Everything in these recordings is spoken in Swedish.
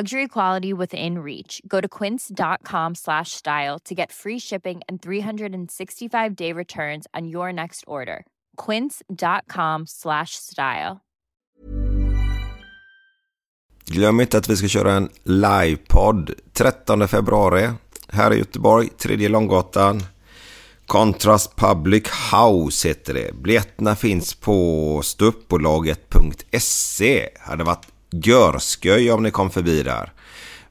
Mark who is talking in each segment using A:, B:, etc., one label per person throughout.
A: Luxury quality within reach. Go to quince.com slash style to get free shipping and 365 day returns on your next order. Quince.com slash style.
B: Glöm inte att vi ska köra en livepodd 13 februari här i Göteborg, Tredje Långgatan. Contrast Public House heter det. Biljetterna finns på ståuppbolaget.se. E. Hade varit görsköj om ni kom förbi där.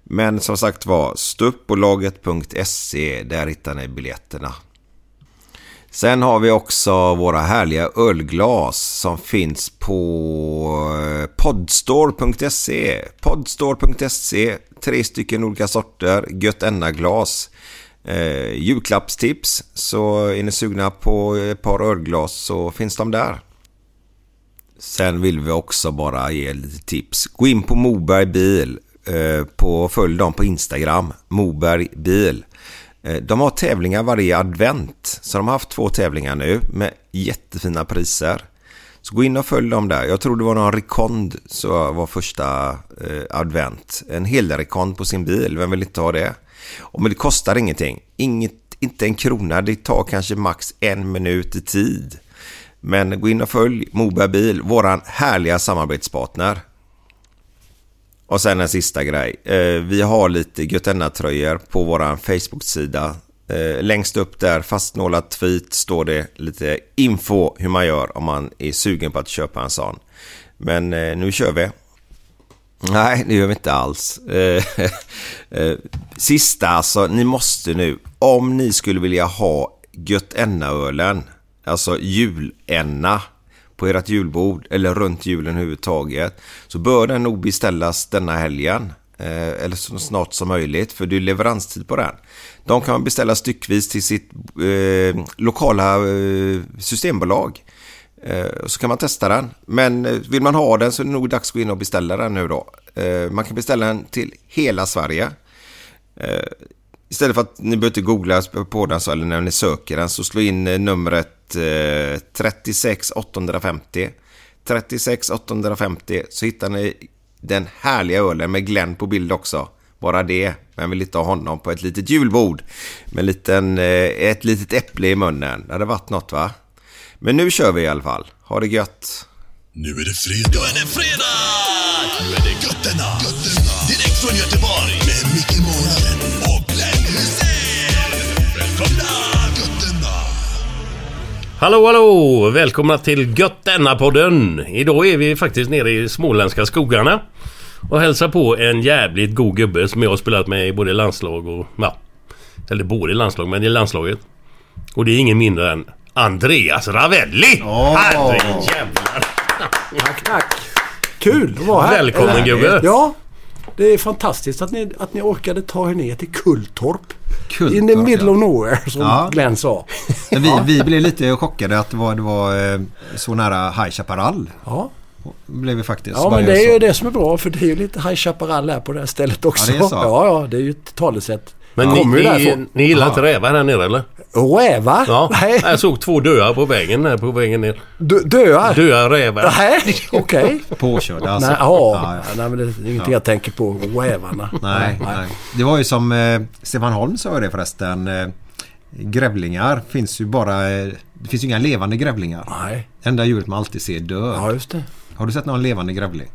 B: Men som sagt var, ståuppbolaget.se, E, där hittar ni biljetterna. Sen har vi också våra härliga ölglas som finns på eh, podstore.se. Podstore.se, tre stycken olika sorter, gött enna glas. Eh, julklappstips, så är ni sugna på ett par ölglas så finns de där. Sen vill vi också bara ge lite tips. Gå in på Moberg Bil eh, på, följ dem på Instagram, Moberg Bil. Eh, De har tävlingar varje advent, så de har haft två tävlingar nu med jättefina priser. Så gå in och följ dem där. Jag tror det var någon rekond som var första eh, advent. En hel rekond på sin bil, vem vill inte ha det? Och men det kostar ingenting. Inget, inte en krona, det tar kanske max en minut i tid. Men gå in och följ Moberg Bil, våran härliga samarbetspartner. Och sen en sista grej. Eh, Vi har lite Götenna-tröjor på vår Facebook-sida. Eh, Längst upp där, fastnålat tweet, står det lite info hur man gör om man är sugen på att köpa en sån. Men eh, nu kör vi. Nej, det gör vi inte alls. Eh, eh, Sista alltså, ni måste nu, om ni skulle vilja ha Götenna-ölen, alltså julenna, på ert julbord eller runt julen överhuvudtaget, så bör den nog beställas denna helgen. eh, Eller så snart som möjligt, för det är leveranstid på den. De kan man beställa styckvis till sitt eh, lokala eh, systembolag. Eh, Så kan man testa den. Men eh, vill man ha den så är det nog dags att gå in och beställa den nu då. Eh, Man kan beställa den till hela Sverige. Eh, Istället för att ni behöver inte googla på den så, eller när ni söker den så slå in eh, numret eh, 36 850. 36 850 så hittar ni den härliga ölen med Glenn på bild också. Bara det. Vem vill inte ha honom på ett litet julbord? Med en liten, eh, ett litet äpple i munnen. Det hade varit något va? Men nu kör vi i alla fall. Ha det gött!
C: Nu är det fredag. Nu är det fredag! Nu är det götterna. götterna. Direkt från Göteborg. Med Micke Månaden och Glenn Hysén. Välkomna! Götterna.
D: Hallå hallå! Välkomna till Gött denna podden Idag är vi faktiskt nere i småländska skogarna och hälsar på en jävligt god gubbe som jag har spelat med i både landslag och... Ja, eller både i landslag, men i landslaget. Och det är ingen mindre än Andreas Ravelli!
E: Åh.
D: Herrejävlar!
E: Tack, tack. Kul att vara här.
D: Välkommen,
E: Eller-
D: gubbe.
E: Ja, det är fantastiskt att ni, att ni orkade ta er ner till Kulltorp.
F: Kulltorp,
E: In the middle
F: ja.
E: of nowhere, som
F: Ja.
E: Glenn sa.
F: Men vi, vi blev lite chockade att det var, det var eh, så nära High Chaparral.
E: Ja,
F: Blev vi faktiskt.
E: ja
F: Bara
E: men det är
F: så.
E: ju det som är bra för det är ju lite High Chaparral här på det här stället också.
F: det är så.
E: Ja, ja, det är ju ett talesätt.
D: Men ni,
E: Kommer ju
D: ni,
E: därifrån.
D: ni gillar inte rävar här nere eller?
E: Räva?
D: Ja,
E: Nej.
D: jag såg två döar på vägen här på vägen ner.
E: Dö- Döar?
D: Döa rävar.
E: Nej, okej.
B: Påkörda alltså.
E: Nej,
B: Ja,
E: ja.
B: ja.
E: Nej, men det är ingenting jag tänker på. Rävarna.
B: Nej, nej. Det var ju som eh, Stefan Holm sa det förresten. Eh, grävlingar finns ju bara... Eh, det finns ju inga levande grävlingar.
E: Nej.
B: Enda djuret man alltid ser dö.
E: Ja, just det.
B: Har du sett någon levande grävling?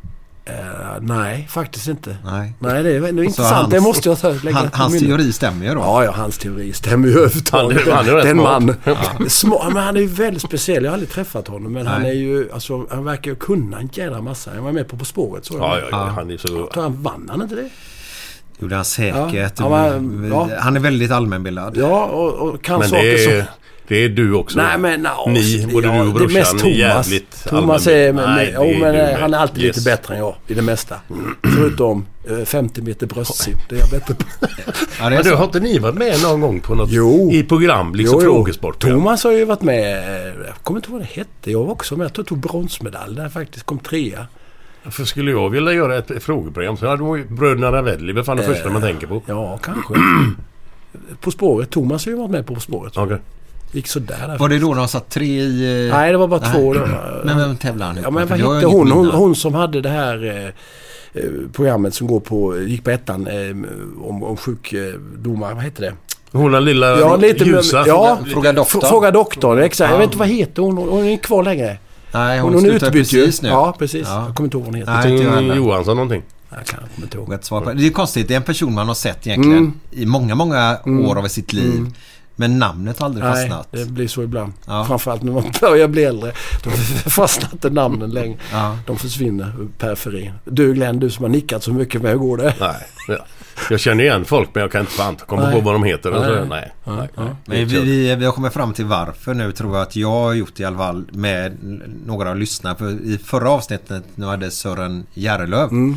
E: Ja, nej, faktiskt inte.
B: Nej.
E: Nej, det är, det är
B: Så
E: intressant.
B: hans-
E: det måste jag ta, lägga
B: han,
E: på
B: Hans
E: minnet.
B: teori stämmer ju då.
E: Ja, ja, hans teori stämmer ju överhuvudtaget.
D: Han är- han är rätt
E: Det är en
D: smart.
E: man. Små, men han är ju väldigt speciell. Jag har aldrig träffat honom. Men han är ju, alltså, han verkar ju kunna en jädra massa. Han var med på På spåret. Så
D: Ja, ja, ja, han är så...
E: Tror han vann han inte det?
B: gjorde han säkert.
E: Ja, men- ja.
B: Han är väldigt allmänbildad.
E: Ja, och, och kan
D: Men
E: saker
D: det är,
E: som...
D: det är du också.
E: Nej men no,
D: Ni, både du och brorsan,
E: det är mest
D: ni
E: Thomas.
D: är jävligt
E: Thomas
D: allmänbild-
E: är, men,
D: Nej,
E: nej,
D: det är
E: men
D: du
E: eh,
D: med.
E: han är alltid
D: Yes.
E: lite bättre än jag i det mesta. Förutom eh, 50 meter bröstsim. Det är jag bättre på.
B: Ja, det är
D: Men du,
B: så.
D: har inte ni varit med någon gång på något
E: Jo.
D: i program, liksom frågesport?
E: Thomas har ju varit med. eh, Jag kommer inte ihåg vad det hette. Jag var också med. Jag tror jag tog bronsmedalj där faktiskt. Kom trea.
D: För skulle jag vilja göra ett frågeprogram så hade de ju Bröderna Ravelli, vad fan det första man tänker på?
E: Eh, Ja, kanske. på spåret. Thomas har ju varit med På spåret.
D: Okej.
E: Gick sådär. Där.
B: Var det då de satt tre i... eh,
E: Nej, det var bara två.
B: Men vem tävlade han
E: Ja, men vad
B: För jag har
E: hette
B: inget
E: hon? hon?
B: minne.
E: Hon som hade det här eh, eh, programmet som går på, gick på ettan eh, om, om sjukdomar. Vad hette det?
D: Hon den lilla ljusa?
E: ja,
B: Fråga- Fråga doktorn.
E: Fr- Fråga doktorn, exakt. Jag vet inte vad heter hon? Hon är inte kvar längre.
B: Nej, hon,
E: Hon, hon är
B: slutade
E: utbytt
B: precis
E: ju.
B: nu.
E: Ja, precis.
B: Ja.
E: Jag kommer inte ihåg vad hon heter.
B: Nej, inte jag
D: Martin
B: heller.
D: mm, Johansson någonting.
E: Jag kan, jag kommer inte ihåg.
B: Vågat svara på det. Det är konstigt. Det är en person man har sett egentligen
E: Mm.
B: i många, många år av sitt liv. Men namnet har aldrig
E: Nej,
B: fastnat.
E: det blir så ibland.
B: Ja.
E: Framförallt när man börjar bli äldre. Då fastnar inte namnen längre.
B: Ja.
E: De försvinner ur periferin. Du Glenn, du som har nickat så mycket med, hur går det?
D: Nej. ja. Jag känner igen folk men jag kan inte fan komma
E: Nej.
D: på vad de heter. Nej.
E: Nej.
D: Nej. Nej. Nej.
B: Men vi, vi, vi har kommit fram till varför nu tror jag att jag har gjort i alla fall med n- några av lyssnarna. För I förra avsnittet nu hade Sören Järrelöv.
E: Mm.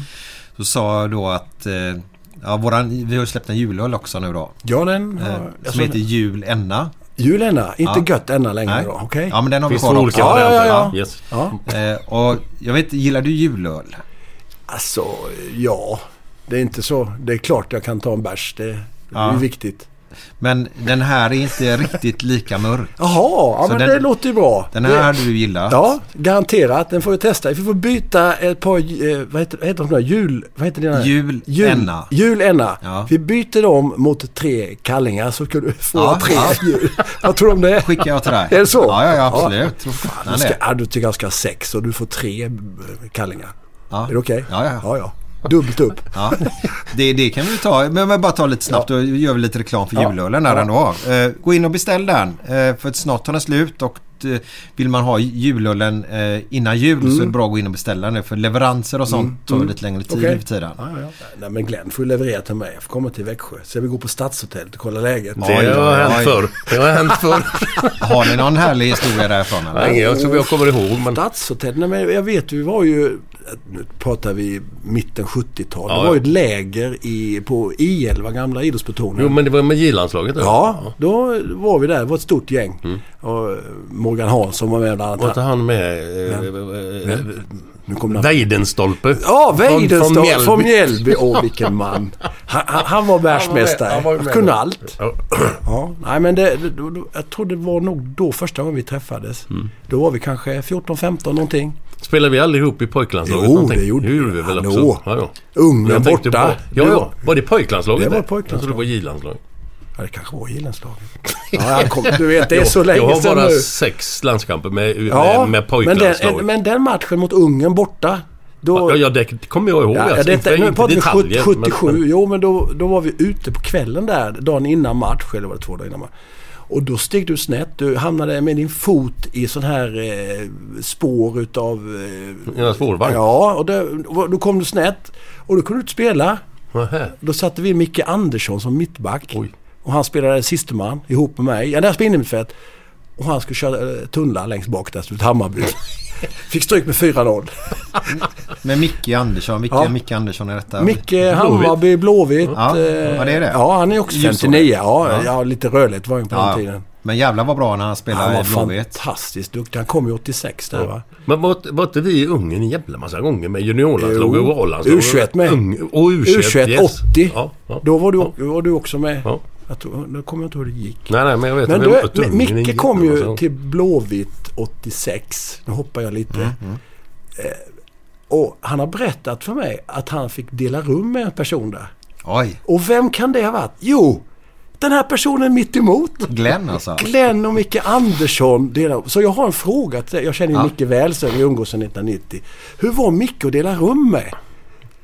B: Så sa jag då att eh, ja, våran, vi har ju släppt en julöl också nu då.
E: Ja, den
B: Eh,
E: har...
B: som heter Jul Enna.
E: Julenna, inte gött ända längre
B: Nej.
E: då. Okej?
B: Ja men den har
D: Finns
B: vi
D: två
B: kvar
D: olika
B: också.
E: Ja, ja,
D: varianter.
E: ja, ja.
D: Yes.
E: Ja.
B: Eh, och jag vet, gillar du julöl?
E: Alltså, ja. Det är inte så. Det är klart jag kan ta en bärs. Det, det är
B: Ja.
E: ju viktigt.
B: Men den här är inte riktigt lika mörk.
E: Jaha, ja,
B: Så
E: men
B: den-
E: det låter ju bra.
B: Den här
E: Det-
B: hade du gillat.
E: Ja, garanterat. Den får vi testa. Vi får byta ett par, eh, vad heter, vad heter de där? Jul... Vad heter dina?
B: Jul- enna.
E: Julenna.
B: Ja.
E: Vi byter dem mot tre kallingar så kan du få
B: Ja,
E: tre
B: ja.
E: jul. Vad tror du om det?
B: Skickar jag till dig.
E: Är det så?
B: Ja, ja, ja absolut. Ja.
E: Du, ska, ja, du tycker jag ska ha sex och du får tre eh, kallingar.
B: Ja.
E: Är det okej?
B: Ja, ja.
E: ja, ja. Dubbelt upp.
B: Ja, det, det kan vi ta. Men men bara ta lite snabbt. Då gör vi lite reklam för julölen här ändå. Eh, gå in och beställ den. Eh, för att snart tar den slut och eh, vill man ha julölen eh, innan jul så är
E: Mm.
B: det bra att gå in och beställa nu. För leveranser och sånt tar lite längre tid
E: Okej.
B: nu för tiden.
E: Nej men Glenn får ju leverera till mig. Jag får komma till Växjö. Så vi går på Stadshotellet och kollar läget.
D: Det
B: Oj,
D: har
B: oj,
D: hänt
B: oj.
D: förr. Det har hänt förr.
B: Har ni någon härlig historia därifrån? Eller?
D: Nej, jag, som jag kommer ihåg men...
E: Stadshotellet, nej men jag vet vi var ju, nu pratar vi mitten 70-tal.
D: Ja,
E: det var ju
D: ja.
E: ett läger i, på I11, gamla idrottsplutonium.
D: Jo men det var med J-landslaget då.
E: Ja, då var vi där. Det var ett stort gäng. Och Morgan Hansson var med bland
D: Var inte
E: annat.
D: han med... eh, eh, eh,
E: Nu kom det-
D: Weidenstolpe.
E: Ja,
D: Från- från
E: Weidenstad
D: Mjällby.
E: från Mjällby. Åh, vilken man. Han, han, han var världsmästare.
D: han var ju med
E: kunde
D: då.
E: allt.
D: Ja.
E: Ja, nej men det, det- då- då- jag tror det var nog då första gången vi träffades.
D: Mm.
E: Då var vi kanske 14-15 någonting.
D: Spelade vi allihop i pojklandslaget?
E: Jo,
D: någonting?
E: det gjorde
D: det
E: vi.
D: gjorde vi väl
E: Hallå.
D: också? Ja, ja.
E: Ungern
D: Men jag tänkte
E: borta.
D: På, ja,
E: Det
D: ja.
E: var-
D: Var det pojklandslaget?
E: Det var
D: där?
E: pojklandslaget.
D: Jag trodde det var J-landslaget.
E: Ja, det kanske var Gillenslaget. Ja, han kom, du vet, det är så länge
D: Jag har
E: sedan
D: bara
E: nu.
D: sex landskamper med,
E: Ja,
D: med, med
E: men,
D: pojklandslaget.
E: den, men den matchen mot Ungern borta. Då,
D: Ja, ja, det kommer jag ihåg.
E: Ja,
D: alltså.
E: det,
D: Inte-
E: nu
D: inte
E: pratar vi
D: detaljer,
E: 70, 77.
D: men-
E: Jo, men då, då var vi ute på kvällen där dagen innan match. Eller var det två dagar innan match? Och då steg du snett. Du hamnade med din fot i sån här eh, spår utav... Eh,
D: Ja, spårvagn.
E: Ja, och då, då kom du snett. Och då kunde du inte spela.
D: Nähä.
E: Då satte vi in Micke Andersson som mittback.
D: Oj.
E: Och han spelade sisteman ihop med mig. Ja, där spelade innermittfält. Och han skulle köra eh, tunnlar längst bak där, mot Hammarby. Fick stryk med 4-0.
B: Med Micke Andersson. Vilken
E: Ja.
B: Micke Andersson är detta?
E: Micke Hammarby, Blåvitt.
B: Ja,
E: eh,
B: ja, det är det.
E: Ja, han är också
B: Ljusår.
E: 59. Ja,
B: Ja.
E: ja. lite rödligt var han på
B: Ja,
E: den
B: ja.
E: tiden.
B: Men jävlar vad bra när han spelar
E: Han
B: i
E: var
B: Blåvitt.
E: fantastiskt duktig. Han kom ju 86 där va?
D: Men var, var inte vi i Ungern en jävla massa gånger med juniorlandslaget
E: Jo.
D: och A-landslaget?
E: U21 med.
D: Ung- Och U21,
E: U21
D: yes.
E: 80.
D: Ja, ja.
E: Då var du, var du också med.
D: Ja.
E: Jag tror, nu kommer jag inte ihåg hur det gick.
D: Nej, nej, men jag vet
E: Men
D: att vi
E: då,
D: har mött Ungern en
E: Micke kom
D: jävla massa gånger.
E: ju till Blåvitt 86. Nu hoppar jag lite. Eh, Och han har berättat för mig att han fick dela rum med en person där.
B: Oj,
E: Och vem kan det ha varit? Jo, den här personen mitt emot.
B: Glenn alltså.
E: Glenn och Micke Andersson delar Så jag har en fråga till dig. Jag känner ju Micke väl sen vi umgås sedan 1990. Hur var Micke att dela rum med?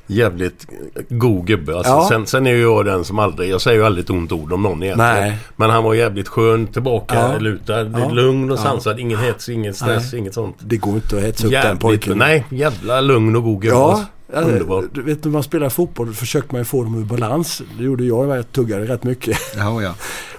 D: Jävligt god gubbe. Alltså,
E: Ja.
D: sen, sen är ju jag den som aldrig... Jag säger ju aldrig ett ont ord om någon egentligen.
E: Nej.
D: Men han var jävligt skön, tillbaka,
E: Ja.
D: lutad,
E: Ja.
D: lugn och sansad. Ingen hets, ingen stress,
E: Nej.
D: inget sånt.
E: Det går inte att hetsa upp den pojken.
D: Nej, jävla lugn och god gubbe.
E: Ja,
D: alltså.
E: alltså,
D: Underbar.
E: du vet när man spelar fotboll försökte man ju få dem ur balans. Det gjorde jag, jag tuggade rätt mycket.
B: Ja, ja.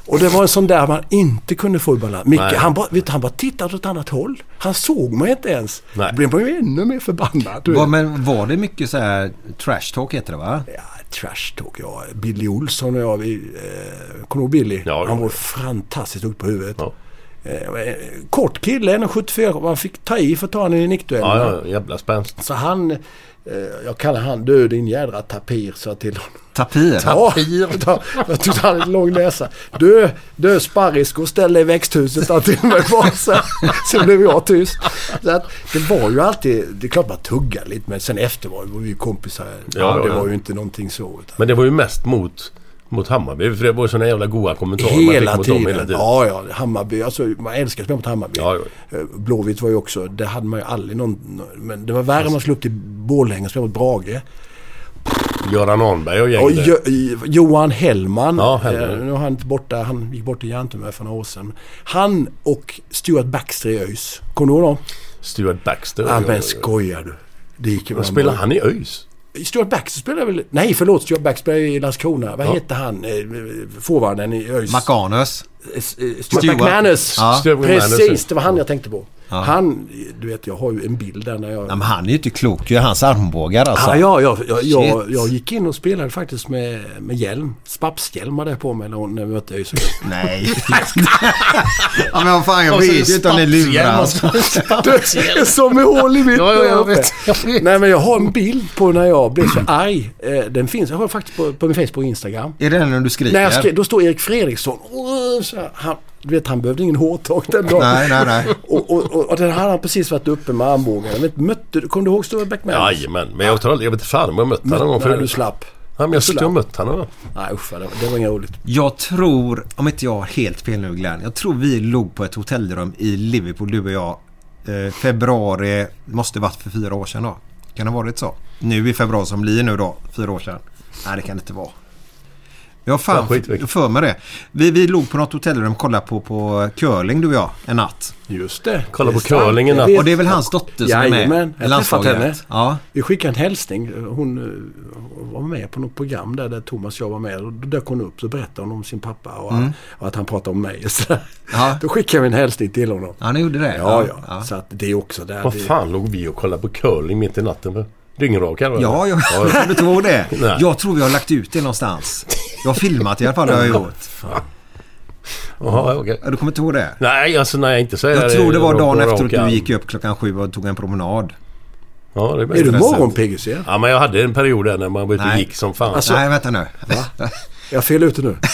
E: Och det var en sån där man inte kunde få ur balans. Micke,
D: Nej.
E: han bara, vet, du, han bara tittade åt ett annat håll. Han såg mig inte ens.
D: Nej.
E: Då blev man ju ännu mer förbannad. du
B: Var,
E: vet.
B: men var det mycket så här trash talk heter det va?
E: Ja, trash talk, ja. Billy Olsson och jag, vi... Eh, kommer du ihåg Billy?
D: Ja, ja.
E: han var fantastiskt duktig på huvudet.
D: Ja.
E: Eh, kort kille, 1,74. Man fick ta i för att ta honom i nickduellen.
D: Ja, ja, jävla spänst.
E: Så han... Eh, jag kallar han död din jädra tapir, sa jag till honom.
B: Tapir?
E: Tapir? Ja, jag tyckte han hade en lång näsa. Du, du sparrisko, ställ dig i växthuset. Han till mig bara så, här. så blev jag tyst. Så att, det var ju alltid... Det är klart man tuggade lite, men sen efter var var vi ju kompisar.
D: Ja,
E: det
D: ja.
E: var ju inte någonting så. Utan
D: Men det var ju mest mot, mot Hammarby. För det var ju såna jävla goa kommentarer
E: Hela
D: man fick mot
E: tiden.
D: dem hela tiden.
E: Ja, ja. Hammarby. Alltså, man älskar att spela mot Hammarby.
D: Ja,
E: Eh, Blåvitt var ju också... Det hade man ju aldrig någon... nå- Men det var värre om man skulle upp till Borlänge och spela mot Brage.
D: Göran Arnberg och
E: Och
D: gänget.
E: jo, i- Johan Hellman.
D: Ja, Hellman.
E: eh, Nu är han inte borta. Han gick bort i hjärntumör för några år sedan. Han och Stuart Baxter i ÖIS. Kommer du ihåg dem?
D: Stuart Baxter.
E: Ja,
D: Oj, oj,
E: men
D: oj.
E: skojar du? Det gick ju...
D: Vad spelar han i ÖIS?
E: Stuart Baxter spelar väl... Nej, förlåt. Stuart Baxter spelar i Landskrona. Vad
D: Ja.
E: hette han? eh, Forwarden i ÖIS?
B: Macanus?
E: S- eh, Stuart
B: Stuart.
E: McManus.
B: Ja.
D: Stuart McManus,
E: Precis,
D: ja.
E: det var han jag tänkte på. Han, du vet jag har ju en bild där när jag...
B: Ja, men han är ju inte klok ju, hans armbågar alltså.
E: Ah, ja, jag, jag, jag,
B: Shit.
E: jag gick in och spelade faktiskt med, med hjälm. Spapshjälm hade jag på mig när, när vi mötte ÖIS.
B: Nej. ja, men vad fan, jag
D: Och så
B: vet ju inte om ni lurar. Alltså.
E: Du, Som med hål i mitten.
B: Ja, ja, jag
E: där uppe.
B: vet, jag vet.
E: Nej men jag har en bild på när jag blev så arg. Eh, Den finns, jag har faktiskt på, på min Facebook och Instagram.
B: Är det den när du skriker?
E: När jag skrev, då står Erik Fredriksson. "Åh", Så här, han, du vet han behövde ingen hårtork den dagen.
B: Nej, nej, nej.
E: Och, och, och, och den här hade han precis varit uppe med armbågarna. Jag vet, Mötte du, kom du ihåg Stora Bäckman?
D: Jajamän, men jag, tror aldrig- jag vet inte fan om jag mött honom någon gång
E: Nej, du
D: förut. Ja,
E: slapp.
D: men jag tror inte jag mött honom. va?
E: Nej usch, vad det, det var inget roligt.
B: Jag tror, om inte jag har helt fel nu Glenn, jag tror vi låg på ett hotellrum i Liverpool du och jag. Eh, februari, det måste varit för fyra år sedan då. Kan det ha varit så? Nu i februari som blir nu då, fyra år sedan. Nej det kan det inte vara. Jag har fan
D: Ja, skitvikt.
B: för mig det. Vi, vi låg på något hotellrum och kollade på, på curling du och jag en natt.
E: Just det.
D: Kolla på
E: Det är sant.
D: curlingen där.
E: Jag vet.
B: Och det är väl hans dotter som är med?
E: Jajamän,
B: i
E: jag har träffat
B: landslaget.
E: henne.
B: Ja.
E: Vi skickade en hälsning. Hon eh, var med på något program där, där Thomas och jag var med. Och då dök hon upp så berättade hon om sin pappa och, och att han pratade om mig. Så,
B: Ja.
E: Då skickade vi en hälsning till honom.
B: Ja, ni gjorde det?
E: Ja, ja. Så att det är också där.
D: Vad
E: det-
D: fan låg vi och kollade på curling mitt i natten? för? Dyngrakar? va?
B: Ja, jag jag kommer inte ihåg det.
D: Nej.
B: Jag tror vi har lagt ut det någonstans. Jag har filmat i alla fall, det har jag gjort.
D: Jaha, okej.
B: Ja, Du kommer inte ihåg det?
D: Nej, alltså när jag inte eh, säger
B: Jag tror det var
D: rakt
B: dagen
D: på rak
B: efter att
D: arm.
B: du gick upp klockan sju och tog en promenad.
D: Ja, det
E: Är
D: blir
E: du
D: det.
E: morgonpigg Hussein?
D: Ja, men jag hade en period där när man var ute och
B: Nej.
D: gick som fan.
E: Alltså-
B: Nej, vänta nu.
E: Jag fel ute nu.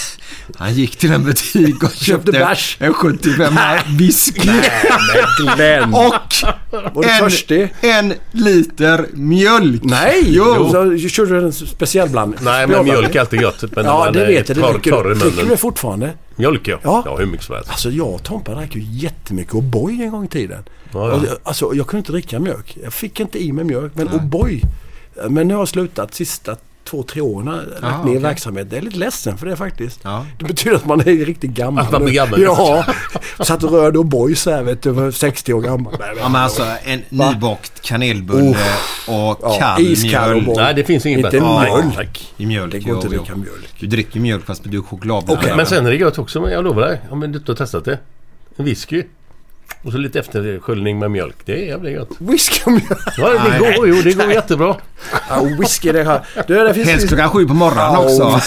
B: Han gick till en butik och köpte
E: bärs.
B: en 75 whisky
E: Glenn!
B: och
E: Var du törstig?
B: en, en liter mjölk.
E: Nej!
B: Jo!
E: Så, körde du en speciell blandning?
D: Nej, men
E: Specialblandning?
D: mjölk är alltid gött. Men när
E: Ja,
D: man
E: det
D: är
E: vet jag. Det
D: torr-
E: dricker
D: torr
E: du.
D: i
E: Dricker du
D: munnen.
E: det fortfarande?
D: Mjölk ja.
E: Ja.
D: ja. hur mycket som helst.
E: Alltså jag och Tompa drack ju jättemycket O'boy en gång i tiden.
D: ja.
E: Och, alltså jag kunde inte dricka mjölk. Jag fick inte i mig mjölk. Men O'boy. Men nu har jag slutat sista två, tre åren. har jag Lagt
B: Jaha,
E: ner
B: Ah, okej.
E: verksamhet. Jag är lite ledsen för det faktiskt.
B: Ja.
E: Det betyder att man är riktigt gammal.
D: Att man blir
E: nu.
D: gammal.
E: Ja. Satt och rörde O'boy så här vet du. Var 60 år gammal. Nej,
B: Ja, men alltså en nybakt kanelbulle och
E: Ja,
B: kall
E: iskall och
B: mjölk
E: boll.
D: Nej, det finns inget
E: Inte
D: bättre.
E: mjölk.
D: Nej, tack.
B: i mjölk.
E: Det går inte att
B: jo,
E: dricka
B: jo.
E: mjölk.
B: Du dricker mjölk fast du är chokladblandare.
D: Men sen är det gött också. Men jag lovar dig. Om du inte har testat det. En whisky. Och så lite eftersköljning med mjölk. Det är jävligt gött.
E: Whisky och mjölk.
D: Ja, det
B: Nej.
D: går. Jo, det går jättebra.
E: Ja, Oh, whisky det här. Du, det finns
B: Helst klockan sju på morgonen
E: Ja,
B: också.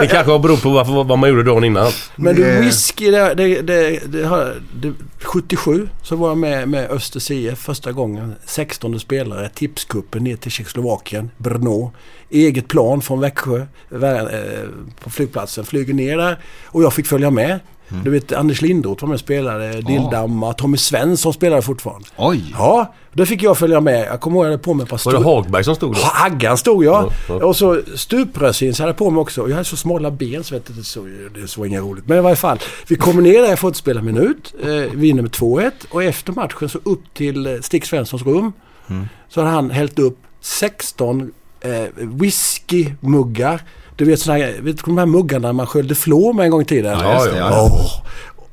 D: Det kanske beror på varför, vad man gjorde dagen innan.
E: Men du,
B: Det-
E: whisky det, det, det, det, har- det, 77 så var jag med med Östers IF första gången. 16 spelare, tipskuppen ner till Tjeckoslovakien, Brno. Eget plan från Växjö vä- eh, på flygplatsen. Flyger ner där och jag fick följa med. Du vet Anders Lindroth var med och spelade, Dildamma, Tommy Svensson spelade fortfarande.
B: Oj!
E: Ja, då fick jag följa med. Jag kommer ihåg jag hade på mig ett par
D: Var det
E: stor-
D: Hagberg som stod då?
E: Ja, Aggan stod jag.
D: Ja, ja.
E: Och så stuprörsjeans hade jag på mig också. Och jag hade så smala ben så vet jag, det såg det såg inga roligt. Men i varje fall. Vi kommer ner där, jag får inte spela en minut. Eh, vinner med 2-1. Och efter matchen så upp till eh, Stig Svenssons rum.
D: Mm.
E: Så hade han hällt upp 16 eh, whiskymuggar. Du vet sådana här, vet du de här muggarna man sköljde flår med en gång i tiden?
B: Ja, just det, ja.
E: Åh.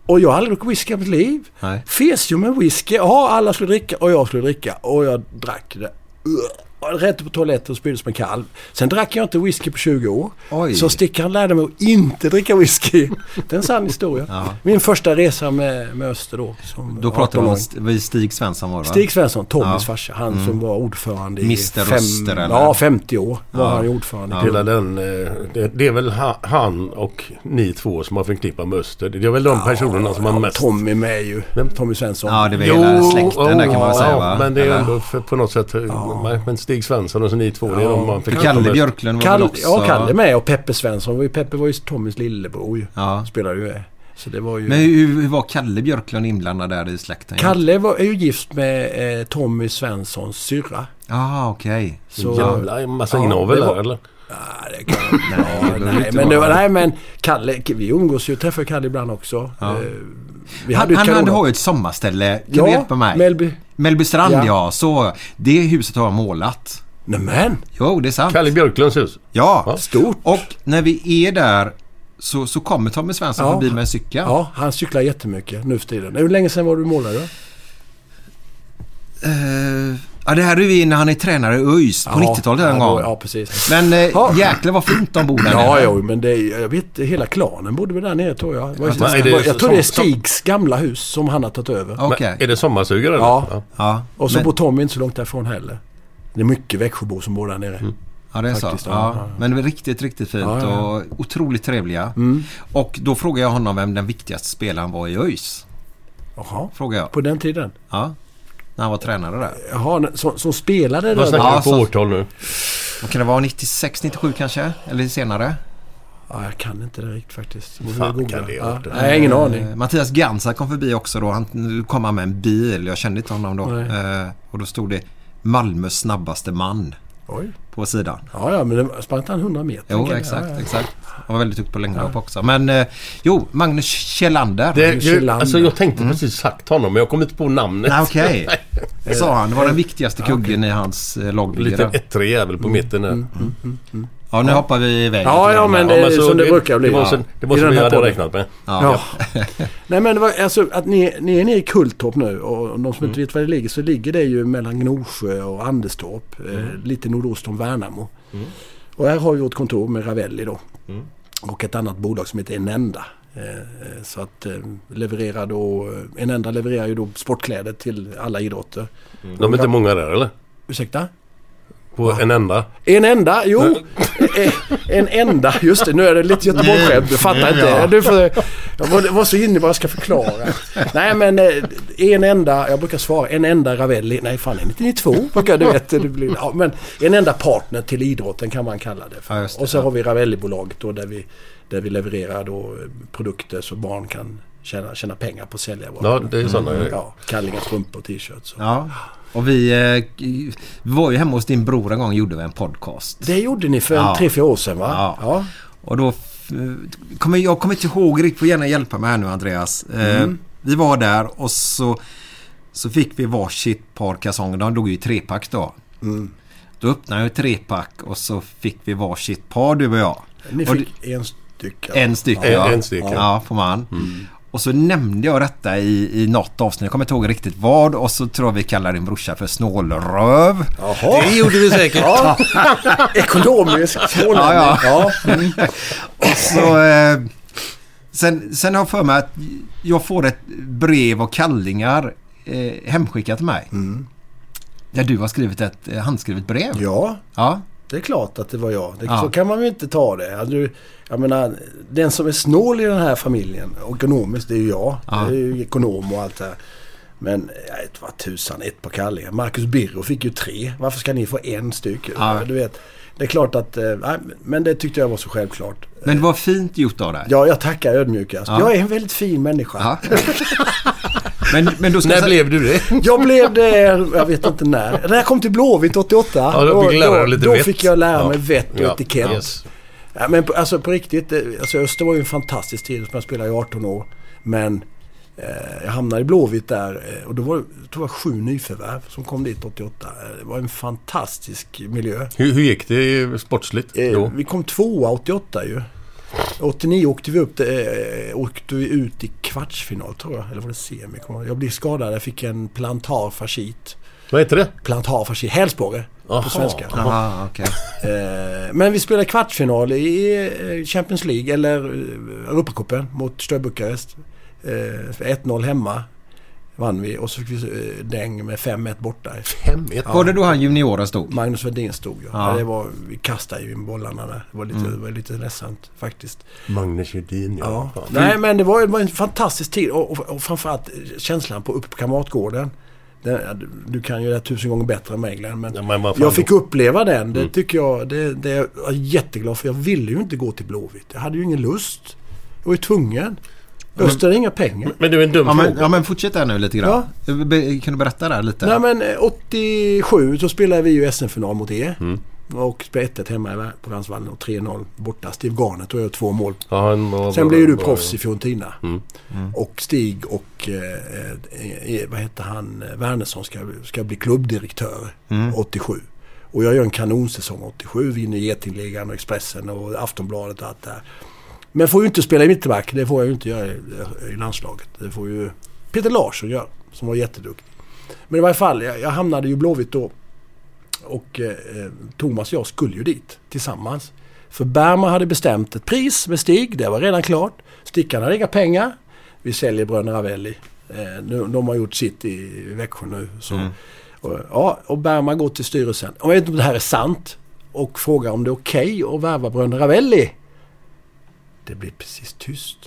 E: Och jag har aldrig druckit whisky i mitt liv.
B: Nej.
E: Fes ju med whisky. Ja, alla skulle dricka och jag skulle dricka. Och jag drack det. Ugh. Rätt på toaletten och spydde som en kalv. Sen drack jag inte whisky på 20 år.
B: Oj.
E: Så stickaren lärde mig att inte dricka whisky. Det är en sann historia. Min första resa med, med Öster då. Som
B: Då pratar vi
E: 18-åring.
B: om St- vad Stig Svensson var det, va?
E: Stig Svensson, Tommys
B: Ja.
E: farsa. Han som var ordförande i...
B: Mr. Öster, eller?
E: Ja, 50 år var han ju ordförande. i
D: Hela den, eh, det, det är väl ha- han och ni två som har förknippat med Öster. Det är väl de personerna som man mest...
E: Tommy med ju. Tommy Svensson.
B: Ja, det var hela släkten där kan man
D: ja,
B: säga va?
D: men det är
B: Eller?
D: ändå för, på något sätt... Men Stig Svensson och så ni två, det är de
B: För
D: man förknippar
B: Kalle
D: med.
B: Björklund var väl
E: Kalle,
B: också...
E: ja, Kalle med och Peppe Svensson. var ju- Peppe var ju Tommys lillebror ju.
B: Ja.
E: Spelade ju. med. Så det var ju...
B: Men hur, hur var Kalle Björklund inblandad där i släkten?
E: Kalle var, är ju gift med eh, Tommy Svenssons syrra.
B: Ja, ah, okej.
E: Så,
D: Jävla massa
E: Ja,
D: inavel
E: det var-
D: där eller?
E: Ah, det kan, nej,
B: behöver
E: nej,
B: inte
E: men det var,
B: vara.
E: nej, men Kalle, vi umgås ju. Träffar Kalle ibland också. Eh, vi
B: Han,
E: hade ju
B: han,
E: ett
B: han
E: kanon-
B: har ju ett sommarställe. Kan
E: Ja,
B: du hjälpa mig?
E: Mellby.
B: Mellbystrand
E: Ja.
B: ja. Så. Det huset har jag målat.
E: Nämen!
B: Jo, det är sant.
D: Kalle Björklunds hus.
B: Ja.
E: Stort.
B: Och när vi är där så, så kommer Tommy Svensson
E: Ja.
B: förbi med en cykel.
E: Ja, han cyklar jättemycket nu för tiden. Hur länge sedan var du målare då?
B: Eh, ja, det här är vi när han är tränare i ÖIS på 90-talet en
E: ja,
B: gång.
E: då- Ja, precis.
B: Men
E: Ja.
B: eh, jäklar vad fint de bor där
E: Ja,
B: nere.
E: jo, men det är, jag vet hela klanen bodde väl där nere tror jag. Det var ju-
D: men är det
E: jag tror det är
D: som-
E: Stigs gamla hus som han har tagit över.
B: Okej.
D: Är det sommarsugare? eller?
E: Ja.
B: Ja,
E: Och så
B: men-
E: bor Tommy inte så långt därifrån heller. Det är mycket Växjöbor som bor där nere.
B: Ja, det är
E: Faktiskt,
B: så.
E: ja.
B: Ja.
E: Ja, ja.
B: Men det var riktigt, riktigt fint
E: Ja, Mm. ja, ja.
B: och otroligt trevliga. Och då frågade jag honom vem den viktigaste spelaren var i ÖIS.
E: Jaha.
B: Frågade jag.
E: På den tiden?
B: Ja. När han var tränare där.
E: Jaha, som, som spelade
D: Vad
E: där?
D: snackar
B: Ja,
D: vi på
B: så-
D: årtal nu?
B: Vad kan det vara? 96, 97 kanske? Eller senare?
E: Mm. Ja, jag kan inte det riktigt faktiskt. Borde
D: Fan,
E: googla.
D: kan det ha
E: ja.
D: varit det?
E: Nej, ingen aning.
B: Eh, Mattias Gansa kom förbi också då. Han nu kom han med en bil. Jag kände inte honom då.
E: Nej.
B: Eh, och då stod det Malmös snabbaste man
E: Oj.
B: på sidan.
E: Ja, ja, men det sprang inte han 100 meter?
B: Jo,
E: Kan-
B: exakt,
E: ja, ja.
B: exakt. Han var väldigt duktig på längdhopp också. Men eh, jo, Magnus Kjellander. Mm.
D: Det,
E: Magnus
D: jag,
E: Kjellander.
D: alltså jag tänkte precis sagt honom men jag kom inte på namnet.
B: Nej, okej. Sa han. Det var den viktigaste kuggen i hans eh, lagbygge
D: Liten
B: där.
D: ettrig jävel på mitten där.
B: Ja, nu hoppar vi iväg.
E: Ja, ja, men det är som det brukar bli.
D: Det var,
E: ja.
D: så, det var
E: I
D: som
E: den
D: vi
E: här
D: hade
E: podden.
D: räknat med.
E: Ja. Nej men det var, alltså, att ni, ni är nere i Kulltorp nu och de som inte vet var det ligger så ligger det ju mellan Gnosjö och Anderstorp. Eh, lite nordost om Värnamo. Och här har vi vårt kontor med Ravelli då. Och ett annat bolag som heter Enenda. Eh, eh, Så att eh, levererar då, eh, Enenda levererar ju då sportkläder till alla idrotter.
D: De är inte många där eller?
E: Mm. Ursäkta?
D: På en enda?
E: En enda, jo. Eh, En enda, just det. Nu är det lite Göteborgsskämt. Du fattar inte. Du får, jag var, var så inne i vad jag ska förklara. Nej men eh, en enda, jag brukar svara en enda Ravelli. Nej fan, är det inte ni två? Brukar du vet, det blir, ja, men en enda partner till idrotten kan man kalla det. För.
B: Ja, just det,
E: och så har vi Ravelli-bolaget då där vi, där vi levererar då eh, produkter så barn kan tjäna, tjäna pengar på att sälja våra
D: Ja, det är sådana grejer.
E: ja, kallingar, strumpor och t-shirts. och-
B: Ja. Och vi eh, var ju hemma hos din bror en gång och gjorde vi en podcast.
E: Det gjorde ni för
B: Ja.
E: en tre, fyra år sedan va?
B: Ja. Och då... eh, Kommer, jag kommer inte ihåg riktigt. får gärna hjälpa mig här nu Andreas. Eh,
E: Mm.
B: Vi var där och så, så fick vi varsitt par kalsonger. De låg ju i trepack då. Då öppnade jag trepack och så fick vi varsitt par du och jag.
E: Ni
B: och
E: fick en stycke.
B: En Mm. styck
D: En-
B: ja.
D: en styck, ja.
B: ja. får man. Och så nämnde jag detta i, i något avsnitt. Jag kommer inte ihåg riktigt vad. Och så tror jag vi kallar din brorsa för snålröv.
E: Jaha.
B: Det gjorde vi säkert.
E: Ja. Ekonomisk smålänning.
B: Ja,
E: Ja,
B: Och så eh, Sen, sen har jag för mig att jag får ett brev och kallingar eh, hemskickat till mig.
E: Mm.
B: Där du har skrivit ett eh, handskrivet brev.
E: Ja,
B: Ja.
E: det är klart att det var jag. Det,
B: Ja.
E: Så kan man ju inte ta det. Hade du, jag menar, den som är snål i den här familjen, och ekonomiskt, det är ju jag.
B: Ja.
E: Jag är ju ekonom och allt det här. Men jag vet vad tusan, ett på Kalle. Marcus Birro fick ju tre. Varför ska ni få en styck?
B: Ja.
E: Du vet, det är klart att... eh, Nej, men det tyckte jag var så självklart. Eh,
B: Men det var fint gjort av dig.
E: Ja, jag tackar ödmjukast.
B: Ja.
E: Jag är en väldigt fin människa.
B: Ja. Men, men då ska jag
D: När
B: sä-
D: blev du det?
E: Jag blev det, jag vet inte när. När jag kom till Blåvitt 88.
D: Ja, då fick du lära dig lite
E: då
D: vett.
E: fick jag lära mig
D: Ja.
E: vett och
D: Ja,
E: etikett.
D: yes.
E: Ja, men på, alltså på riktigt, eh, alltså Öster var ju en fantastisk tid som jag spelade i 18 år. Men eh, jag hamnade i Blåvitt där eh, och då var det, tror jag, sju nyförvärv som kom dit 88. Eh, Det var en fantastisk miljö.
D: Hur, hur gick det sportsligt
E: Eh,
D: då?
E: Vi kom tvåa 88 ju. 89 åkte vi, upp, till- eh, åkte vi ut i kvartsfinal tror jag. Eller var det semi? kommer jag ihåg. Jag blev skadad. Jag fick en plantar fasciit.
D: Vad heter det?
E: Plantar fasciit. Hälsporre på
D: Aha.
E: svenska.
B: Aha, okej.
E: Eh, men vi spelade kvartsfinal i eh, Champions League eller eh, Europacupen mot Stör Bukarest. Eh, 1-0 hemma vann vi och så fick vi eh, däng med 5-1 borta.
D: Hemmet?
B: Var det då han junioren stod?
E: Magnus Wedin stod ju.
B: Ja.
E: Ja. Det var, vi kastade ju in bollarna där. Det var lite, det var lite ledsamt faktiskt.
D: Magnus Hedin ja.
E: Ja. Nej men det var, det var en fantastisk tid och, och, och framförallt eh, känslan på uppe på Kamratgården. Den, du kan ju det här tusen gånger bättre än mig Glenn, men
D: Ja, men vad fan
E: jag fick
D: då?
E: uppleva den. Det tycker jag, det, det är jag jätteglad för. Jag ville ju inte gå till Blåvitt. Jag hade ju ingen lust. Jag var ju tvungen. Öster hade inga pengar.
D: Men du, en dum
B: Ja men,
D: fråga.
B: ja men fortsätt där nu lite grann. Be, kan du berätta där lite?
E: Nej men eh, 87 så spelade vi ju SM-final mot er. Och spelade 1-1 hemma i- på Landsvallen och 3-0 borta. Steve Garnett och jag två mål
D: Ja, han var-
E: Sen blev ju du
D: var- Mm.
E: proffs i Fiorentina.
B: Mm.
E: Och Stig och, eh, eh, vad heter han, eh, Wernersson ska, ska bli klubbdirektör
B: Mm.
E: 87. Och jag gör en kanonsäsong 87, vinner Getingligan och Expressen och Aftonbladet och allt det här. Men får ju inte spela i mittback, det får jag ju inte göra i, i landslaget. Det får ju Peter Larsson göra, som var jätteduktig. Men i varje fall, jag, jag hamnade ju i Blåvitt då. Och eh, Thomas och jag skulle ju dit tillsammans. För Berma hade bestämt ett pris med Stig, det var redan klart. Stickarna hade inga pengar. Vi säljer Bröderna Ravelli. Eh, nu, de har gjort sitt i Växjö nu. Så. Och, ja, och Berma går till styrelsen, och jag vet inte om det här är sant, och frågar om det är okej att värva Bröderna Ravelli. Det blir precis tyst.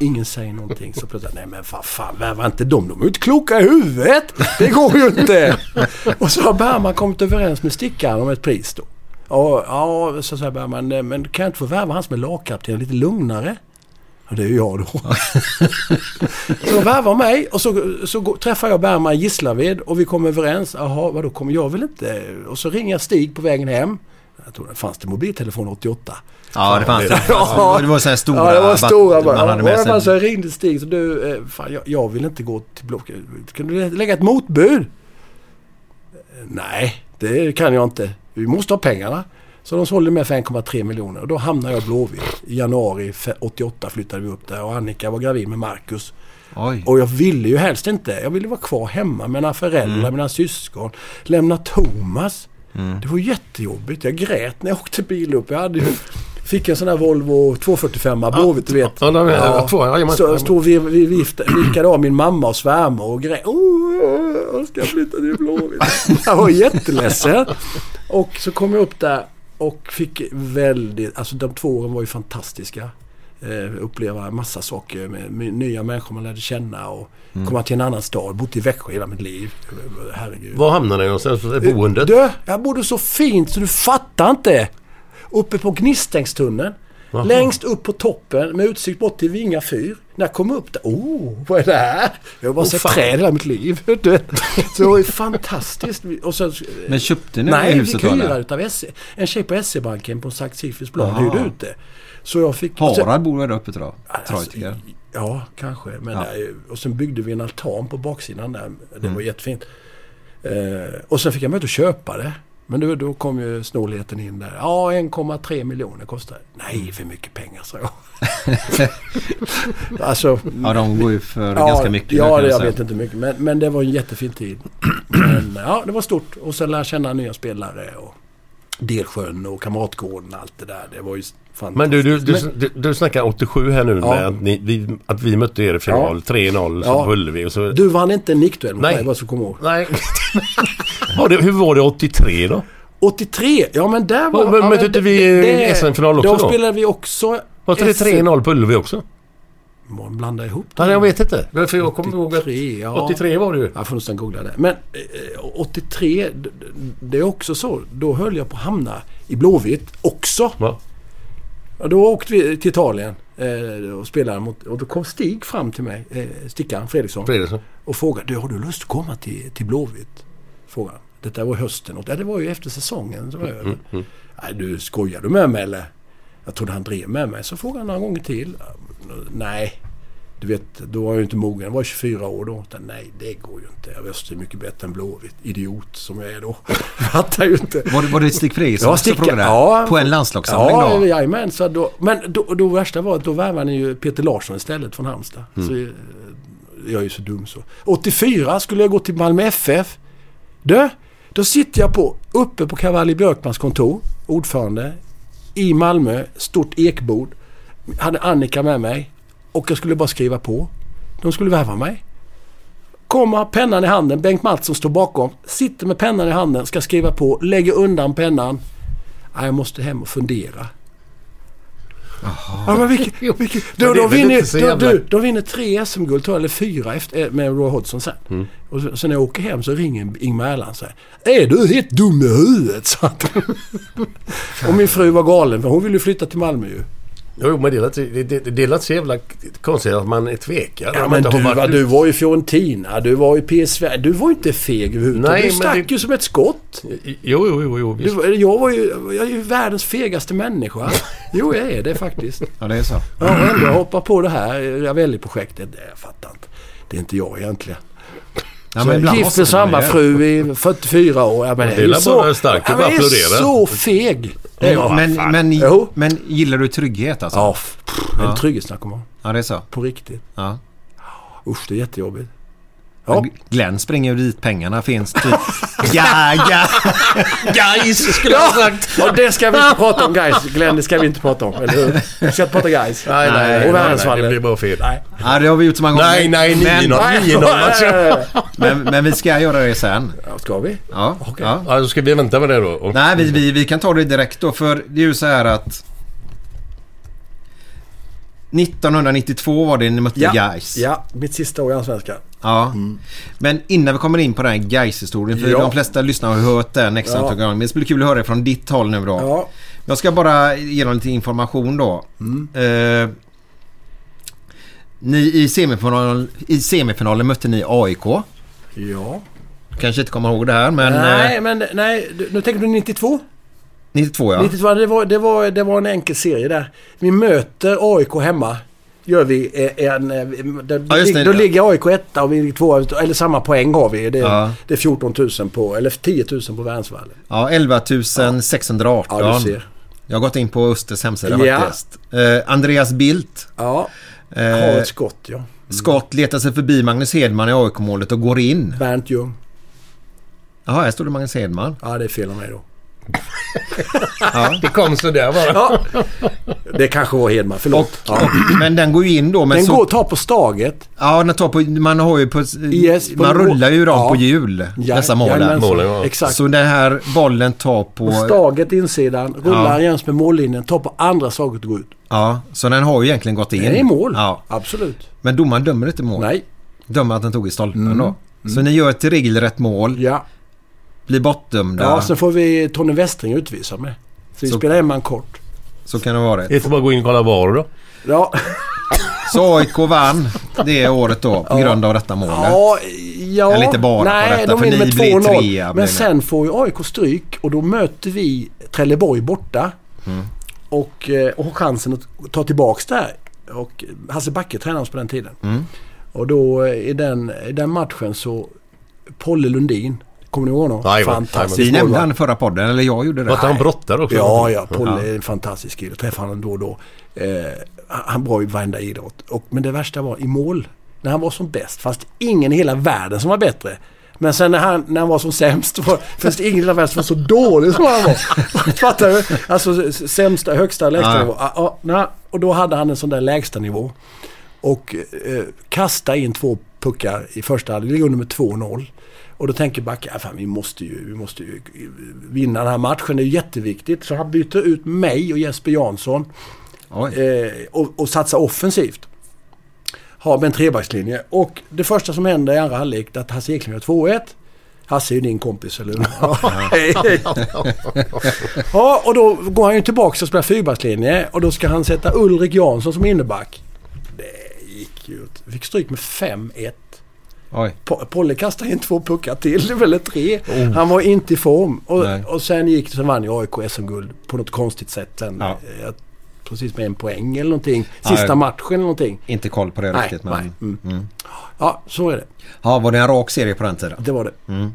E: Ingen säger någonting. Så plötsligt, nej men fan, fan värva inte dem. De är ju inte kloka i huvudet. Det går ju inte. Och så har Bergman kommit överens med Stickan om ett pris då. Och, ja, så säger Bergman, "Nej, men kan jag inte få värva han som är lagkapten lite lugnare? Och det är ju jag då. så de värvar mig och så, så går, träffar jag Bergman i Gislaved och vi kommer överens. Jaha, vadå kommer jag väl inte? Och så ringer jag Stig på vägen hem. Jag tror det fanns det mobiltelefon 88.
B: Ja det fanns det.
E: Ja.
B: det var så här stora.
E: Ja, det var
B: vatt-
E: stora bara.
B: Man hade
E: Ja,
B: med
E: det var så
B: sig.
E: jag ringde Stig så du, eh, fan jag, jag vill inte gå till Blocket. Kan du lägga ett motbud? Eh, Nej, det kan jag inte. Vi måste ha pengarna. Så de sålde med för 1,3 miljoner och då hamnade jag i Blåvitt. I januari fe- 88 flyttade vi upp där och Annika var gravid med Marcus.
B: Oj.
E: Och jag ville ju helst inte. Jag ville vara kvar hemma med mina föräldrar,
D: Mm.
E: mina syskon. Lämna Thomas. Det var jättejobbigt. Jag grät när jag åkte bil upp. Jag hade ju, fick en sån här Volvo 245 Blåvitt, du vet.
D: Ja, de är, ja. två. Ja, jajamän.
E: Så jag stod vi, vi vift, vinkade av min mamma och svärmor och grät. Åh, jag ska flytta till Blåvitt. Jag var jätteledsen. Och så kom jag upp där och fick väldigt... Alltså de två åren var ju fantastiska. Eh, uppleva massa saker med, med nya människor man lärde känna och komma till en annan stad. Bott i Växjö hela mitt liv. Herregud.
D: Var hamnade ni någonstans? Boendet?
E: Du, Eh, jag bodde så fint så du fattar inte. Uppe på Gnistängstunneln. Längst upp på toppen med utsikt bort till Vinga fyr. När jag kom upp där, oh, vad är det här? Jag har bara sett
D: Oh, fan.
E: träd hela mitt liv. Du vet. Så det var ju fantastiskt. Och sen,
B: Men köpte ni det
E: Nej, vi
B: huset
E: fick
B: då?
E: hyra
B: eller?
E: utav SE. En tjej på SE-banken på Sankt Sifis plan hyrde ut det. Så jag fick... och sen-
B: Harald bor där uppe tror jag.
E: Alltså,
B: Treutiger.
E: i- Ja, kanske. Men
B: Ja.
E: nej, och sen byggde vi en altan på baksidan där. Det
B: Mm.
E: var jättefint. Eh, och sen fick jag mig inte att köpa det. Men då, då kom ju snålheten in där. Ja, 1,3 miljoner kostar det.
B: Mm.
E: Nej, för mycket pengar sa jag. alltså,
B: Ja de går ju för ganska mycket. där,
E: Ja,
B: kan
E: det, jag
B: säga.
E: vet inte hur mycket. Men, men det var en jättefin tid. Men, ja, det var stort. Och sen lärde jag känna nya spelare och Delsjön och Kamratgården och allt det där. Det var ju
D: Men du,
E: Fantastiskt.
D: du, du,
E: Men-
D: du, du snackar 87 här nu
E: Ja.
D: med att, ni, vi, att vi mötte er i final 3-0 så
E: Ja.
D: höll vi och så...
E: Du vann inte en nickduell mot
D: Nej.
E: mig, bara så kom ihåg.
D: Nej. ja, det, hur var det 83 då?
E: 83, ja men där var...
D: Men- men
E: ja,
D: mötte inte vi
E: det-
D: i
E: det-
D: SM-final också då?
E: Då spelade vi också...
D: Var inte det
E: SM
D: 3-0 på Ullevi också?
E: Man blandar ihop
D: Nej, jag vet inte. För jag kommer ihåg att...
E: 83, ja.
D: 83 var det ju.
E: Jag får nästan googla det. Men eh, 83, d- d- det är också så. Då höll jag på att hamna i Blåvitt också.
D: Va?
E: Ja, då åkte vi till Italien eh, och spelade mot... Och då kom Stig fram till mig, eh, Stickan Fredriksson,
D: Fredriksson.
E: och frågade du, har du lust att komma till, till Blåvitt? Frågade han. Detta var hösten. Och, ja, det var ju efter säsongen. Så var jag, Nej, du skojar du med mig eller? Jag trodde han drev med mig. Så frågade han några gånger till. Nej, du vet, då var jag ju inte mogen. Jag var 24 år då. Jag, Nej, det går ju inte. Jag visste ju mycket bättre än Blåvitt. Idiot som jag är då. Fattar ju inte.
B: Var det, var det Stig Friis
E: Ja, sticka. Ja.
B: På en landslagssamling
E: ja,
B: då?
E: Jajamän, så då, men då, då värsta var att då värvade ni ju Peter Larsson istället från Halmstad. Så, eh, jag är ju så dum så. 84 skulle jag gå till Malmö FF. Du, då sitter jag på, uppe på Cavalli Björkmans kontor, ordförande, i Malmö, stort ekbord. Hade Annika med mig och jag skulle bara skriva på. De skulle värva mig. Kommer pennan i handen, Bengt Mattsson står bakom, sitter med pennan i handen, ska skriva på, lägger undan pennan. "Ah, Jag måste hem och fundera. Ja, men vilket, vilket,
D: men
E: då,
D: det är
E: de,
D: väl inte så
E: vinner,
D: jävla-
E: de, de, de vinner tre SM-guld tror jag, eller fyra efter, eh, med Roy Hodgson sen. Och så- sen när jag åker hem så ringer Ingmar Erland och säger Är du helt dum i huvudet? sa han. och min fru var galen för hon ville ju flytta till Malmö ju.
D: Jo, men det är lite- det- det- det är lite så jävla konstigt att man är tvekar.
E: Ja,
D: Att man
E: men
D: inte har
E: du,
D: varit
E: va,
D: ut-
E: du var ju i Fiorentina, du var i PSV. Du var ju inte feg i huvudet.
D: Nej,
E: du
D: men
E: stack
D: det-
E: ju som ett skott.
D: Jo, jo, jo, jo visst.
E: Du, jag, var ju, jag är ju världens fegaste människa. Jo, jag är det faktiskt.
B: Ja, det är så.
E: Ja, och ändå hoppar på det här Ravelli-projektet. Nej, Jag fattar inte. Det är inte jag egentligen.
B: Ja,
E: Så
B: ibland
E: Gift
B: måste man
E: med samma
B: ju-
E: fru i 44 år. Ja, men
D: Det
E: jag är
D: är bara
E: så,
D: starkt. Du
E: ja, men
D: bara
E: jag är
D: applåderar.
E: så feg.
B: Men,
E: Ja,
B: men, men,
E: Jo.
B: men gillar du trygghet alltså?
E: ja, f- pff, en trygghetsnarkoman.
B: Ja, det är så.
E: På riktigt.
B: Ja.
E: Usch, det är jättejobbigt. Ja.
B: Glenn springer ju dit pengarna finns. Typ. ja, ja.
D: Guys, skulle jag ha sagt.
E: Ja, det ska vi inte prata om guys. Glenn, det ska vi inte prata om. Eller hur? Vi ska inte prata guys.
D: Nej, nej, nej,
E: Och
D: nej, nej. Det
E: världsvallen.
D: blir bara fel. Nej,
B: ja, det har vi gjort så många gånger.
D: nej, nej, nej,
B: men,
E: Nej,
D: nej,
E: nej, nej,
D: nej.
E: nej.
B: men, men vi ska göra det sen.
E: Ja, Ska vi?
B: Ja, ja.
D: Ja, då ska vi vänta med det då. Och-
B: Nej, vi, vi, vi kan ta det direkt då. För det är ju så här att... 1992 var det ni mötte
E: Ja.
B: Gais.
E: Ja, mitt sista år i Allsvenskan.
B: Ja. Men innan vi kommer in på den här Gais-historien. För
E: Mm. Ja.
B: de flesta lyssnare har hört den x antal gånger. Men det skulle bli kul att höra det från ditt håll nu då.
E: Ja. Mm.
B: Jag ska bara ge dem lite information då. Eh, ni i semifinalen, i semifinalen mötte ni AIK.
E: Ja.
B: Kanske inte kommer ihåg det här men...
E: Nej,
B: Eh,
E: men nej. du- Nu tänker du 92?
B: 92 ja.
E: 92, det var, det, var, det var en enkel serie där. Vi möter AIK hemma. Gör vi eh, en... eh, Då,
B: Ja, just det.
E: då ligger AIK etta och vi ligger tvåa. Eller samma poäng har vi. Det, är-
B: Ja.
E: det är 14 000 på... Eller 10 000 på Värnsvallen.
B: Ja, 11 618.
E: Ja, du ser.
B: Jag har gått in på Östers hemsida
E: Ja.
B: faktiskt. Eh, Andreas Bildt.
E: Ja. Har
B: Eh,
E: ett skott, ja. Mm.
B: skott letar sig förbi Magnus Hedman i AIK-målet och går in.
E: Bernt Ljung.
B: Jaha, här står det Magnus Hedman.
E: Ja, det är fel av mig då.
D: Det kom sådär bara.
E: Ja. Det kanske var Hedman. Förlåt. ja.
B: Men den går ju in då. Men
E: Den
B: så,
E: går att ta på staget.
B: Ja, den tar på, man har ju på...
E: Yes,
B: man
E: på-
B: rullar ju dem
E: Ja.
B: på hjul,
E: Ja,
B: dessa målen.
E: jajamensan.
D: Målen, ja.
E: Exakt.
B: Så den här bollen tar
E: på
B: på...
E: staget insidan, rullar
B: Ja.
E: jäms med mållinjen, tar på andra staget och går ut.
B: Ja, så den har ju egentligen gått in.
E: Det är mål.
B: Ja.
E: Absolut.
B: Men domaren dömer inte mål.
E: Nej. Mm.
B: Dömer att den tog i stolpen då. Så ni gör ett regelrätt mål,
E: Ja.
B: blir bortdömda.
E: Ja, sen får vi Tony Westring utvisa med. Så vi
B: Så-
E: spelar en man kort.
B: Så kan det vara det.
D: Det är inte bara att gå in och kolla var då.
E: Ja,
B: Så AIK vann det året då på grund av detta målet.
E: ja, ja.
B: Eller inte bara på
E: Nej,
B: detta,
E: de
B: för
E: vinner
B: ni
E: med
B: blir
E: 2-0.
B: trea, blir
E: Men
B: ni.
E: sen får ju AIK stryk och då möter vi Trelleborg borta. Och, eh, och har chansen att ta tillbaks det här. Och Hasse Backe tränade oss på den tiden. Och då eh, i den, i den matchen så Polle Lundin, kommer ni ihåg honom?
D: Jajamän, jajamän.
B: Vi
E: Fantastisk
B: nämnde
E: målvakt.
B: han i förra podden, eller jag gjorde
D: Var inte
B: det.
D: han brottar också?
E: Ja, ja. Polle är en fantastisk kille. Träffar honom då och då. Eh, han är bra i varenda idrott. Och, men det värsta var i mål. När han var som bäst fanns det ingen i hela världen som var bättre. Men sen när han, när han var som sämst, var, finns det ingen i hela världen som var så dålig som han var. Fattar du? Alltså sämsta, högsta, lägsta
B: Ja.
E: nivå. Ah, ah, nej. Och då hade han en sån där lägsta nivå. Och eh, kasta in två puckar i första halvlek. Ligger under med 2-0. Och då tänker backen, "Ah, fan, vi måste ju, vi måste ju vinna den här matchen. Det är ju jätteviktigt. Så han byter ut mig och Jesper Jansson
B: Oj.
E: eh, och, och satsa offensivt. Har med en trebackslinje. Och det första som händer i andra halvlek är att Hasse Eklind gör 2-1. Hasse är ju din kompis eller hur? ja, och då går han ju tillbaka och spelar fyrbackslinje och då ska han sätta Ulrik Jansson som inneback. Det gick ju åt... Fick stryk med 5-1.
B: Oj.
E: Po- Polle kastade in två puckar till, eller tre. Han var inte i form. Och,
B: Nej.
E: och sen gick det, sen vann ju AIK SM-guld på något konstigt sätt sen.
B: Ja.
E: Eh, Precis med en poäng eller någonting. Sista
B: Nej.
E: matchen eller någonting.
B: Inte koll på det
E: Nej,
B: riktigt.
E: nej.
B: Men...
E: Mm. Ja, så är det.
B: Ja, var det en rak serie på den tiden? Mm.
E: Det var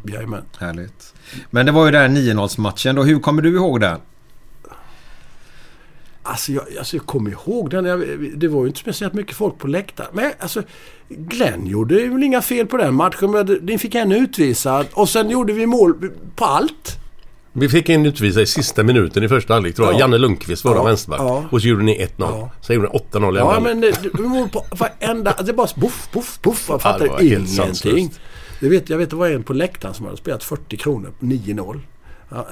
E: det. Jajamän.
B: Härligt. Men det var ju den 9-0-matchen då. Hur kommer du ihåg den?
E: Alltså jag, alltså jag kommer ihåg den. Jag, det var ju inte speciellt mycket folk på läktaren. Men alltså, Glenn gjorde ju väl inga fel på den matchen. Men den fick en utvisad. Och sen gjorde vi mål på allt.
D: Vi fick en utvisad i sista minuten i första halvlek tror jag.
E: Ja.
D: Janne Lundqvist var
E: Ja,
D: ja. vänsterback.
E: ja.
D: Och så gjorde ni 1-0.
E: Ja.
D: Sen gjorde ni 8-0 i andra
E: Ja,
D: halvlek.
E: men det, det, det var på varenda... alltså Det bara poff, poff, poff. Jag
D: det
E: fattar
D: var helt
E: ingenting.
D: sanslöst.
E: Jag vet, jag vet, det var en på läktaren som hade spelat 40 kronor, 9-0. Ja, eh,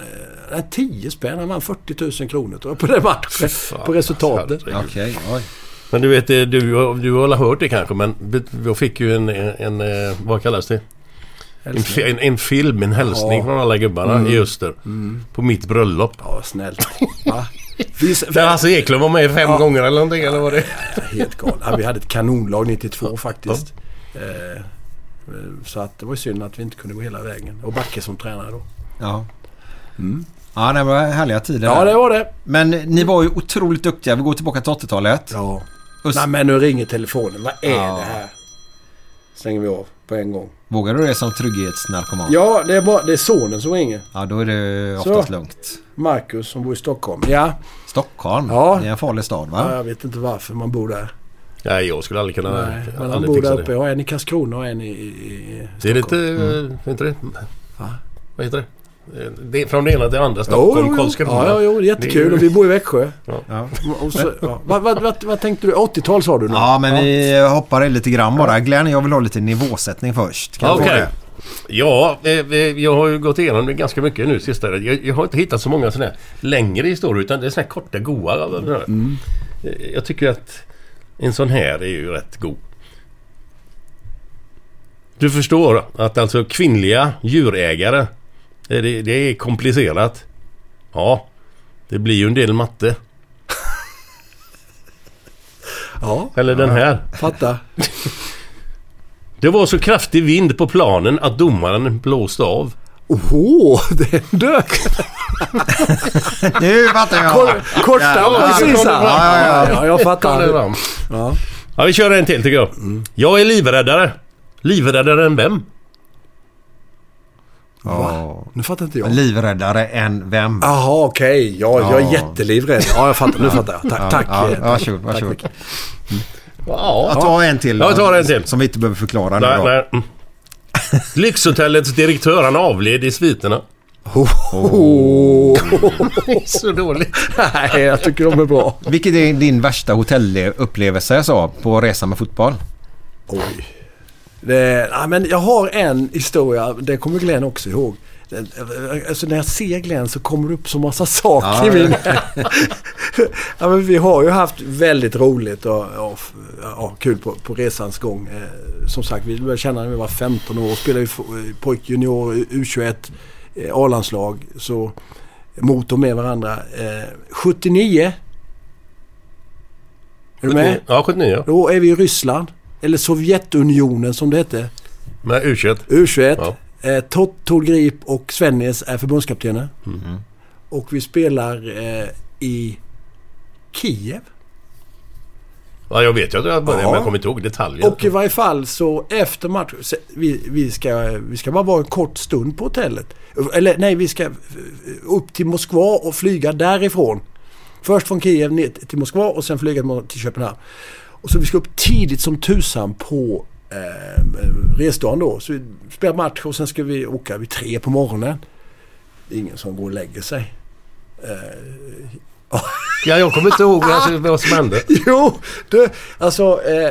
E: nej, 10 spänn, han vann 40 000 kronor tror jag, på den matchen.
D: Fan,
E: på resultatet.
D: herregud.
B: Okej, oj.
D: Men du vet, eh, du, har- du har väl hört det kanske men vi- jag fick ju en, en, eh, vad kallas det? En, fi- en, en film, en hälsning
E: Ja. Mm.
D: från alla gubbarna i Öster. På mitt bröllop.
E: Ja, snällt. Va? Vi,
D: Där Hasse Eklund var med fem gånger eller någonting eller vad det
E: helt galet. Ja, vi hade ett kanonlag 92 faktiskt. Eh, eh, Så att det var ju synd att vi inte kunde gå hela vägen. Och Backe som tränare då.
B: Ja. Ja, det var härliga tider.
E: Mm. Ja, det var det.
B: Men ni var ju otroligt duktiga. Vi går tillbaka till 80-talet.
E: Ja.
B: Öst-
E: Nej men nu ringer telefonen. Vad är
B: Ja.
E: det här? Stänger vi av på en gång.
B: Vågar du det som trygghetsnarkoman?
E: Ja, det är, bara, det är sonen som ringer.
B: Ja, då är det oftast
E: Så.
B: lugnt.
E: Marcus som bor i Stockholm. Ja,
B: Stockholm,
E: Ja.
B: det är en farlig stad
E: ja
B: va?
E: jag vet inte varför man bor där.
D: Nej, jag skulle aldrig kunna...
E: Nej, men han
D: aldrig
E: bor
D: fixa
E: där uppe.
D: det.
E: Jag har en i Karlskrona och en i, i, i
D: Det är
E: Stockholm.
D: lite... Mm. Inte det? Vad heter det? Eh, det? är Från det ena till det andra. Stockholm,
E: jo, jo, jo.
D: Karlskrona.
E: Ja, ja, jo, det är jättekul.
D: Det är
E: Och
D: ju-
E: vi bor i Växjö.
B: Ja.
E: Och så, ja. vad, vad, vad, vad tänkte du? 80-tal sa du nu?
B: Ja, men vi hoppar i lite grann bara. Glenn, jag vill ha lite nivåsättning först. Kan
D: Ja,
B: jag få
D: Okej.
B: det?
D: Ja, eh, eh, jag har ju gått igenom det ganska mycket nu sista. Jag, jag har inte hittat så många sådana här längre historier utan det är sådana här korta goa. Eh, Jag tycker att en sån här är ju rätt god. Du förstår att alltså kvinnliga djurägare, eh, det, det är komplicerat. Ja, det blir ju en del matte.
E: Ja,
D: Eller den här.
E: fatta.
D: Det var så kraftig vind på planen att domaren blåste av.
E: Oho, det dök.
B: Nu fattar jag!
E: Kor- Korta var precis här.
B: Ja, ja,
E: ja, jag fattar.
D: Ja.
E: Ja. Mm.
D: Ja, vi kör en till tycker jag. Jag är livräddare. Livräddare än vem?
B: ja.
E: Nu fattar inte jag.
B: Livräddare än vem?
E: Jaha, okej. Ja, jag är
B: Ja.
E: jättelivrädd. Ja, jag fattar. Nu fattar jag. Tack. tack.
B: Ja,
E: eh,
B: varsågod, varsågod.
D: Ja,
B: Jag tar en till.
D: Jag tar en till.
B: Som vi inte behöver förklara nu
D: Nej,
B: då.
D: nej. Mm. Lyxhotellets direktör han avled i sviterna.
E: Oh.
D: Så dåligt.
E: Nej, jag tycker de är bra.
B: Vilket är din värsta hotellupplevelse så, på resa med fotboll?
E: Oj. Det, ja, men jag har en historia, det kommer Glenn också ihåg. Alltså när jag ser Glenn så kommer det upp så massa saker
B: Ja,
E: i min... ja, men vi har ju haft väldigt roligt och, och ja, kul på, på resans gång. Eh, som sagt, vi började känna när vi var 15 år. Spelade vi fo- eh, pojkjunior, U21, eh, A-landslag. Så mot och med varandra. Eh, 79. Är du med?
D: Ja, 79.
E: Då är vi i Ryssland. Eller Sovjetunionen som det hette.
D: Med u
E: U21.
D: Ja.
E: Eh, Todd, Todd Grip och Svennis är förbundskaptener. Och vi spelar eh, i Kiev.
D: Ja, jag vet ju att jag började men jag kommer inte ihåg detaljer.
E: Och i varje fall så efter matchen. så Vi, vi, ska, vi ska bara vara en kort stund på hotellet. Eller nej, vi ska eh, upp till Moskva och flyga därifrån. Först från Kiev ner till Moskva och sen flyga till Köpenhamn. Och så vi ska upp tidigt som tusan på eh, resdagen då. Så vi spelar match och sen ska vi åka vid tre på morgonen. Det är ingen som går och lägger sig.
D: Ja, jag kommer inte ihåg alltså, vad som hände.
E: Jo, du, alltså eh,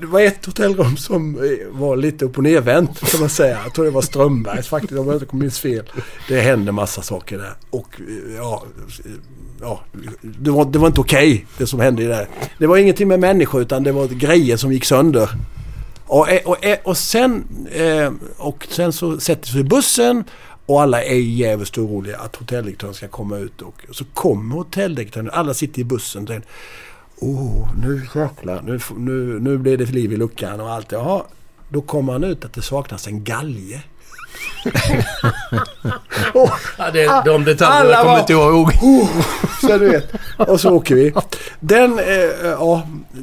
E: det var ett hotellrum som eh, var lite upp och nervänt kan man säga. Jag tror det var Strömbergs faktiskt om jag inte minns fel. Det hände massa saker där och eh, ja, eh, ja det, var, det var inte okej det som hände där. Det var ingenting med människor utan det var grejer som gick sönder. Och, eh, och, eh, och, sen, eh, och sen så sätter sig bussen och alla är jävligt oroliga att hotelldirektören ska komma ut. Och, och så kommer hotelldirektören, alla sitter i bussen och tänker Åh, nu jäklar, nu, f- nu, nu blir det liv i luckan och allt. Jaha, då kommer han ut att det saknas en galge. och,
D: Ja, det, de detaljerna
E: Alla
D: kommer
E: var-
D: inte jag ihåg.
E: oh, så du vet. Och så åker vi. Den eh, ja,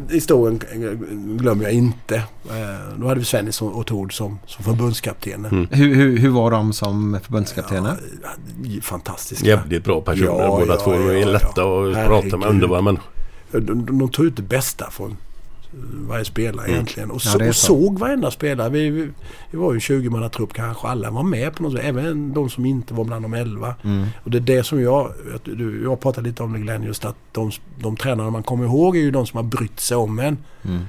E: historien eh, glömmer jag inte. Eh, då hade vi Svennis och Tord som, som förbundskaptener.
D: Mm.
B: Hur, hur, hur var de som förbundskaptener?
E: Fantastiska.
D: Jävligt bra personer
E: Ja,
D: båda
E: ja,
D: två. De
E: ja,
D: är
E: ja.
D: lätta att prata med.
E: Herregud.
D: Underbara men
E: De, de, de tog ut det bästa från eh, varje spelare egentligen. Och,
B: Mm. Ja,
E: så,
B: det är
E: och
B: så.
E: såg varenda spelare. Vi, vi, vi var ju en 20-mannatrupp kanske. Alla var med på något sätt. Även de som inte var bland de 11.
B: Mm.
E: Och det är det som jag... att du- Jag pratade lite om det Glenn. Just att de, de tränare man kommer ihåg är ju de som har brytt sig om en.
B: Mm.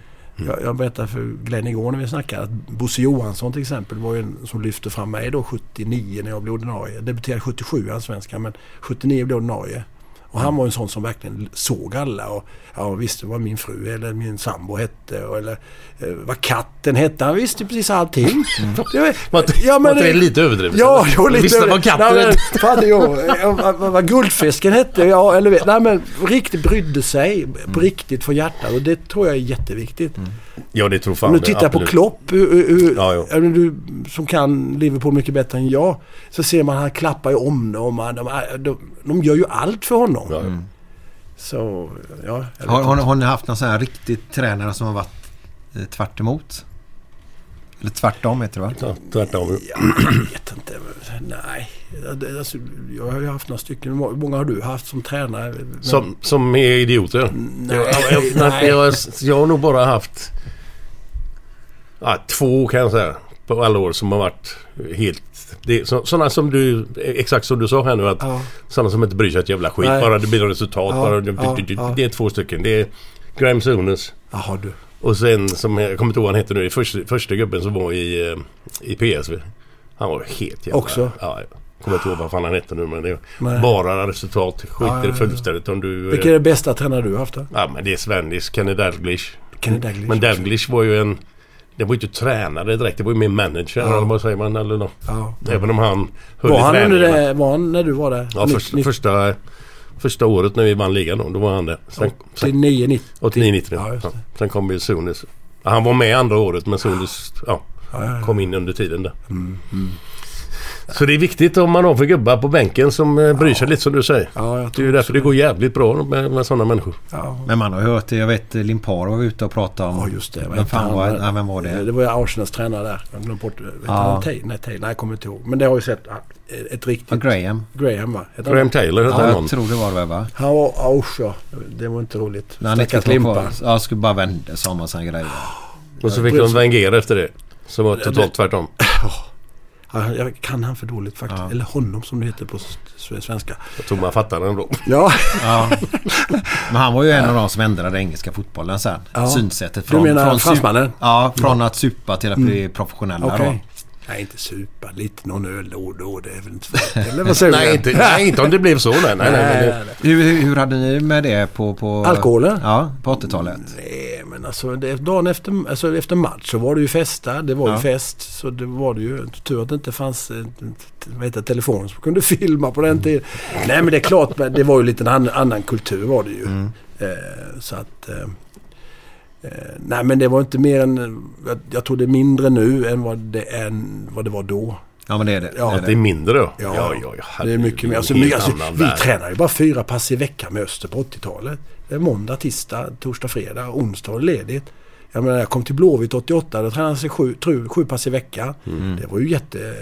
E: Jag, jag berättade för Glenn igår när vi snackade att Bosse Johansson till exempel var ju en som lyfte fram mig då 79 när jag blev ordinarie. Debuterade 77 i Allsvenskan men 79 blev ordinarie. Och han var en sån som verkligen såg alla. Och, ja visste vad min fru eller min sambo hette och, eller eh, vad katten hette. Han visste precis allting. Det var-
D: Var inte- var inte det lite överdrivet,
E: Ja,
D: eller?
E: jo, lite
D: Visste vad
E: överdrivet.
D: katten
E: Nej, men-
D: hette.
E: Fan, jo, ja, vad- vad vad guldfisken hette. Ja, eller vet. Nej men riktigt brydde sig
D: Mm.
E: på riktigt för hjärtat. Och det tror jag är jätteviktigt.
D: Ja, det tror Mm. fan
E: Om du
D: det,
E: tittar på
D: absolut.
E: Klopp, hur, hur, hur,
D: Ja, jo.
E: även du som kan Liverpool mycket bättre än jag, så ser man han klappar ju om dem. han- De, de, de gör ju allt för honom.
D: Ja, ja.
E: Så, ja. jag
B: Mm. Har,
E: vet
B: har,
E: inte.
B: har ni haft någon sån här riktig tränare som har varit eh, tvärt emot? Eller tvärtom heter det va?
D: Ja, tvärtom.
E: Jag vet inte. Nej. Det- Alltså, jag har ju haft några stycken. Hur många har du haft som tränare? Men-
D: Som, som är idioter?
E: Nej,
D: jag, jag, jag,
E: nej.
D: jag, jag har nog bara haft ja, två kan jag säga på alla år som har varit helt... Det, så, sådana som du, exakt som du sa här nu att
E: Ja.
D: sådana som inte bryr sig ett jävla skit.
E: Nej.
D: Bara det blir resultat.
E: Ja,
D: bara,
E: ja, ja.
D: Det är två stycken. Det är Graham Souness
E: Jaha du.
D: och sen som jag kommer inte ihåg vad han hette nu. Första, första gubben som var i, eh, i PSV. Han var helt jävla...
E: Också?
D: Ja, jag kommer inte ihåg vad fan han hette nu men det
E: Nej.
D: bara resultat. Skit
E: Ja,
D: i
E: ja,
D: det
E: ja.
D: fullständigt om du... eh,
E: Vilken är den bästa tränare du har haft då?
D: Ja men det är Svennis, Kenny Dalglish.
E: Kenny Dalglish.
D: Men Dalglish var ju en... Det var ju inte tränare direkt, det var ju mer manager eller vad säger man? Eller något.
E: Ja.
D: Även om han höll
E: Var
D: i
E: han, under
D: träningen.
E: det, var han när du var där?
D: Ja, första, första, första året när vi vann ligan då, då var han det. Sen, sen,
E: 89, 90.
D: 89-90.
E: Ja, just
D: Ja,
E: det.
D: sen kom ju Sunes. Ja, Han var med andra året men Sunes ja, kom in under tiden där.
E: Mm,
D: Så det är viktigt om man har för gubbar på bänken som eh, bryr sig lite som du säger.
E: Ja, jag
D: det är
E: tror
D: ju därför det går jävligt bra med, med sådana människor.
E: Ja.
B: Men man har ju hört det. Jag vet eh, Limparo var ute och pratade om...
E: Ja just det. Vad
B: Vem
E: hette
B: fan
E: han?
B: var, nej, vem var
E: Eh,
B: det?
E: Det var ju Arsenals tränare där. Jag glömde bort... Vet
B: Ja.
E: han Tay? Nej, Tay. Nej, jag kommer inte ihåg. Men det har ju sett ah, ett riktigt...
B: Var Graham?
E: Graham va? Hette han-
D: Graham Taylor hette
B: Ja,
D: han
B: jag
D: någon.
B: tror det var det va?
E: Han var... ja, Usch ja. Det var inte roligt.
B: När han inte
E: Stackars
B: fick vara
E: limpa.
B: kvar. Ja, skulle bara vända sig om och sån grejer.
D: Och så fick de Wenger efter det. Som var totalt tvärtom.
E: Ja, jag kan han för dåligt faktiskt. Eller honom som det heter på s- s- svenska.
D: Jag tror man fattar ändå.
E: Ja,
B: Ja. Men han var ju en av de som ändrade engelska fotbollen sen.
E: Ja.
B: Synsättet.
E: Du menar
B: från sup-
E: fransmannen? Mm.
B: Ja, från att supa till att bli professionella
E: okej.
B: då.
E: Nej, inte supa. Lite någon öl då och då. Det är väl inte farligt. Eller vad säger
D: nej,
E: du?
D: inte, nej, inte om det blev så. Nej, nej, nej, men det,
E: nej, nej.
B: Hur, hur, hur hade ni med det på... på
E: Alkoholen?
B: Ja, på 80-talet.
E: Nej, men alltså det, dagen efter, alltså efter match så var det ju festa. Det var
B: Ja.
E: ju fest. Så det var det ju. Tur att det inte fanns eh, vad heter det, telefon som kunde filma på den tiden. Nej, men det är klart. men Det var ju lite en annan, annan kultur var det ju. Eh, så att... Eh, eh, nej, men det var inte mer än... eh, Jag, jag tror det är mindre nu än vad det, än vad det var då.
B: Ja, men det är det.
E: Ja,
B: det, är
D: att det är
B: det.
D: mindre då?
E: Ja,
D: herregud,
E: det är mycket mer. Alltså,
D: en helt
E: mycket, alltså,
D: annan
E: vi
D: värld.
E: tränar ju bara fyra pass i veckan med Öster på 80-talet. Det är måndag, tisdag, torsdag, fredag, onsdag är det ledigt. Jag menar, jag kom till Blåvitt 88. Då tränade han sig sju, tru- sju pass i veckan. Det var ju jätte...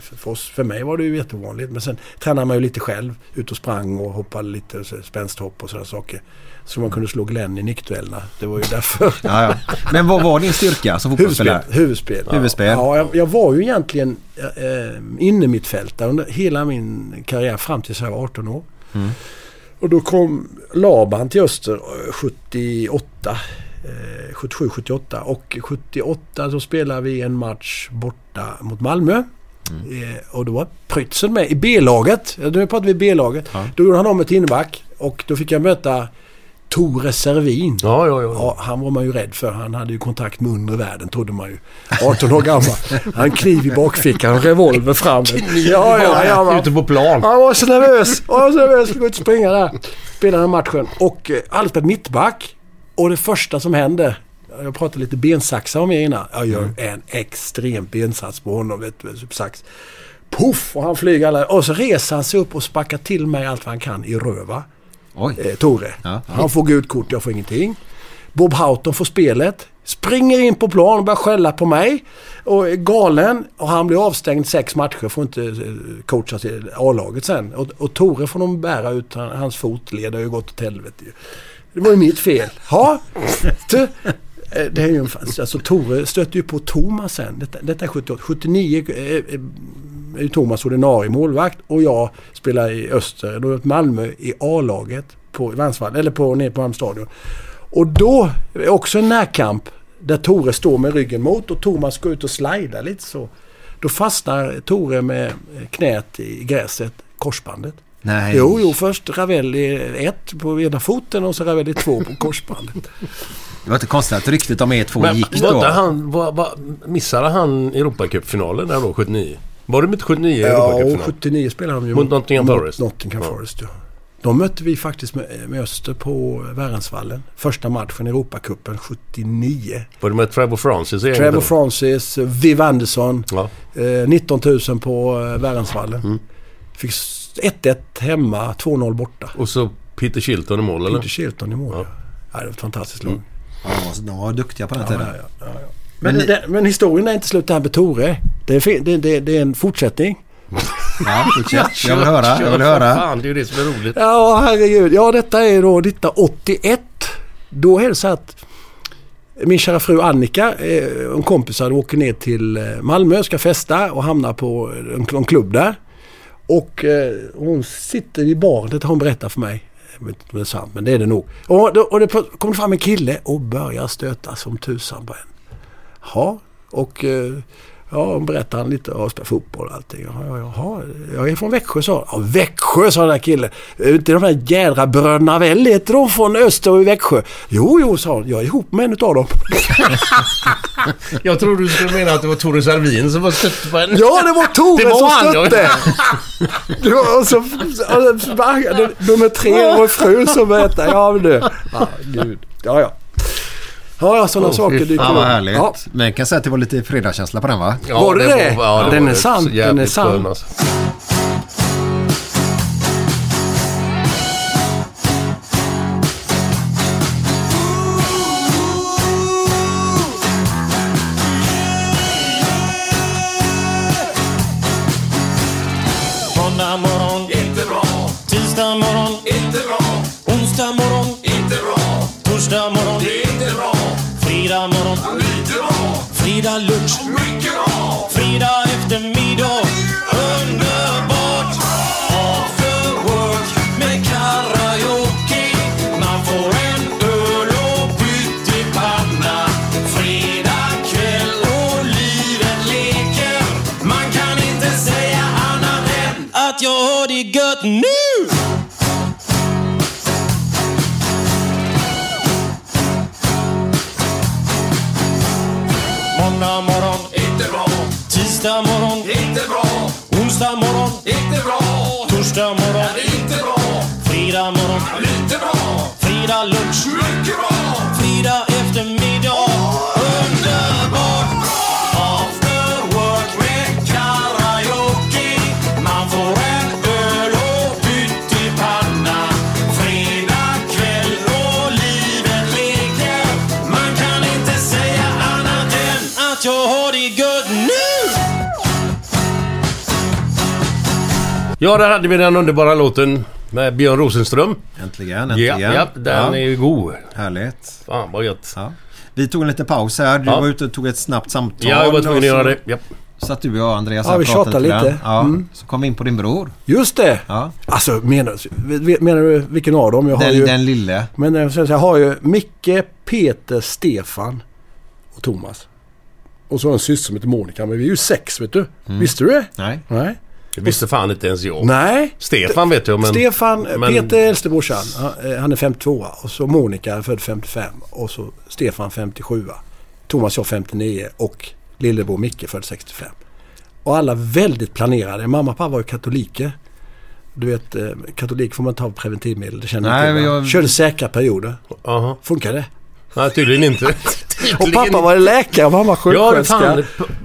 E: För, oss, för mig var det ju jätteovanligt. Men sen tränade man ju lite själv. Ut och sprang och hoppade lite så här, spänsthopp och sådana saker. Så man kunde slå Glenn i nickduellerna. Det var ju därför.
B: Ja, ja. Men vad var din styrka som
E: Huvudspel.
B: fotbollsspelare?
E: Huvudspel. Ja.
B: Huvudspel.
E: Ja, jag, jag var ju egentligen eh, inne mitt fält där under hela min karriär fram tills jag var 18 år.
B: Mm.
E: Och då kom Laban till Öster eh, 78. Eh, 77, 78 och 78 så spelade vi en match borta mot Malmö.
B: Mm.
E: Eh, och då var Prytzen med i B-laget. Ja, Nu pratar vi B-laget. Då gjorde han om ett inback och då fick jag möta Tore Servin.
D: Ja, ja, ja.
E: Ja, han var man ju rädd för. Han hade ju kontakt med undre världen trodde man ju. 18 år gammal. Han kniv i bakfickan, revolver fram. Ja, ja, ja. man-
D: Ute på plan.
E: han var så nervös. Han var så nervös. Skulle gå ut och springa där. Spela den matchen. Och eh, hade spelat mittback. Och det första som hände. Jag pratade lite bensaxar om er innan. Jag
D: Mm.
E: gör en extrem bensats på honom. Vet du, typ sax. Puff! Och han flyger alla. Och så reser han sig upp och sparkar till mig allt vad han kan i röva.
B: Oj.
E: Eh, Tore.
B: Ja.
E: Han får gult kort, jag får ingenting. Bob Houghton får spelet. Springer in på plan och börjar skälla på mig. Och är galen. Och han blir avstängd sex matcher. Får inte eh, coacha till A-laget sen. Och, och Tore får de bära ut. Han- Hans fotled har ju gått åt helvete ju. Det var ju mitt fel. Ja. Du, eh, det är ju en fans. Alltså Tore stötte ju på Thomas sen. Detta, detta är 78. 79 eh, eh, är ju Thomas ordinarie målvakt och jag spelar i Öster, då Malmö i A-laget på Vansvall, eller på, nere på Malmö stadion. Och då, är också en närkamp, där Tore står med ryggen mot och Thomas går ut och slidar lite så. Då fastnar Tore med knät i gräset, korsbandet.
B: Nej.
E: Jo, jo, först Ravelli ett på ena foten och så Ravelli två på korsbandet.
B: Det var inte konstigt att ryktet om er två
D: Men
B: gick
D: var inte
B: då.
D: han, var, var, missade han Europacupfinalen där då, 79? Var det inte 79
E: ja, och
D: Europacupfinalen?
E: 79 spelade de ju
D: Mot Nottingham Forest.
E: Mot Nottingham
D: Ja.
E: Forest, ja. De mötte vi faktiskt med, med Öster på Värensvallen. Första matchen i Europacupen 79.
D: Var det med Trevor Francis i
E: Trevor
D: gänget då?
E: Francis, Viv Anderson.
D: Ja. Mm.
E: Eh, 19 000 på eh, Värensvallen. Fick s- 1-1 hemma, 2-0 borta.
D: Och så Peter Shilton i mål eller? Mm.
E: Peter Shilton i mål. Ja. Ja, det var ett fantastiskt lag.
B: Ja, de var- de var duktiga på den
E: Ja,
B: tiden.
E: ja, ja, ja. Men, det, men historien är inte slut där med Tore. Det är, fin- det, det, det är en fortsättning.
B: Ja, fortsätt. jag vill höra. Jag vill höra.
D: Fan, det är ju det som är roligt.
E: Ja, herregud. Ja, detta är då 1981. Då är det så att min kära fru Annika eh, och en kompis hade åker ner till eh, Malmö ska festa och hamnar på en, en klubb där. Och eh, hon sitter i baren, det har hon berättat för mig. Jag vet inte om det är sant, men det är det nog. Och, då- och det kom fram en kille och börjar stöta som tusan på henne. Ja, och eh, ja, hon berättade han lite. Ja, jag spelar fotboll och allting. Jaha, ja, jaha, jag är från Växjö sa han. Ja, Växjö sa den där killen. "Är Inte de där jädra bröderna Well heter de från Öster i Växjö? Jo, jo, sa hon. Jag är ihop med en utav dem.
D: Jag tror du skulle mena att det var Tore Servin som var stött på en...
E: Ja, det var Tore
D: Det var
E: som
D: han,
E: stötte! Det var, och så, alltså, och så, nummer tre var fru som berättade. Ja, men du. Ja, gud. Ja, ja. Ja, sådana saker dyker
B: Fan vad
E: upp.
B: härligt.
E: Ja.
B: Men jag kan säga att det var lite fredagskänsla på den va?
D: Ja,
E: Var det det?
D: ja,
E: Den
D: var
E: är
D: så
E: sann, den är
D: jävligt
E: sann.
D: skön, alltså.
G: Måndag morgon, inte bra. Tisdag morgon, inte bra. Onsdag morgon, inte bra. Torsdag morgon, inte bra. Fredag morgon, lite bra. Fredag lunch, mycket bra. Fredag eftermiddag, underbart. After work med karaoke. Man får en öl och pyttipanna. Fredag kväll och livet leker. Man kan inte säga annat än att jag har det gött nu! Måndag morgon, inte bra. Tisdag morgon, inte bra. Onsdag morgon, inte bra. Torsdag morgon, inte bra. Fredag morgon, lite bra. Fredag lunch, mycket bra. Fredag eftermiddag, underbart. After work med karaoke. Man får en öl och pyttipanna. Fredag kväll och livet leker. Man kan inte se
C: och ha det gött nu!
D: Ja, där hade vi den underbara låten med Björn Rosenström.
B: Äntligen,
D: Ja,
B: äntligen.
D: ja, den är ju god.
B: Härligt.
D: Fan vad gött.
B: Ja. Vi tog en liten paus här. Du
D: Ja.
B: var ute och tog ett snabbt samtal.
D: Ja, jag var tvungen att
B: och så
D: göra det. Ja.
B: Satt du och jag, Andreas
E: Ja,
B: här och
E: vi
B: pratade
E: tjatade
B: grann.
E: lite.
B: Ja.
E: Mm.
B: Så kom vi in på din bror.
E: Just det!
B: Ja.
E: Alltså menar, menar du vilken av dem? Jag har
B: Den,
E: ju,
B: den lille.
E: Men jag ska säga, jag har ju Micke, Peter, Stefan och Thomas. Och så har jag en syster som heter Monica. Men vi är ju sex vet du.
B: Mm.
E: Visste du det?
B: Nej.
E: Nej.
D: Det visste fan inte ens jag.
E: Nej.
D: Stefan vet jag men...
E: Stefan, eh,
D: men-
E: Peter är äldste brorsan. Han- eh, Han är 52 och så Monica är född 55 och så Stefan 57. Thomas jag 59 och lillebror Micke född 65. Och alla väldigt planerade. Mamma och pappa var ju katoliker. Du vet, eh, katolik får man ta preventivmedel. Det känner
B: Nej,
E: jag till.
B: men
E: va?
B: jag-
E: Körde säkra perioder.
D: Aha.
E: Funkar det?
D: Nej, tydligen inte.
E: Och pappa var läkare och mamma
D: Ja,
E: sjuksköterska.
D: fan.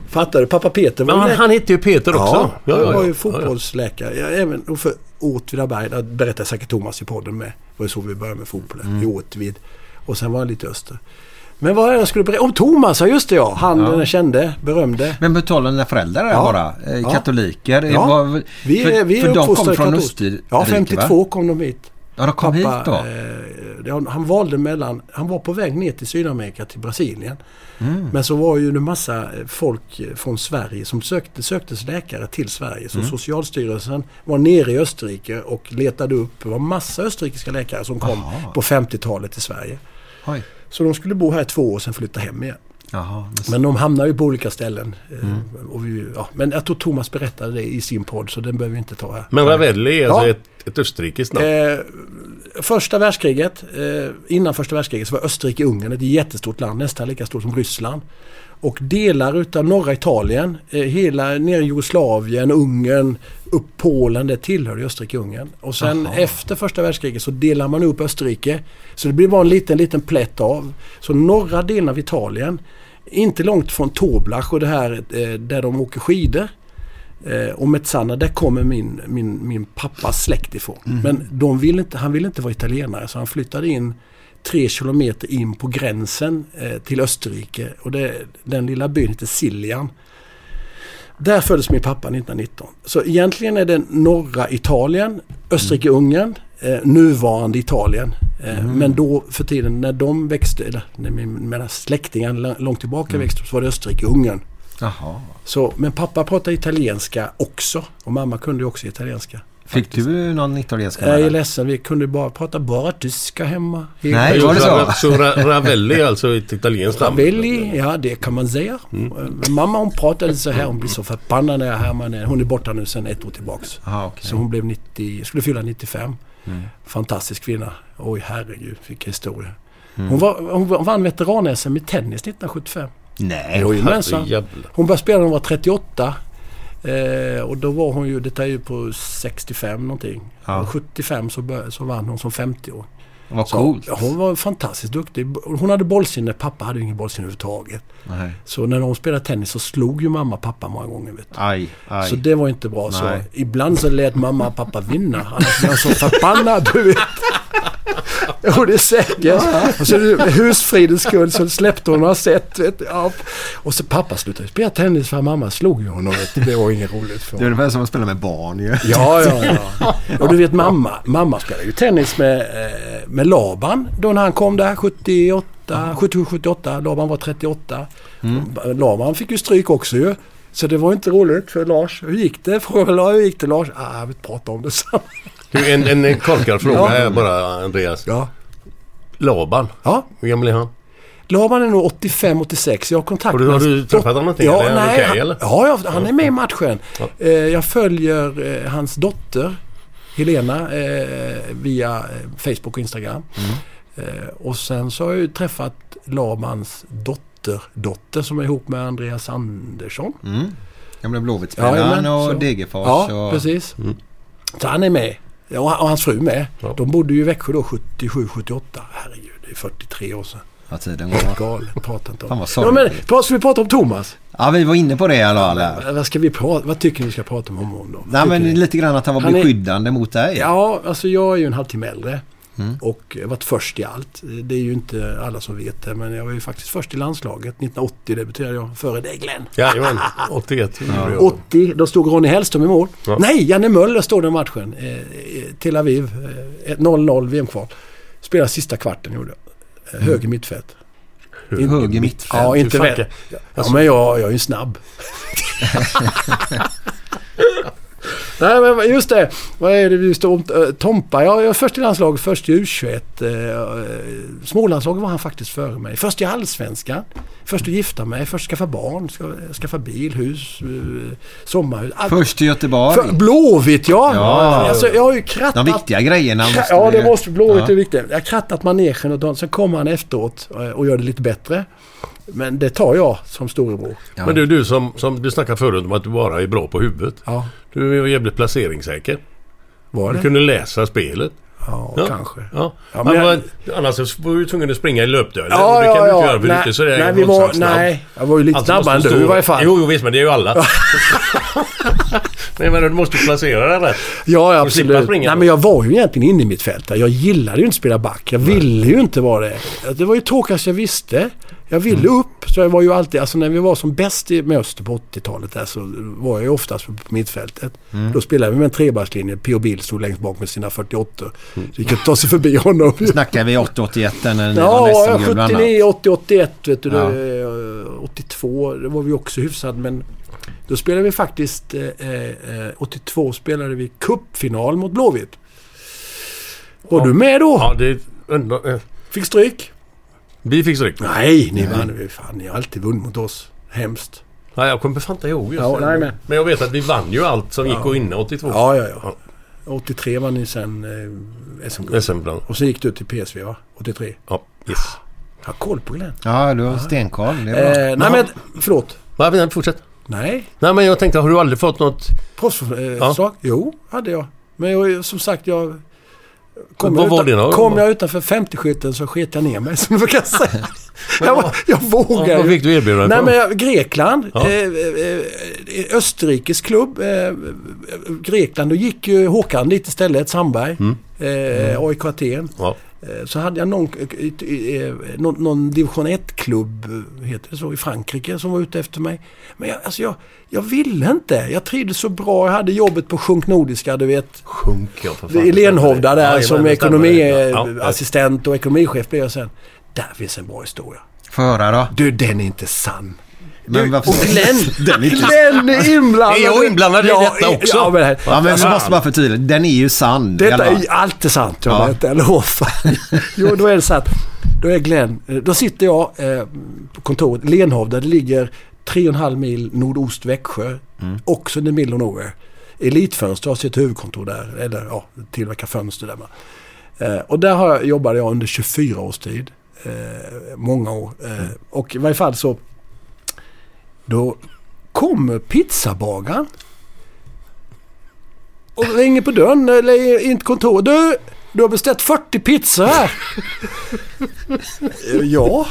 E: Fattar du? Pappa Peter var
D: Men
E: ju
D: han,
E: läkare.
D: han hette ju Peter också.
E: Ja, han var ju
D: ja.
E: fotbollsläkare. Ja, även och för Åtvidaberg, där berättar säkert Thomas i podden med. Det var ju så vi började med fotbollen.
B: Mm.
E: I Åtvid. Och sen var han lite öster. Men vad är det jag skulle berätta? Om Thomas, ja just det ja. Han den jag kände, berömde.
B: Men på tal om dina föräldrar
E: Ja.
B: bara. eh,
E: Ja.
B: Katoliker.
E: Ja.
B: Var,
E: Vi,
B: för
E: är- vi är
B: för de kom
E: uppfostrade
B: från
E: katolskt.
B: Österrike
E: Ja,
B: Va?
E: 52 kom de hit.
B: Ja, de kom hit då.
E: eh, det- han valde mellan, han var på väg ner till Sydamerika, till Brasilien.
B: Mm.
E: Men så var ju en massa eh, folk eh, från Sverige som sökte, söktes läkare till Sverige. Så
B: Mm.
E: Socialstyrelsen var nere i Österrike och letade upp, det var massa österrikiska läkare som kom
B: Jaha.
E: på 50-talet till Sverige.
B: Oj.
E: Så de skulle bo här i två år och sen flytta hem igen.
B: Jaha. men-
E: Men de hamnar ju på olika ställen. eh,
B: Mm.
E: Och vi, ja. Men jag tror Thomas berättade det i sin podd så den behöver vi inte ta här.
D: Men Ravelli är alltså
E: Ja.
D: ett, ett österrikiskt namn.
E: Eh, första världskriget, eh, innan första världskriget så var Österrike-Ungern ett jättestort land, nästan lika stort som Ryssland. Och delar utav norra Italien, eh, hela nere i Jugoslavien, Ungern, upp Polen, det tillhörde Österrike-Ungern. Och sen efter första världskriget så delar man upp Österrike. Så det blir bara en liten, liten plätt av. Så norra delen av Italien, inte långt från Toblach och det här eh, där de åker skidor. Eh, och Mezzana, där kommer min, min, min pappas släkt ifrån. Men de vill inte, han ville inte vara italienare så han flyttade in tre kilometer in på gränsen eh, till Österrike. Och det, den lilla byn heter Siljan. Där föddes min pappa 1919. Så egentligen är det norra Italien, Österrike-Ungern, eh, nuvarande Italien. Eh, Men då för tiden när de växte, eller när min- mina släktingar la- långt tillbaka växte upp så var det Österrike-Ungern.
B: Jaha.
E: Så, men pappa pratade italienska också och mamma kunde ju också italienska.
B: Fick du någon italienska
E: Jag är
B: lärare?
E: ledsen, vi kunde bara prata bara tyska hemma.
B: Nej,
D: Jo,
B: var det
D: Ra-
B: så?
D: så Ra- Ravelli är alltså ett italienskt namn.
E: Billy, ja det kan man säga. Eh, Mamma hon pratade så här, hon blev så förbannad när jag härmade henne. Hon är borta nu sedan ett år tillbaks.
B: Jaha, okej.
E: Så hon blev 90, skulle fylla 95. Fantastisk kvinna. Oj herregud, vilken historia. Hon, var, hon vann veteran-SM i tennis 1975.
B: Nej.
E: Jajamensan.
D: Herrejävlar.
E: Hon började spela när hon var 38. Eh, och då var hon ju, detta är ju på 65 någonting.
B: Ja.
E: Och 75 så, började, så vann hon som 50 år.
B: Vad coolt.
E: Ja, hon var fantastiskt duktig. Hon hade bollsinne, pappa hade ju ingen bollsinne överhuvudtaget.
B: Nej.
E: Så när hon spelade tennis så slog ju mamma pappa många gånger. Vet du.
B: Aj, aj.
E: Så det var inte bra. Så
B: Nej.
E: ibland så lät mamma och pappa vinna. Annars blev jag så förbannad, du vet. Jo, det är säkert. Och så med husfridens skull så släppte hon några set. Vet du. Ja. Och så pappa slutade spela tennis för mamma slog ju honom. Vet du. Det var inget roligt för
B: Det är
E: honom.
B: ungefär som att spela med barn ju.
E: Ja, ja, ja. Och du vet mamma, mamma spelade ju tennis med, eh, med Laban då när han kom där 78, 77, 78. Laban var 38. Laban fick ju stryk också ju. Så det var inte roligt för Lars. Hur gick det? Frågade jag. Hur gick det Lars? Ah, jag vill inte prata om det. sa han.
D: Du, en, en korkad fråga här bara Andreas.
E: Ja.
D: Laban.
E: Ja,
D: Hur gammal är han?
E: Laban är nog 85-86. Jag har kontakt
D: Har du-
E: med
D: har du
E: hans
D: träffat
E: dot-
D: honom någonting,
E: Ja,
D: eller är han
E: nej,
D: okej,
E: han,
D: eller?
E: Ja, ja, han är med i matchen. Eh, jag följer eh, hans dotter Helena eh, via eh, Facebook och Instagram.
D: Mm.
E: Eh, och sen så har jag ju träffat Labans dotterdotter som är ihop med Andreas Andersson.
B: Gamla
E: Jajamän,
B: Blåvittspelaren
E: så-
B: Mm. och Degerfors.
E: Ja,
B: och...
E: precis.
D: Mm.
E: Så han är med. Ja, och och hans fru med. De bodde ju i Växjö då 77-78. Herregud, det är 43 år sedan.
B: Ja, tiden går.
E: Galet, prata inte om
B: Fan, vad
E: det.
B: sorgligt.
E: men, pra- ska vi prata om Thomas?
B: Ja, vi var inne på det i alla fall. här.
E: Vad, ska vi prata, vad tycker ni vi ska prata om honom då?
B: Nej,
E: Tycker ni?
B: men lite grann att han var
E: Han är-
B: beskyddande mot dig.
E: Ja, alltså jag är ju en halvtimme äldre.
B: Mm.
E: Och jag har varit först i allt. Det är ju inte alla som vet det men jag var ju faktiskt först i landslaget. 1980 debuterade jag före dig Glenn.
D: Jajamän, 81 gjorde jag.
E: 80, då stod Ronnie Hellström i mål.
D: Ja.
E: Nej, Janne Möller stod den matchen. Eh, i Tel Aviv, eh, 0-0 VM-kval. Spelade sista kvarten gjorde jag. Eh, Höger mittfält. In-
B: Höger mittfält.
E: Ja, inte
D: Du
E: väl.
D: fuckar.
E: Ja, men jag, jag är ju snabb. Nej, men just det. Vad är det vi står om? Eh, Tompa, ja, jag är först i landslaget, först i U21. eh, eh, Smålandslaget var han faktiskt före mig. Först i allsvenskan. Först att gifta mig, först skaffa barn, ska- skaffa bil, hus, eh, sommarhus. Allt.
B: Först till Göteborg.
E: För, Blåvitt ja!
B: Ja.
E: Alltså, jag har ju
B: De
E: krattat...
B: viktiga grejerna.
E: Kra-
B: måste
E: Ja,
B: vi-
E: det måste Blåvitt
B: Ja.
E: är viktigt. Jag har krattat manegen och dagen, sen kommer han efteråt eh, och gör det lite bättre. Men det tar jag som storebror.
D: Men du, du som, som du snackade förut om att du bara är bra på huvudet.
E: Ja,
D: Du är jävligt placeringssäker.
E: var
D: Du
E: det?
D: kunde läsa spelet.
E: Ja, kanske.
D: Ja.
E: Ja, men
D: men
E: jag-
D: var- Annars så var du tvungen att springa i löpdörren. och det kan du inte göra för du är inte sådär
E: nej, vi var,
D: våldsamt snabb.
E: nej, jag var ju lite
D: Alltså,
E: snabbare än
D: måste
E: du
D: stå-
E: i varje fall.
D: Jo, jo visst, men det är ju alla. nej, men du måste placera dig rätt.
E: Ja, ja,
D: Och slippa
E: absolut.
D: springa
E: Nej,
D: då.
E: men jag var ju egentligen inne i mitt fält. Jag gillade ju inte spela back. Jag ville ju inte vara det. Det var ju tråkigast jag visste. Jag ville
D: Mm.
E: upp. Så jag var ju alltid, alltså när vi var som bäst i med Öster på 80-talet där så var jag ju oftast på mittfältet. Då spelade vi med en trebackslinje. P.O. Bill stod längst bak med sina 48.
D: Mm.
E: Så vi kunde ta sig förbi honom.
B: Snackar vi 80-81 när ni
E: Ja,
B: vann SM-guld bland annat.
E: 79, 80, 81 vet du.
B: Ja.
E: Det, eh, 82, det var vi också hyfsad men då spelade vi faktiskt... Eh, eh, 82 spelade vi cupfinal mot Blåvitt. Var du med då?
D: Ja, det är... undra- eh,
E: Fick stryk?
D: Vi fick stryk.
E: Nej, ni vann. Vi- Fan, ni har alltid vunnit mot oss. Hemskt.
D: Nej, jag kommer fan inte ihåg just
E: Ja,
D: det.
E: nej, men-
D: Men jag vet att vi vann ju allt som gick att vinna 82.
E: Ja, ja, ja. 83 var ni sen eh, SM-guld.
D: SM bland
E: Och sen gick du till PSV va? 83?
D: Ja, yes.
E: Jag har koll på Glenn.
B: Ja, du har stenkoll. Det är bra.
E: Eh, nej men, förlåt.
D: Va, men fortsätt.
E: Nej.
D: Nej, men jag tänkte, har du aldrig fått något...
E: Proffsförslag? eh, Jo, hade jag. Men jag, som sagt, jag... Kom,
D: Vad
E: jag,
D: var
E: utan,
D: det då?
E: kom jag utanför 50-skytten så sket jag ner mig, som jag brukar säga. jag, var- jag vågar
D: Vad
E: ju.
D: fick du erbjudande
E: Nej
D: ifrån?
E: men jag, Grekland,
D: Ja.
E: eh, eh, eh, Österrikes klubb, eh, Grekland, då gick ju Håkan dit istället, Sandberg, eh, AIK Aten.
D: Mm. Ja.
E: Eh, Så hade jag någon, eh, någon, någon division 1-klubb, eh, heter det så, i Frankrike som var ute efter mig. Men jag, alltså jag, jag ville inte. Jag trivdes så bra. Jag hade jobbet på Sjunk Nordiska, du vet.
D: Sjunk, ja, för fan.
E: I Lenhovda där
D: Jajamän,
E: som
D: det stämmer. Ja, ja.
E: ekonomiassistent och ekonomichef blev jag sen. Där finns en bra historia.
B: Få höra då.
E: Du, den är inte sann.
B: Men varför-
E: och Glenn,
B: Den är inte-
E: Glenn är inblandad.
D: Är jag inblandad i detta också?
E: Ja, men,
B: Ja, men vi
D: Fan.
B: måste bara förtydliga. Den är ju sann. i alla
E: detta
B: fall.
E: är allt är sant, jag
B: Ja.
E: vet, eller hur? fan? jo, då är det så att då är Glenn, eh, då sitter jag eh, på kontoret, Lenhovda, det ligger 3,5 mil nordost Växjö, också in the middle of nowhere. Elitfönster har sitt huvudkontor där, eller ja, tillverkar fönster där. va. Eh, och där har jag, jobbade jag under 24 års tid, eh, många år. Eh, och i varje fall så, då kommer pizzabagaren och ringer på dörren eller in till kontoret. Du, du har beställt 40 pizzor här. Eh, ja,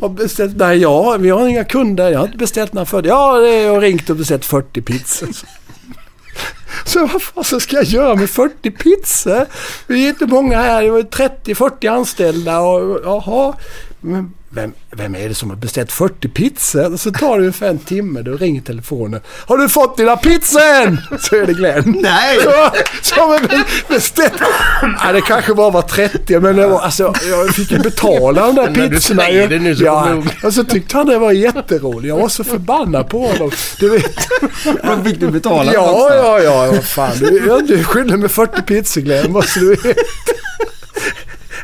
E: har beställt. Nej, ja, vi har inga kunder. Jag har inte beställt några 40. Ja, det är- jag har ringt och beställt 40 pizzor. Så vad fan så ska jag göra med 40 pizzor? Vi är inte många här. Det var 30-40 anställda. Och, jaha. Men vem, vem är det som har beställt 40 pizzor? Så tar det ungefär en timme. Då ringer telefonen. Har du fått dina pizzor än? Så är det Glenn.
B: Nej!
E: Ja, Som en beställd... Nej, det kanske bara var 30 men det var, alltså, jag fick ju betala de där
D: när du
E: pizzorna
D: säger det nu så kommer jag ihåg.
E: och så tyckte han det var jätteroligt. Jag var så förbannad på honom. Du vet.
B: Då fick du betala
E: Ja,
B: också.
E: ja, ja, vad fan. Du, jag- du skyller mig 40 pizzor Glenn, måste du veta.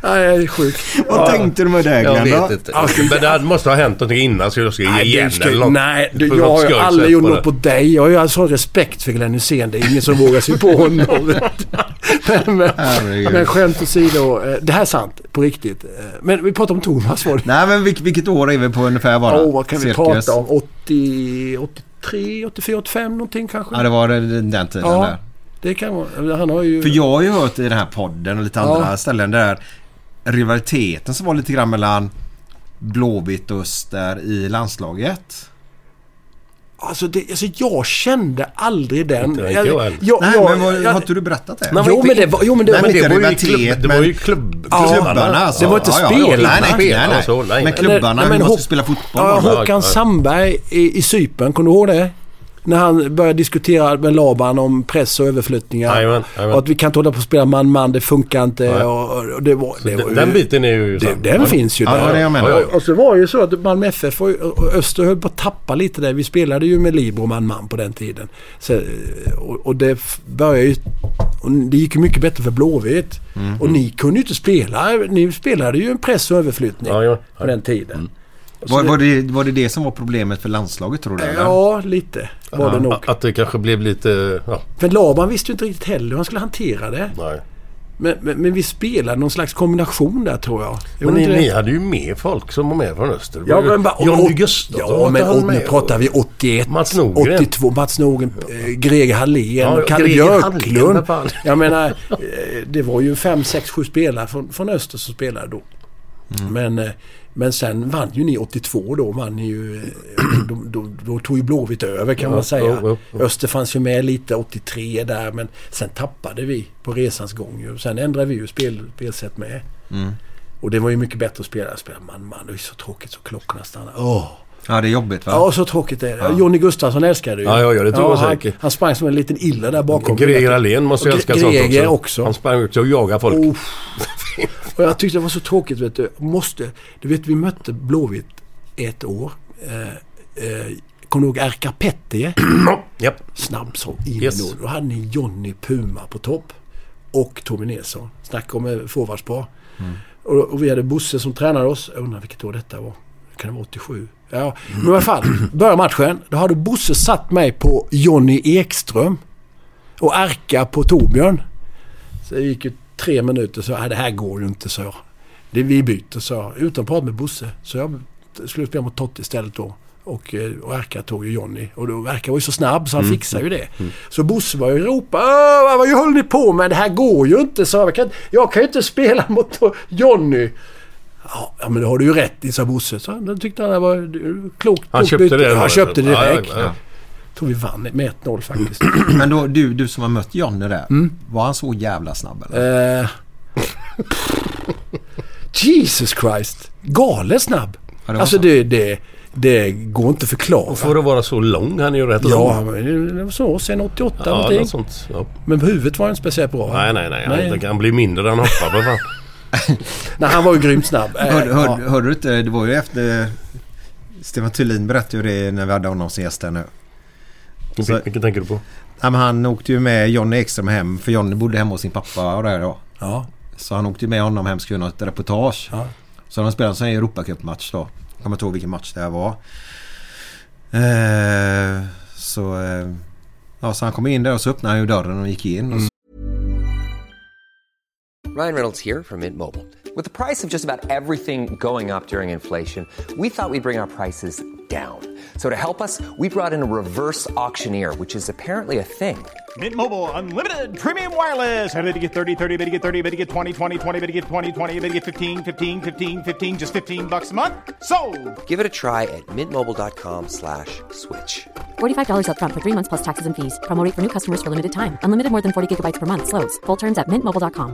E: Nej, jag är sjuk.
B: Vad tänkte du med det
D: Jag
B: Glenn då?
D: vet inte. men det hade- måste ha hänt någonting innan så jag ska ge
E: Nej,
D: igen
E: du ska,
D: eller något.
E: nej du,
D: På
E: jag
D: något
E: har ju
D: skoj
E: aldrig
D: sätt
E: gjort
D: bara.
E: något på dig. Jag har ju all sån respekt för Glenn Hysén. Det är ingen som vågar sig på honom. vet du. men, men,
B: Herregud.
E: men skämt åsido, eh, det här är sant på riktigt. Eh, Men vi pratar om Thomas var det.
B: Nej, men vilk, vilket år är vi på ungefär bara?
E: Åh, vad kan vi
B: Cirkus.
E: prata om? 80, 83, 84, 85 någonting kanske?
B: Ja, det var det- den tiden
E: Ja,
B: där.
E: det kan vara. Han har ju...
B: För jag har ju hört i den här podden och lite andra ställen där rivaliteten som var lite grann mellan Blåvitt och Öster i landslaget.
E: Alltså, det, alltså jag kände aldrig den.
D: Inte jag
E: jag,
D: heller.
B: Nej,
E: jag-
B: men vad,
E: jag-
B: har inte du berättat det?
E: men jo, men det var, jo, men det,
B: Nej,
E: men
B: inte
E: det var ju...
B: rivalitet,
D: klubb- det var
B: men-
D: ju klubb-
B: Ja,
D: klubbarna.
B: klubbarna alltså.
E: Det var inte
B: Ja, ja,
E: spel,
B: ja. Nej, nej,
E: va?
B: nej, nej.
D: Alltså, nej,
B: Men
D: nej.
B: klubbarna,
E: Nej, men
B: vi måste
E: Hå-
B: spela fotboll.
E: Ja,
B: bara.
D: Ja, ja.
E: Håkan Sandberg i, i Sypen, kommer du ihåg det? När han började diskutera med Laban om press och överflyttningar.
D: Jajamän, jajamän.
E: Och att vi kan inte hålla på och spela man-man, det funkar
D: Nej.
E: inte. Och, och det var, det var
D: Den,
E: ju,
D: den biten är ju...
E: det, den
D: Ja.
E: finns ju
B: Ja, det var
E: där.
B: det jag
D: Ja,
B: menade.
D: ja.
E: Och så var alltså, det ju så att Malmö FF och- och Öster höll på att tappa lite där. Vi spelade ju med Libro man-man på den tiden. Så, och, och det f- började ju... Och det gick ju mycket bättre för Blåvitt.
D: Mm.
E: Och ni kunde ju inte spela. Ni spelade ju en press och överflyttning
D: Ja, ja.
E: på den tiden.
B: Var, var, det, var det det som var problemet för landslaget tror du? eller?
E: Ja, lite var det nog.
D: Att det kanske blev lite... Ja,
E: För Laban visste ju inte riktigt heller hur han skulle hantera det.
D: nej.
E: Men, men, men vi spelade någon slags kombination där tror jag.
D: Men
E: Gjorde
D: ni,
E: inte det?
D: ni hade ju med folk som var med från Öster. Det
E: Ja,
D: var ju
E: men, va- och-
D: Johnny
E: och-
D: Gustafsson
E: Ja,
D: var
E: men
D: han
E: och, nu
D: med.
E: pratar vi 81,
D: Mats Norgren.
E: 82, Mats Norgren, eh, Greger Hallén,
D: Ja, ja,
E: Kalle
D: Greger Hallén, vad
E: Björklund.
D: fan.
E: Jag menar, eh, det var ju fem sex sju spelare från, från Öster som spelade då.
D: Mm.
E: Men, eh, men sen vann ju ni 82 då. Vann ni ju, eh, då, då, då tog ju Blåvitt över kan man säga.
D: ja, ja.
E: Öster fanns ju med lite 83 där men sen tappade vi på resans gång. Ju. Sen ändrade vi ju spel, spelsätt med.
D: Mm.
E: Och det var ju mycket bättre att spela. spela man, man, det är så tråkigt så klockorna stannar. Åh.
B: Ja, det är jobbigt va?
E: Ja, så tråkigt är det. Jonny Gustafsson älskade ju.
D: Ja, ja, ja, det tror jag
E: han,
D: säkert.
E: Han sprang som en liten illa där bakom.
D: Greger Hallén måste ju
E: Och Gre-
D: älska sånt
E: Greger
D: också.
E: också.
D: Han sprang ut och jagade folk.
E: Oh. Och jag tyckte det var så tråkigt. Vet du. Måste, du vet, vi mötte Blåvitt ett år. Eh, eh, Kommer du ihåg Erka Pettie?
D: Japp.
E: Snabb som in
D: Yes.
E: yes. Då hade ni Johnny Puma på topp. Och Tommy Nilsson. Snacka om eh, forwardspar. Och, och vi hade Bosse som tränade oss. Jag undrar vilket år detta var. Kan det vara 87? Ja, men i alla fall. Börjar matchen. Då hade Bosse satt mig på Johnny Ekström. Och Arka på Torbjörn. Så det gick ju tre minuter så jag, "Nej, det här går ju inte, så jag. Det vi byter, så jag. Utan att prata med Bosse. Så jag skulle spela mot Totte istället då. Och, eh, och Erka tog ju Johnny. Och då, Erka var ju så snabb så han
D: Mm.
E: fixade ju det. Så Bosse var ju och ropade "Åh, Vad håller ni på med? Det här går ju inte, så jag. Kan, jag kan ju inte spela mot Johnny. Ja, ja, men det har du ju rätt i, sa Bosse. Så han tyckte han det var klokt.
D: Han
E: klokt
D: köpte
E: byte.
D: det. liksom.
E: Ja, Han köpte det
D: Ja, ja,
E: direkt.
D: ja.
E: Tror vi vann med 1-0 faktiskt.
B: Men då, du, du som har mött Jonny där.
E: Mm.
B: Var han så jävla snabb eller?
E: Eh, Jesus Christ. Galet snabb.
B: Ja, det var
E: alltså
B: så.
E: det, det, det går inte att förklara.
D: Och för att vara så lång, han är ju rätt
E: Ja,
D: lång.
E: han var- det var så sen 88
D: Ja, något
E: någonting.
D: sånt. Ja.
E: Men på huvudet var han inte speciellt bra.
D: Nej, nej, nej.
E: Nej.
D: Han kan bli mindre än hoppar för fan.
E: Nej, han var ju grymt snabb. Eh,
B: Hör, hör,
E: ja.
B: Hörde du inte? Det var ju efter... Stefan Thulin berättade ju det när vi hade honom som gäst här nu. Så-
D: Vilket tänker du på?
B: Ja, men han åkte ju med Jonny Ekström hem, för Jonny bodde hemma hos sin pappa och det här då.
E: Ja.
B: Så han åkte ju med honom hem skulle göra ett reportage.
E: Ja.
B: Så de spelade en sån här Europacup-match då. Jag kommer inte ihåg vilken match det här var. Eh, så, eh, ja, så han kom in där och så öppnade han ju dörren och gick in. Och så
H: Ryan Reynolds here from Mint Mobile. With the price of just about everything going up during inflation, we thought we'd bring our prices down. So to help us, we brought in a reverse auctioneer, which is apparently a thing.
I: Mint Mobile unlimited premium wireless. Ready to get 30, 30, bet you get 30, bet you get 20, 20, 20, bet you get 20, 20, bet you get 15, 15, 15, 15 just 15 bucks a month. Sold.
H: Give it a try at mintmobile.com slash switch.
J: $45 upfront for three months plus taxes and fees. Promo rate for new customers for limited time. Unlimited more than 40 gigabytes per month. Slows. Full terms at mintmobile.com.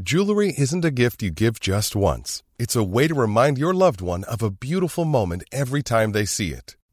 K: Jewelry isn't a gift you give just once. It's a way to remind your loved one of a beautiful moment every time they see it.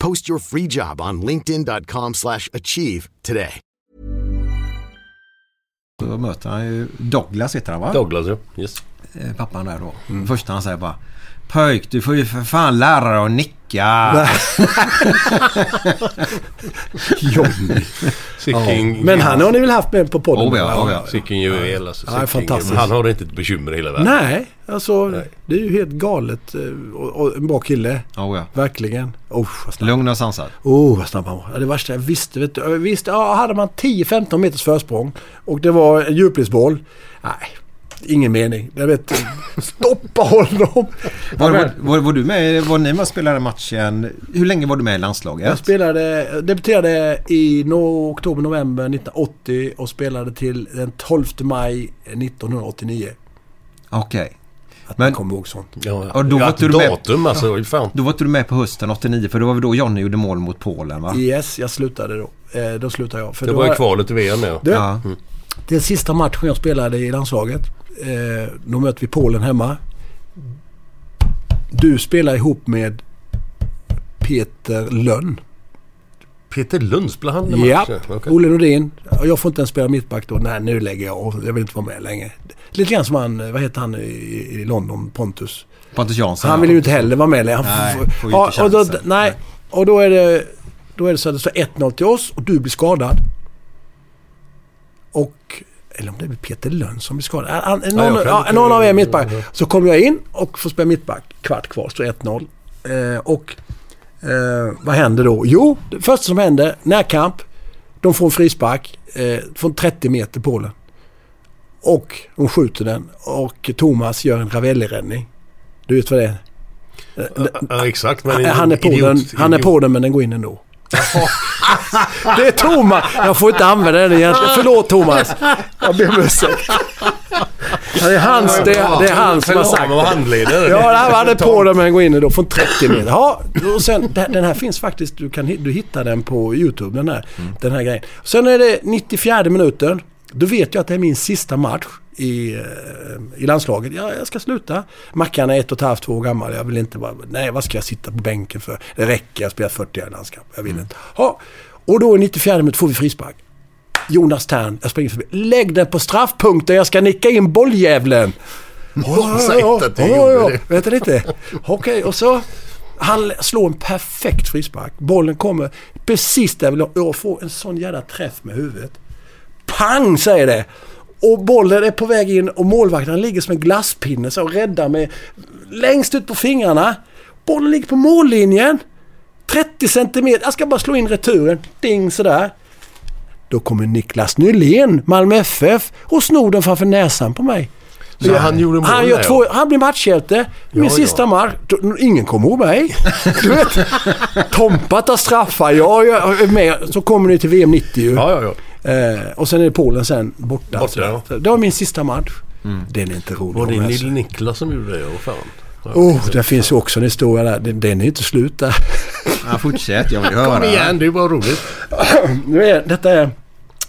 L: Post your free job on linkedin.com/achieve slash achieve today.
B: så möter han ju Douglas heter han va?
D: Douglas, ja. Yes.
B: Eh, Pappan där då. Första han säger bara Pöjk, du får ju för fan lära dig att nicka.
E: Johnny.
D: Sicken...
E: Ja. Men han har ni väl haft med på podden?
B: Oh, ja, oh, ja.
D: Sicken juvel alltså.
E: Ja, det är
D: Sicken
E: fantastiskt.
D: juvel. Han har inte ett bekymmer i hela världen.
E: Nej, alltså det är ju helt galet. eh, Och, och en bra kille.
B: Oh, ja.
E: Verkligen. Oh, vad snabb.
B: Lugn och sansad.
E: Oh, vad snabb han var. Ja, Det värsta jag visste, vet du. Visst, ja, hade man 10-15 meters försprång och det var en djupledsboll. Nej, ingen mening. Jag vet, stoppa honom.
B: Var, var, var, var du med, var ni med och spelade matchen? Hur länge var du med i landslaget?
E: Jag spelade, jag debuterade i no, oktober, november 1980 och spelade till den 12 maj 1989.
B: Okej.
E: Att
B: Men-
E: man kommer ihåg sånt.
D: Ja, ja.
B: Och då
D: Ja,
B: var
D: ett
B: du med-
D: datum alltså. Fan.
B: Då var inte du med på hösten 89 för då var vi då Johnny gjorde mål mot Polen va?
E: Yes, jag slutade då. Eh, då slutade jag. För
D: Det
E: då
D: var ju kvalet till VM nu.
E: Du,
B: Ja.
E: Den sista matchen jag spelade i landslaget. Eh, då möter vi Polen hemma. Du spelar ihop med Peter Lönn.
D: Peter Lund spelade han i
E: Ja,
D: matchen? Okej.
E: Olle Nordin. Och Jag får inte ens spela mittback då. Nej, nu lägger jag av. Jag vill inte vara med längre. Lite grann som han, eh, vad heter han i, i London, Pontus?
B: Pontus Jansson.
E: Han vill ju inte heller vara med längre. Han
B: Nej, får ju
E: ja,
B: inte
E: och då,
B: chansen.
E: nej. och då är det, då är det så att det står 1-0 till oss och du blir skadad. Och... Eller om det blir Peter Lönn som blir skadad. Han- han-
B: jag
E: Någon,
B: kan
E: ja,
B: inte-
E: någon av er är mittback. Så kommer jag in och får spela mittback. Kvart kvar, står 1-0. Eh, och eh, vad händer då? Jo, det första som händer, närkamp. De får en frispark eh, från 30 meter Polen. Och de skjuter den och Thomas gör en Ravelli-räddning. Du vet vad det är?
D: Ja, exakt. Men
E: Äh, han, är på
D: idiot,
E: den, han är
D: idiot.
E: på den men den går in ändå. det är Thomas. Jag får inte använda den egentligen. Förlåt Thomas. Jag ber om ursäkt. Ja, Det är hans, det, det är han som har
D: Förlåt,
E: sagt
D: men vad
E: det.
D: handleder.
E: Ja, han hade på den men går in ändå från 30 meter. Ja, och sen, den den här finns faktiskt. Du, kan, hi- du hittar den på YouTube den här,
D: Mm.
E: den här grejen. Sen är det 94 minuten. Då vet jag att det är min sista match i, eh, i landslaget. Ja, jag ska sluta. Mackan är ett och ett halvt, två år gammal. Jag vill inte bara... Nej, vad ska jag sitta på bänken för? Det räcker, jag spelar 40 i landskamp. Jag
D: Mm.
E: vill inte. Ja, och då i 94 minuten får vi frispark. Jonas Tern, jag springer förbi. Lägg den på straffpunkten, jag ska nicka in bolljävlen. Ja,
I: säg
E: ja,
I: inte att du
E: ja,
I: gjorde
E: ja,
I: det.
E: Vet du inte? Okej, och så... Han slår en perfekt frispark. Bollen kommer precis där jag vill ha. Jag får en sån jävla träff med huvudet. Pang säger det! Och bollen är på väg in och målvakten ligger som en glasspinne så och räddar med längst ut på fingrarna. Bollen ligger på mållinjen. 30 centimeter. Jag ska bara slå in returen. Ding sådär. Då kommer Niklas Nylén, Malmö FF, och snor den framför näsan på mig.
D: Så han gjorde mål
E: Han, gör
D: där,
E: två, han blir matchhjälte. Min
D: Ja, ja.
E: sista match. Då- Ingen kommer ihåg mig. Du vet. Tompa tar straffar. Jag jag är med. Så kommer ni till VM 90 ju.
D: Ja, ja, ja.
E: Eh, och sen är det Polen sen borta.
D: Borta,
E: Så
D: ja. Mm.
E: det- Det var min sista match. Den är inte rolig.
D: Var
E: om
D: det
E: jag
D: Nil
E: säger.
D: Niklas som gjorde det? Åh fan. Ja.
E: Oh, det finns ju också en historia där. Den, den är ju inte slut där.
B: Ja, fortsätt, jag vill höra.
D: Kom igen, det var roligt.
E: Nu är, detta är...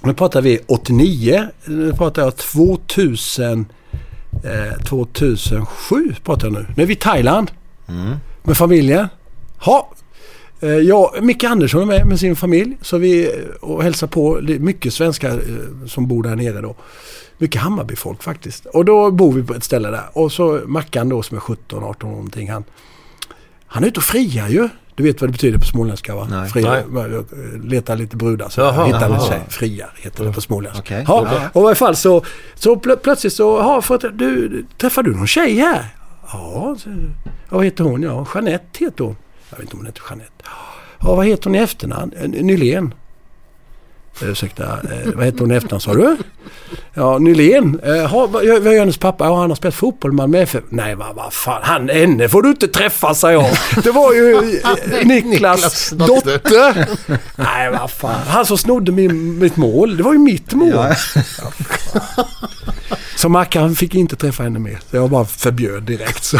E: Nu pratar vi 89. Nu pratar jag 2000... Eh, 2007 pratar jag nu. Nu är vi i Thailand. Med familjen. Ha. Eh, jag, Micke Andersson är med med sin familj. Så vi eh, och hälsar på. Det är mycket svenskar eh, som bor där nere då. Mycket Hammarbyfolk faktiskt. Och då bor vi på ett ställe där. Och så Mackan då som är 17, 18 någonting. Han, han är ute och friar ju. Du vet vad det betyder på småländska va?
B: Nej.
E: Fria, leta lite brudar. Så
D: Jaha,
E: hitta
D: jaha.
E: lite tjejer. Friar heter det på småländska.
B: Okej.
E: Ja, och i alla fall så, så plö- plötsligt så, ja, för att, du, träffar du någon tjej här? Ja, så, ja, vad heter hon? Ja, Jeanette heter hon. Jag vet inte om hon heter Jeanette. Ja, vad heter hon i efternamn? Eh, Nylén. Eh, Ursäkta, eh, vad heter hon i efternamn sa du? Ja, Nylén. Eh, ha, vad gör vad gör hennes pappa? Ja, han har spelat fotboll i Malmö FF. Nej, vad vad fan. Han, henne får du inte träffa, sa jag. Det var ju eh, Niklas dotter. Nej, vad fan. Han som snodde min, mitt mål. Det var ju mitt mål.
B: Ja.
E: Så Mackan fick inte träffa henne mer. Så jag bara förbjöd direkt. Så.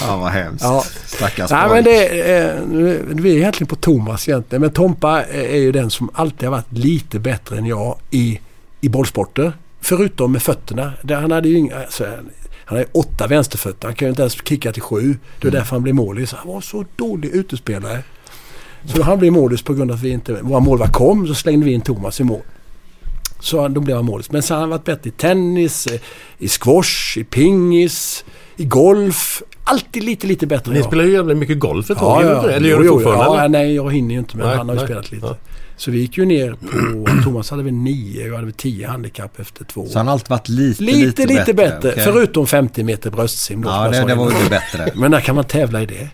B: Ja, vad hemskt.
E: Ja.
B: Stackars
E: Nej,
B: pojk.
E: men det, eh, nu- vi är egentligen på Thomas egentligen. Men Tompa eh, är ju den som alltid har varit lite bättre än jag i, i bollsporter. Förutom med fötterna. Där Han hade ju inga, alltså, han hade åtta vänsterfötter. Han kan ju inte ens kicka till sju. Det
D: Mm.
E: är därför han blev målis. Han var så dålig utespelare. Så han blev målis på grund av att vi inte, våra målvakt kom. Så slängde vi in Thomas i mål. Så då blev han målis. Men sen har han varit bättre i tennis, eh, i squash, i pingis, i golf. Alltid lite, lite bättre än
D: Ni
E: jag.
D: spelar ju jävligt mycket golf ett tag, gjorde ni inte det? eller gör du
E: Jo, jo,
D: fortfarande?
E: Ja,
D: eller?
E: nej, jag hinner ju inte men
D: Nej,
E: han har ju
D: nej.
E: spelat lite.
D: Ja.
E: Så vi gick ju ner på... Thomas hade väl nio, jag hade väl tio handikapp efter två år.
B: Så han har alltid varit lite,
E: Lite, lite, bättre.
B: okej.
E: Förutom 50 meter bröstsim då,
B: Ja,
E: som jag
B: det-
E: sa
B: det var
E: innan.
B: ju bättre.
E: Men när kan man tävla i det?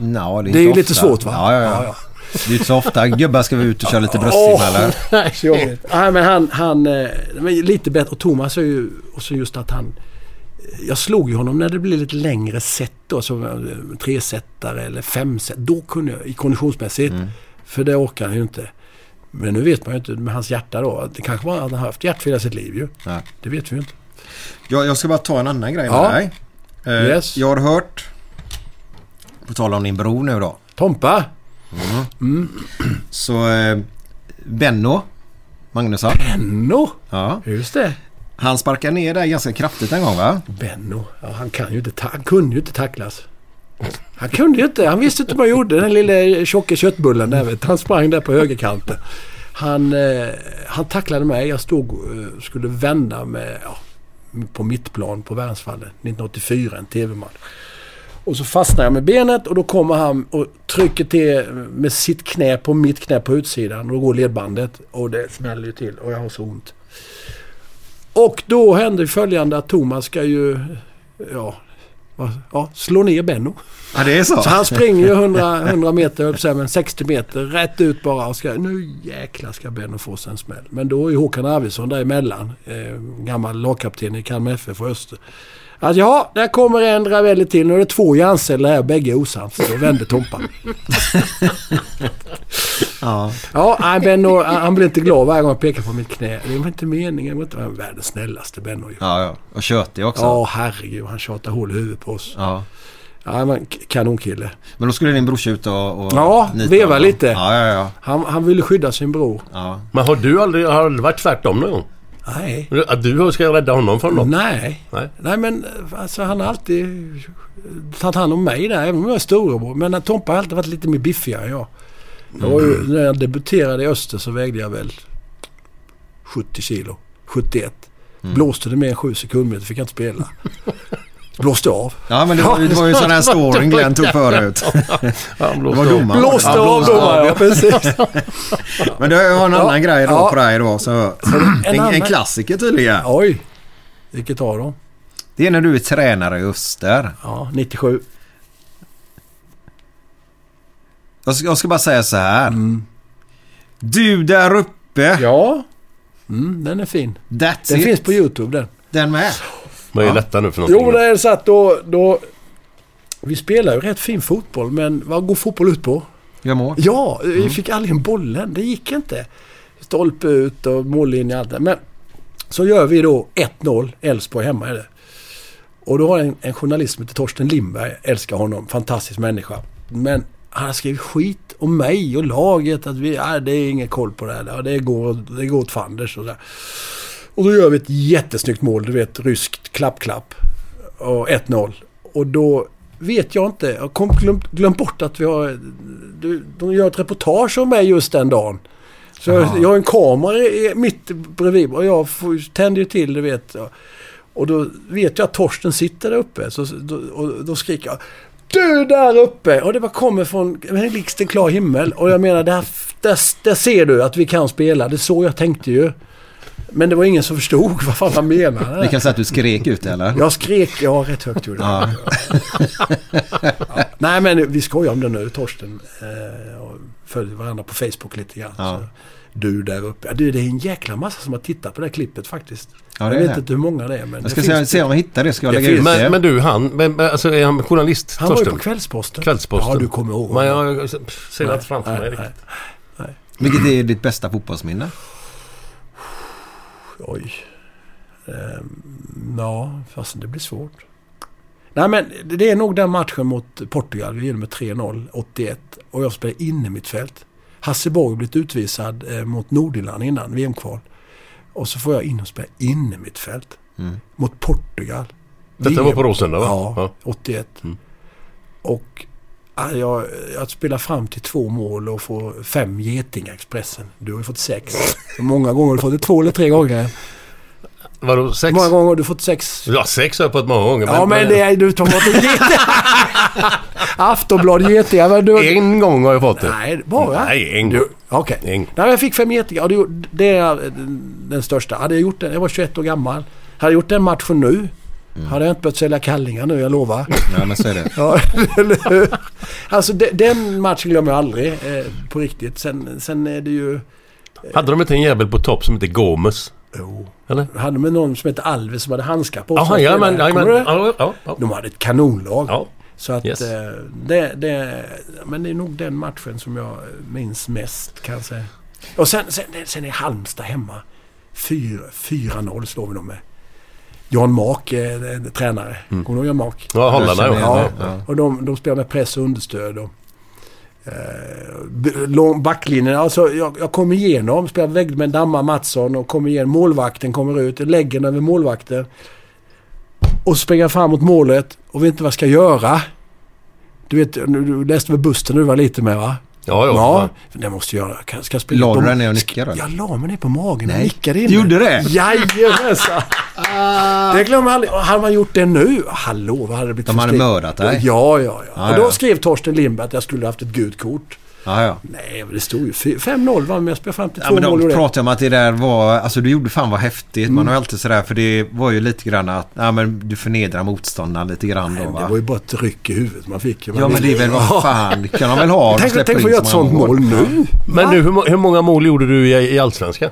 B: Nå,
E: Det är ju
B: inte
E: lite svårt, va?
B: Ja, ja, ja.
E: Ja, ja.
B: Det är ju inte så ofta. Gubbar ska vi ut och köra lite bröstsim
E: Åh,
B: eller?
E: nej, så jobbigt. Nej, men han... han eh, men lite bättre. Och Thomas är ju... Och så just att han... eh, Jag slog ju honom när det blev lite längre set då. Som eh, tresetare eller femset. Då kunde jag, i konditionsmässigt. För det orkar han ju inte. Men nu vet man ju inte med hans hjärta då. att Det kanske var att han har haft hjärtfel hela sitt liv ju.
B: Nej.
E: Det vet vi ju inte.
B: Jag, jag ska bara ta en annan grej med
E: Ja.
B: dig. Eh,
E: Yes.
B: Jag har hört, på tal om din bror nu då,
E: Tompa!
B: så eh, Benno Magnusson,
E: Benno!
B: ja,
E: Just det.
B: han sparkade ner dig ganska kraftigt en gång va?
E: Benno, ja, han, kan ju inte ta- han kunde ju inte tacklas. Han kunde ju inte. Han visste inte vad han gjorde. Den lille tjocka köttbullen där vet du. Han sprang där på högerkanten. Han, eh, han tacklade mig. Jag stod eh, skulle vända med, ja, på mittplan på Värnsvallen 1984, en TV-match. Och så fastnar jag med benet och då kommer han och trycker till med sitt knä på mitt knä på utsidan. Och då går ledbandet och det smäller ju till och jag har så ont. Och då hände följande att Thomas ska ju ja, vad- ja, slå ner Benno.
B: Ja det är så?
E: Så han springer ju 100, 100 meter, jag höll på att säga, men 60 meter rätt ut bara. Och ska, nu jäklar ska Benno få sig en smäll. Men då är Håkan Arvidsson däremellan. Eh, gammal lagkapten i Kalmar FF och Öster. Att ja, där kommer en Ravelli till. Nu är det två hjärnceller här, bägge är osams. Då vände Tompa.
B: Ja.
E: Ja, nej, Benno han han blir inte glad varje gång jag pekar på mitt knä. Det var inte meningen. Det var inte han är världens snällaste Benno ju.
B: Ja, ja. Och tjötig också.
E: Ja, herregud. Han tjatar hål i huvudet på oss.
B: Ja.
E: Ja, men k- kanonkille.
B: Men då skulle din brorsa ut och... och
E: Ja,
B: nita
E: veva
B: honom.
E: lite.
B: Ja, ja, ja.
E: Han, han ville skydda sin bror.
B: ja.
D: Men har du aldrig, har aldrig varit tvärtom någon gång?
E: Nej.
D: Att du ska rädda honom från något?
E: Nej.
D: Nej.
E: Nej, men eh, alltså, han har alltid tagit hand om mig där, även om jag är storebror. Men eh, Tompa har alltid varit lite mer biffigare än jag. jag var ju, när jag debuterade i Öster så vägde jag väl 70 kilo. 71. Blåste det mer än 7 sekundmeter fick jag inte spela. Blåste av.
B: Ja men det var, ju- det var ju en sån här story Glenn tog förut.
D: Han
B: Det
D: blåste
B: var
D: av.
B: domaren.
E: Blåste
B: Ja,
E: av domaren, ja precis.
B: Men du har en annan
E: Ja.
B: grej då
E: Ja.
B: på dig då. Så, en, en,
E: annan-
B: klassiker tydligen.
E: Oj. Vilket av dem?
B: Det är när du är tränare i Öster.
E: Ja, 97.
B: Jag ska, jag ska bara säga så här. Du där uppe.
E: Mm. Ja. Mm, den är fin.
B: That's
E: Den
B: it.
E: finns på YouTube den.
B: Den med.
D: Vad är detta nu för någonting?
E: Jo, det är så att då, då... Vi spelar ju rätt fin fotboll, men vad går fotboll ut på?
B: Gör mål.
E: Ja, eh, vi fick aldrig en bollen. Det gick inte. Stolpe ut och mållinje och allt det. Men så gör vi då 1-0. Elfsborg hemma är det. Och då har en, en journalist som heter Torsten Lindberg, älskar honom, fantastisk människa. Men han har skrivit skit om mig och laget. Att vi, nej, det är ingen koll på det här. Ja, Det går, det går åt fanders och sådär. Och då gör vi ett jättesnyggt mål. Du vet, ryskt klapp-klapp. Och 1-0. Och då vet jag inte. Jag kom glömt, glömt bort att vi har... Du, de gör ett reportage om mig just den dagen. Så jag, jag har en kamera i- mitt bredvid och jag får, ju- tänder ju till, du vet. Och då vet jag att Torsten sitter där uppe. Så, då, och då skriker jag Du där uppe! Och det bara kommer från en blixt en klar himmel. Och jag menar, där, där, där ser du att vi kan spela. Det är så jag tänkte ju. Men det var ingen som förstod vad fan han menade.
B: Vi kan säga att du skrek ut eller?
E: Jag skrek, ja rätt högt gjorde jag. ja. Nej men vi skojar om det nu Torsten. Eh, och följer varandra på Facebook lite grann.
B: Ja.
E: Så. Du där uppe. Ja, du, det är en jäkla massa som har tittat på det här klippet faktiskt.
B: Ja, det
E: jag
B: är
E: vet
B: det.
E: inte hur många det är. Men
B: Jag ska
E: det
B: se,
E: finns
B: se
E: det.
B: om jag hittar det. Ska jag
E: Det
B: lägga
E: finns-
B: ut det?
D: Men, men du, han, men, men, alltså är han journalist,
E: Han var ju
D: Torsten?
E: på Kvällsposten.
D: Kvällsposten.
E: Ja, du kommer ihåg.
D: Men
E: honom.
D: jag pff, ser inte framför mig
E: Nej,
D: riktigt.
E: nej.
B: Vilket är ditt bästa fotbollsminne?
E: Oj. Ehm, ja, fast det blir svårt. Nej men det är nog den matchen mot Portugal. Vi vinner med 3-0, 81. Och jag spelar inne mitt fält. Hasse Borg blivit utvisad eh, mot Nordirland innan VM-kval. Och så får jag in och spela inne mitt fält. Mot Portugal.
D: Detta
E: VM.
D: var på Råsunda va?
E: Ja, 81. Och Ja, Jag, jag spelar fram till två mål och får fem getingar Expressen. Du har ju fått sex. Många gånger har du fått det två eller tre gånger.
D: Vadå, sex?
E: Många gånger har du fått sex.
D: Ja, sex har jag fått många gånger.
E: Ja men det är, du tar bort en geting. Aftonbladet getingar. Men du,
D: En gång har jag fått det.
E: Nej, bara?
D: Nej, en gång.
E: Du- Okej.
D: En gång.
E: Nej, men jag fick fem getingar. och det- Det är eh, den största. Hade jag gjort den, jag var 21 år gammal. Hade jag gjort den matchen nu, hade jag inte behövt sälja kallingar nu, jag lovar.
B: Ja, men så är det.
E: Ja, eller hur? Alltså de, den matchen glömmer jag aldrig eh, på riktigt. Sen, sen är det ju...
D: Hade de inte en jävel på topp som hette Gomes?
E: Jo.
D: Eller?
E: Hade med någon som hette Alves som hade handskar på
D: Jaha,
E: sig.
D: jajamän, jajamän.
E: Kommer du ihåg det?
D: Ja, ja, ja.
E: De hade ett kanonlag.
D: Ja.
E: Så att
D: Yes.
E: eh, det, det... Men det är nog den matchen som jag minns mest kan jag säga. Och sen, sen, sen är Halmstad hemma. Fyra- 4-0 slår vi dem med. Jan Mark är eh, tränare. Kommer du ihåg Jan Mark?
D: Ja, Hollarna
B: Jag känner
D: ja.
B: igen
E: Ja,
B: det. Ja.
E: och de, de spelar med press och understöd. Och, eh, b- lång backlinjen. Alltså, jag, jag kom igenom, spelade vägg med Damma Mattsson och kom igen. Målvakten kommer ut, lägger den över målvakten. Och springer fram mot målet och vet inte vad jag ska göra. Du vet, nu- du läste väl Buster när du var liten med va?
D: Ja, ja.
E: ja. Det måste jag göra. Ska, ska jag springa
B: La
E: på-
B: du dig ner och nickade, eller?
E: Jag la mig ner på magen och
B: Nej.
E: nickade in.
B: Du gjorde det? Ah.
E: Jajamensan! Det glömmer jag aldrig. Och Hade man gjort det nu? Hallå, vad hade det blivit
B: De
E: för
B: hade
E: skrik?
B: mördat dig.
E: Ja, ja, ja.
B: Ja,
E: och då
B: ja.
E: skrev Torsten Lindberg att jag skulle haft ett gult kort.
B: Ja, ja.
E: Nej, men det stod ju fy- 5-0 va, men jag Mm. spelade fram till
B: Ja,
E: två
B: men
E: mål och
B: de
E: det.
B: pratade om att det där var, alltså du gjorde fan vad häftigt. Man har ju alltid sådär, för det var ju lite grann att, ja men du förnedrar motståndaren lite grann då
E: Men
B: va?
E: Det var ju bara ett ryck i huvudet man fick. ju. Man
B: Ja men det är väl vad fan, det kan de väl ha? De
E: Tänk,
B: släpper
E: tänk få
B: in
E: göra
B: så
E: ett
B: många
E: sånt mål nu.
D: Men nu, hur, må- hur många mål gjorde du i, i Allsvenskan?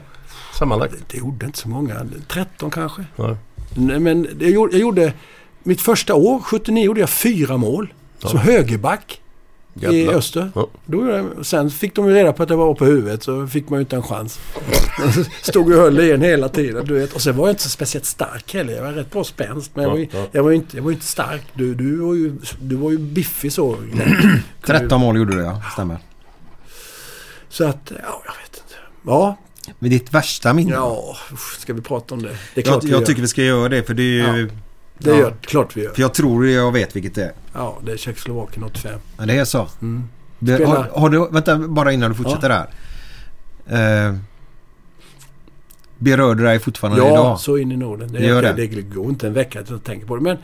D: Sammanlagt?
E: Det gjorde inte så många. 13 kanske.
D: Ja.
E: Nej, men det jag gjorde, jag gjorde... Mitt första år, 79, gjorde jag fyra mål. Som högerback. I
D: Jävlar.
E: Öster.
D: Ja.
E: Då gjorde jag, och sen fick de ju reda på att jag var på huvudet så fick man ju inte en chans. Stod och höll i en hela tiden. Du vet. Och sen var jag inte så speciellt stark heller. Jag var rätt bra spänst. Men jag var ju, jag var ju, inte, jag var ju inte stark. Du, du, var ju, du var ju biffig så.
B: 13 mål gjorde du ja, stämmer.
E: Så att, ja, jag vet inte. Ja,
B: Men ditt värsta minne?
E: ja. usch, Ska vi prata om det? Det är klart
B: jag,
E: vi
B: jag
E: gör.
B: tycker vi ska göra det för det är ju...
E: Det
B: ja.
E: gör, klart vi gör.
B: För jag tror jag vet vilket det är.
E: Ja, det är Tjeckoslovakien 85.
B: Men det är så?
E: Mm.
B: Det,
E: Spela.
B: har, har du, vänta bara innan du fortsätter där. Eh, berör det dig fortfarande
E: ja,
B: idag?
E: så in i Norden. Det,
B: Gör
E: det.
B: det.
E: det går inte en vecka att jag tänker på det. Men,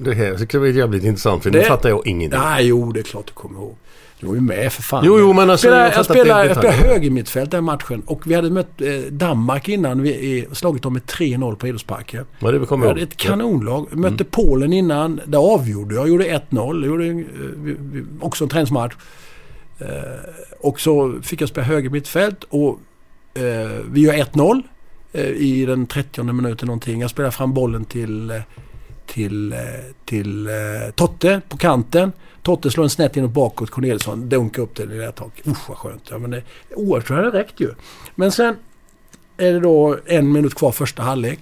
D: Det här ska bli jävligt intressant för nu
E: Det-
D: fattar jag ingenting.
E: nej, jo, det är klart du kommer ihåg. Du var ju med för fan.
D: Jo, jo, men alltså,
E: spelade,
D: jag
E: jag
D: fattar
E: spelade,
D: att
E: jag
D: det är
E: spelade
D: detaljer.
E: höger mittfält den matchen och vi hade mött eh, Danmark innan. Vi eh, slagit dem med 3-0 på Idrottsparken.
D: Ja, det kommer
E: Vi
D: jag
E: hade
D: ihåg.
E: ett kanonlag. Mötte Polen innan. Där avgjorde jag. Gjorde 1-0. Gjorde eh, vi- vi- också en träningsmatch. Eh, och så fick jag spela höger mittfält och eh, vi gör 1-0 eh, i den 30 minuten någonting. Jag spelar fram bollen till, eh, till, eh, till eh, Totte på kanten. Totte slår en snett inåt bakåt. Corneliusson dunkar upp den i det här taket. Usch vad skönt. Ja, men det, oerhört hade det räckt ju. Men sen är det då en minut kvar första halvlek.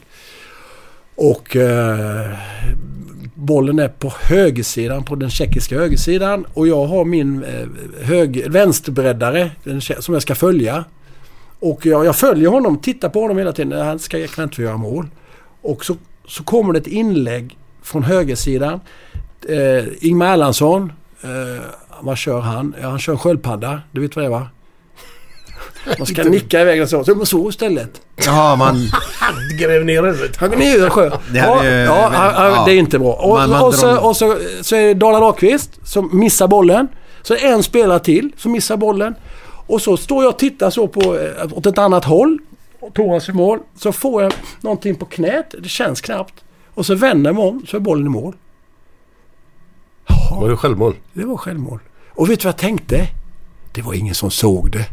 E: Och eh, bollen är på högersidan, på den tjeckiska högersidan. Och jag har min eh, hög, vänsterbreddare den, tje- som jag ska följa. Och jag, jag följer honom, tittar på honom hela tiden. Han ska, jag kan inte göra mål. Och så, så kommer det ett inlägg från högersidan. Eh, Ingmar Erlandsson. Eh, vad kör han? Ja, han kör en sköldpadda. Du vet vad det är va? Man ska nicka iväg den så. Så, så istället.
B: Ja, man...
D: Gräv ner huvudet.
E: Han går ner i en sjö.
B: Det
E: ja,
B: hade ju-
E: ja, han- han-
B: ja.
E: det är inte bra. Och,
B: Man- man
E: och, så,
B: drar-
E: och så, så är det Dala Dahlqvist som missar bollen. Så är det en spelare till som missar bollen. Och så står jag och tittar så på, eh, åt ett annat håll. Och Thomas i mål. Så får jag någonting på knät. Det känns knappt. Och så vänder jag mig om så är bollen i mål.
D: Var det självmål?
E: Det var självmål. Och vet du vad jag tänkte? Det var ingen som såg det.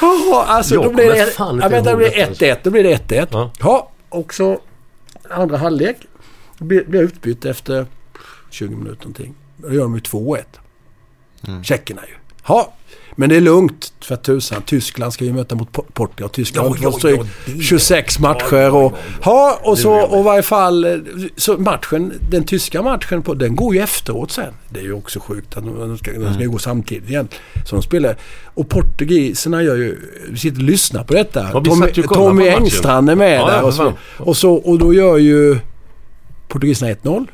E: Jaha, alltså
D: Jag
E: då blir
D: kommer
E: det
D: fan inte
E: ja, vänta, då
D: ihåg
E: blir
D: detta,
E: det 1-1. Då blir det 1-1.
D: Ja.
E: Ja. och så andra halvlek. Då blir blir jag utbytt efter 20 minuter någonting. Då gör de ju 2-1. Tjeckerna ju. Ja, men det är lugnt för tusan. Tyskland ska ju möta mot Po- Portugal. Tyskland har fått stryk 26 matcher. Och, ja, och så och i varje fall... eh, Så matchen, den tyska matchen, på, den går ju efteråt sen. Det är ju också sjukt att de de ska, de ska
D: Mm.
E: ju gå samtidigt igen. Så de spelar. Och portugiserna gör ju... Vi sitter och lyssnar på detta.
D: Ja, vi
E: Tommy,
D: satt ju och kollade
E: Tommy
D: på matchen.
E: Engstrand är med
D: Ja, ja,
E: där.
D: för
E: Och så,
D: fan.
E: och så och då gör ju portugiserna 1-0.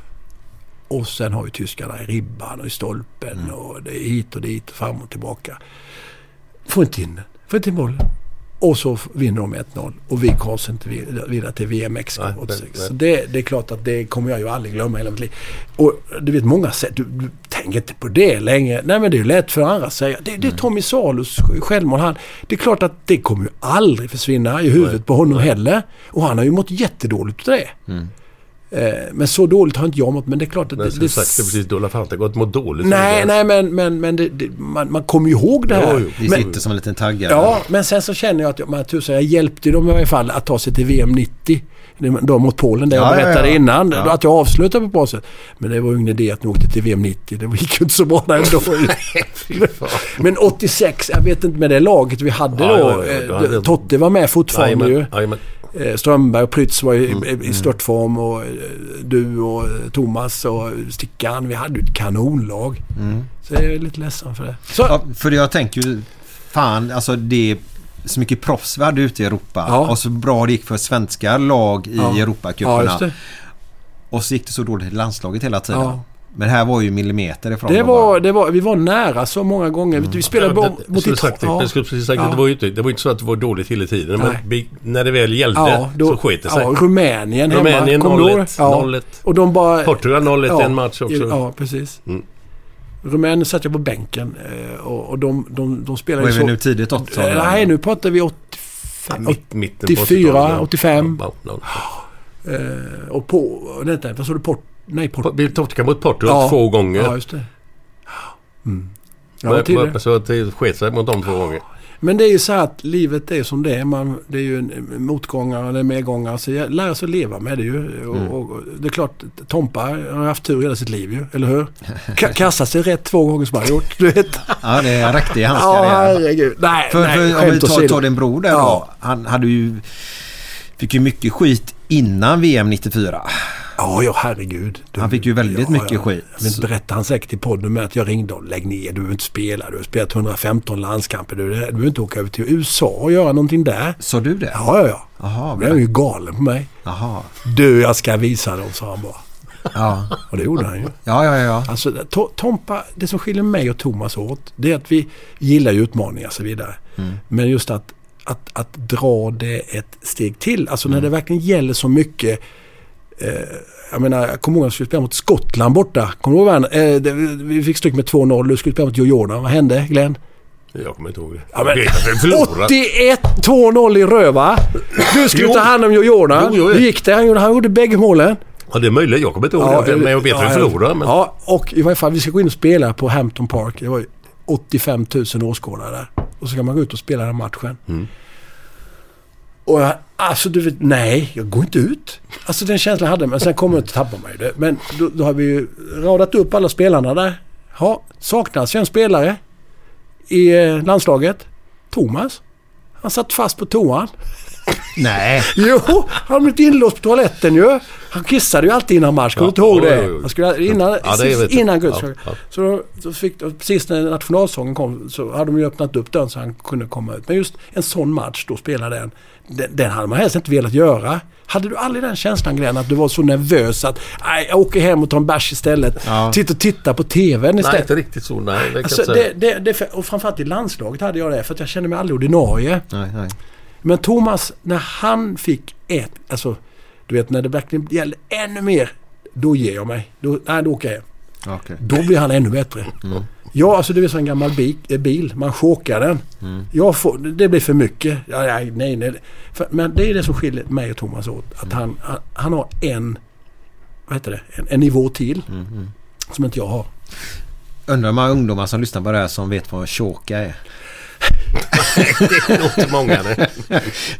E: Och sen har ju tyskarna i ribban och i stolpen
M: Mm.
E: och det är hit och dit och fram och tillbaka. Får inte in den. Får inte in bollen. Och så vinner de 1-0 och vi kvalas inte vid- vidare till VMX
M: Nej,
E: 86.
M: nej.
E: Så det, det är klart att det kommer jag ju aldrig glömma i hela mitt liv. Och du vet många säger, du, du tänker inte på det längre. Nej men det är ju lätt för andra att säga. Det, det är
M: Mm.
E: Tommy Salus självmål. Han, det är klart att det kommer ju aldrig försvinna i huvudet på honom heller. Och han har ju mått jättedåligt utav det. Eh, men så dåligt har inte jag mått. Men det är klart att
M: Mm. Men
E: det,
M: som
E: det,
M: sagt, det är precis Dola Fanta gått mot dåligt.
E: Nej, nej men, men, men det, det, man, man kommer ju ihåg det här.
B: Det
E: men,
B: sitter som en liten tagg här.
E: Ja, men sen så känner jag att jag, men tusan, jag hjälpte dem i varje fall att ta sig till VM 90. De mot Polen, det
B: Ja,
E: jag
B: ja,
E: berättade
B: ja.
E: innan.
B: Ja.
E: Att jag avslutade på ett bra sätt. Men det var ju ingen idé att ni åkte till VM 90. Det gick ju inte så bra där ändå. men 86, jag vet inte med det laget vi hade
M: Ja,
E: då.
M: ja, ja, ja.
E: eh, d- Totte var med fortfarande ju.
M: Jajamän.
E: Eh, Strömberg och Prytz var ju i-
B: Mm.
E: i, i störtform och eh, du och eh, Thomas och Stickan. Vi hade ju ett kanonlag.
B: Mm.
E: Så jag är lite ledsen för det.
B: Ja, för jag tänker ju, fan alltså det är så mycket proffs vi hade ute i Europa och så bra det gick för svenska lag i
E: Ja. Ja,
B: Europacuperna.
E: just det.
B: och så gick det så dåligt i landslaget hela tiden.
E: Ja.
B: Men här var ju millimeter ifrån.
E: Det
B: dem bara. Mm.
E: var, det var, vi var nära så många gånger. Vi- Vi spelade
B: Ja,
E: ja,
B: det-
D: Jag
E: mot
D: skulle sagt det.
E: Italien.
D: Jag skulle precis sagt det. Det var ju inte, det var ju inte så att det var dåligt hela tiden. Men
E: Nej.
D: vi- när det väl gällde
E: Ja, då-
D: så sket det sig.
E: ja, Rumänien hemma.
D: Rumänien
E: Kommer du ihåg?
D: 0-1.
E: Ja.
D: 0-1.
E: Och de bara...
D: Portugal 0-1
E: ja,
D: en match också.
E: Ja, precis.
D: Mm.
E: Rumänien satt jag på bänken eh, och, och de, de, de spelade
B: Vad
E: ju
B: är
E: så...
B: vi nu? Tidigt 80-tal?
E: Eh, Nej, nu pratar vi 85,
D: mitten på
E: 84,
D: 80-talet.
E: 85.
D: Ja, ja,
E: Eh, och på... Vänta, vad sa du? Port... Nej, Port...
D: Vi torskade mot Portugal två gånger.
E: Ja, just det. Ja,
D: Men-
E: till det.
D: men- Så att det sket sig mot dem två gånger.
E: Men det är ju så här att livet är som det är. Man, det är ju en- motgångar eller medgångar. Så jag lär sig att leva med det ju. Och,
B: Mm.
E: och, och det är klart, Tompa har haft tur hela sitt liv ju, eller hur? Ka- kastat sig rätt två gånger som han har gjort, du vet.
B: Ja, det är riktigt hans
E: Ja,
B: karriär.
E: herregud. Nej,
B: för,
E: nej,
B: för, om vi
E: skämt
B: tar,
E: åsido.
B: tar din bror där
E: Ja.
B: då. Han hade ju... Fick ju mycket skit innan VM 94.
E: Ja, ja herregud.
B: han fick ju väldigt mycket skit.
E: Men berättar han säkert i podden med att jag ringde och lägg ner, du behöver inte spela. Du har spelat 115 landskamper. Du, du behöver inte åka över till USA och göra någonting där.
B: Sa du det?
E: Ja, ja, ja.
B: Jaha,
E: Det är ju galen på mig.
B: Jaha.
E: Du, jag ska visa dem, sa han bara.
B: Ja.
E: Och det gjorde han ju.
B: Ja, ja, ja.
E: Alltså, to- Tompa, det som skiljer mig och Thomas åt, det är att vi gillar ju utmaningar och så vidare. Mm. Men just att, att, att dra det ett steg till. Alltså
D: Mm.
E: när det verkligen gäller så mycket. Eh, jag menar, jag kommer ihåg att vi skulle spela mot Skottland borta. Kommer du ihåg Werner? eh, det, Vi fick stryk med 2-0. Du skulle spela mot Joe Jordan. Vad hände Glenn?
D: Jag kommer inte ihåg det.
E: Ja, men,
D: Jag vet att vi förlorade.
E: 81 2-0 i röva. Du skulle
D: Jo.
E: ta hand om Joe Jordan.
D: Jo, jo, jo.
E: Hur gick det? Han gjorde, han gjorde bägge målen.
D: Ja, det är möjligt. Jag kommer inte ihåg det. Men jag vet att vi förlorade. Men...
E: Ja, och i varje fall vi ska gå in och spela på Hampton Park. Det var ju 85 000 åskådare där. Och så kan man gå ut och spela den matchen.
D: Mm.
E: Och jag, alltså du vet, nej, jag går inte ut. Alltså den känslan hade jag, men sen kommer jag inte tappa mig. Det. Men då, då har vi ju radat upp alla spelarna där. Ja, saknas ju en spelare i eh, landslaget. Thomas. Han satt fast på toan.
B: Nej.
E: Jo, han blev inte inlåst på toaletten ju. Han kissade ju alltid innan match. Kommer du inte ihåg
D: jo, jo,
E: det?
D: jo.
E: Han skulle, innan
D: Ja, det
E: sist,
D: vet jag.
E: innan Guds
D: Ja, ja.
E: Så då, då fick, då, precis när nationalsången kom så hade de ju öppnat upp dörren så han kunde komma ut. Men just en sån match då spela den, den, den hade man helst inte velat göra. Hade du aldrig den känslan Glenn att du var så nervös att nej, jag åker hem och tar en bärs istället.
D: Ja.
E: Titta och titta på TVn
D: Nej,
E: istället.
D: inte riktigt så. Nej, det kan jag
E: Alltså,
D: inte säga.
E: det, det, det, och framförallt i landslaget hade jag det för att jag kände mig aldrig ordinarie. Men Thomas, när han fick ett, alltså du vet när det verkligen gällde ännu mer, då ger jag mig. Då, nej, då åker jag hem.
B: Okej.
E: Då blir han ännu bättre.
B: Mm.
E: Ja, alltså det är som en gammal bi- eh, bil. Man chokar den.
B: Mm.
E: Jag får, det blir för mycket. Ja, nej, nej, nej. För, men det är det som skiljer mig och Thomas åt. Att
B: Mm.
E: han, han, han har en, vad heter det, en, en nivå till
B: Mm.
E: som inte jag har.
B: Undrar om man har ungdomar som lyssnar på det här som vet vad en choka är.
D: det är nog inte många. nej.
B: Det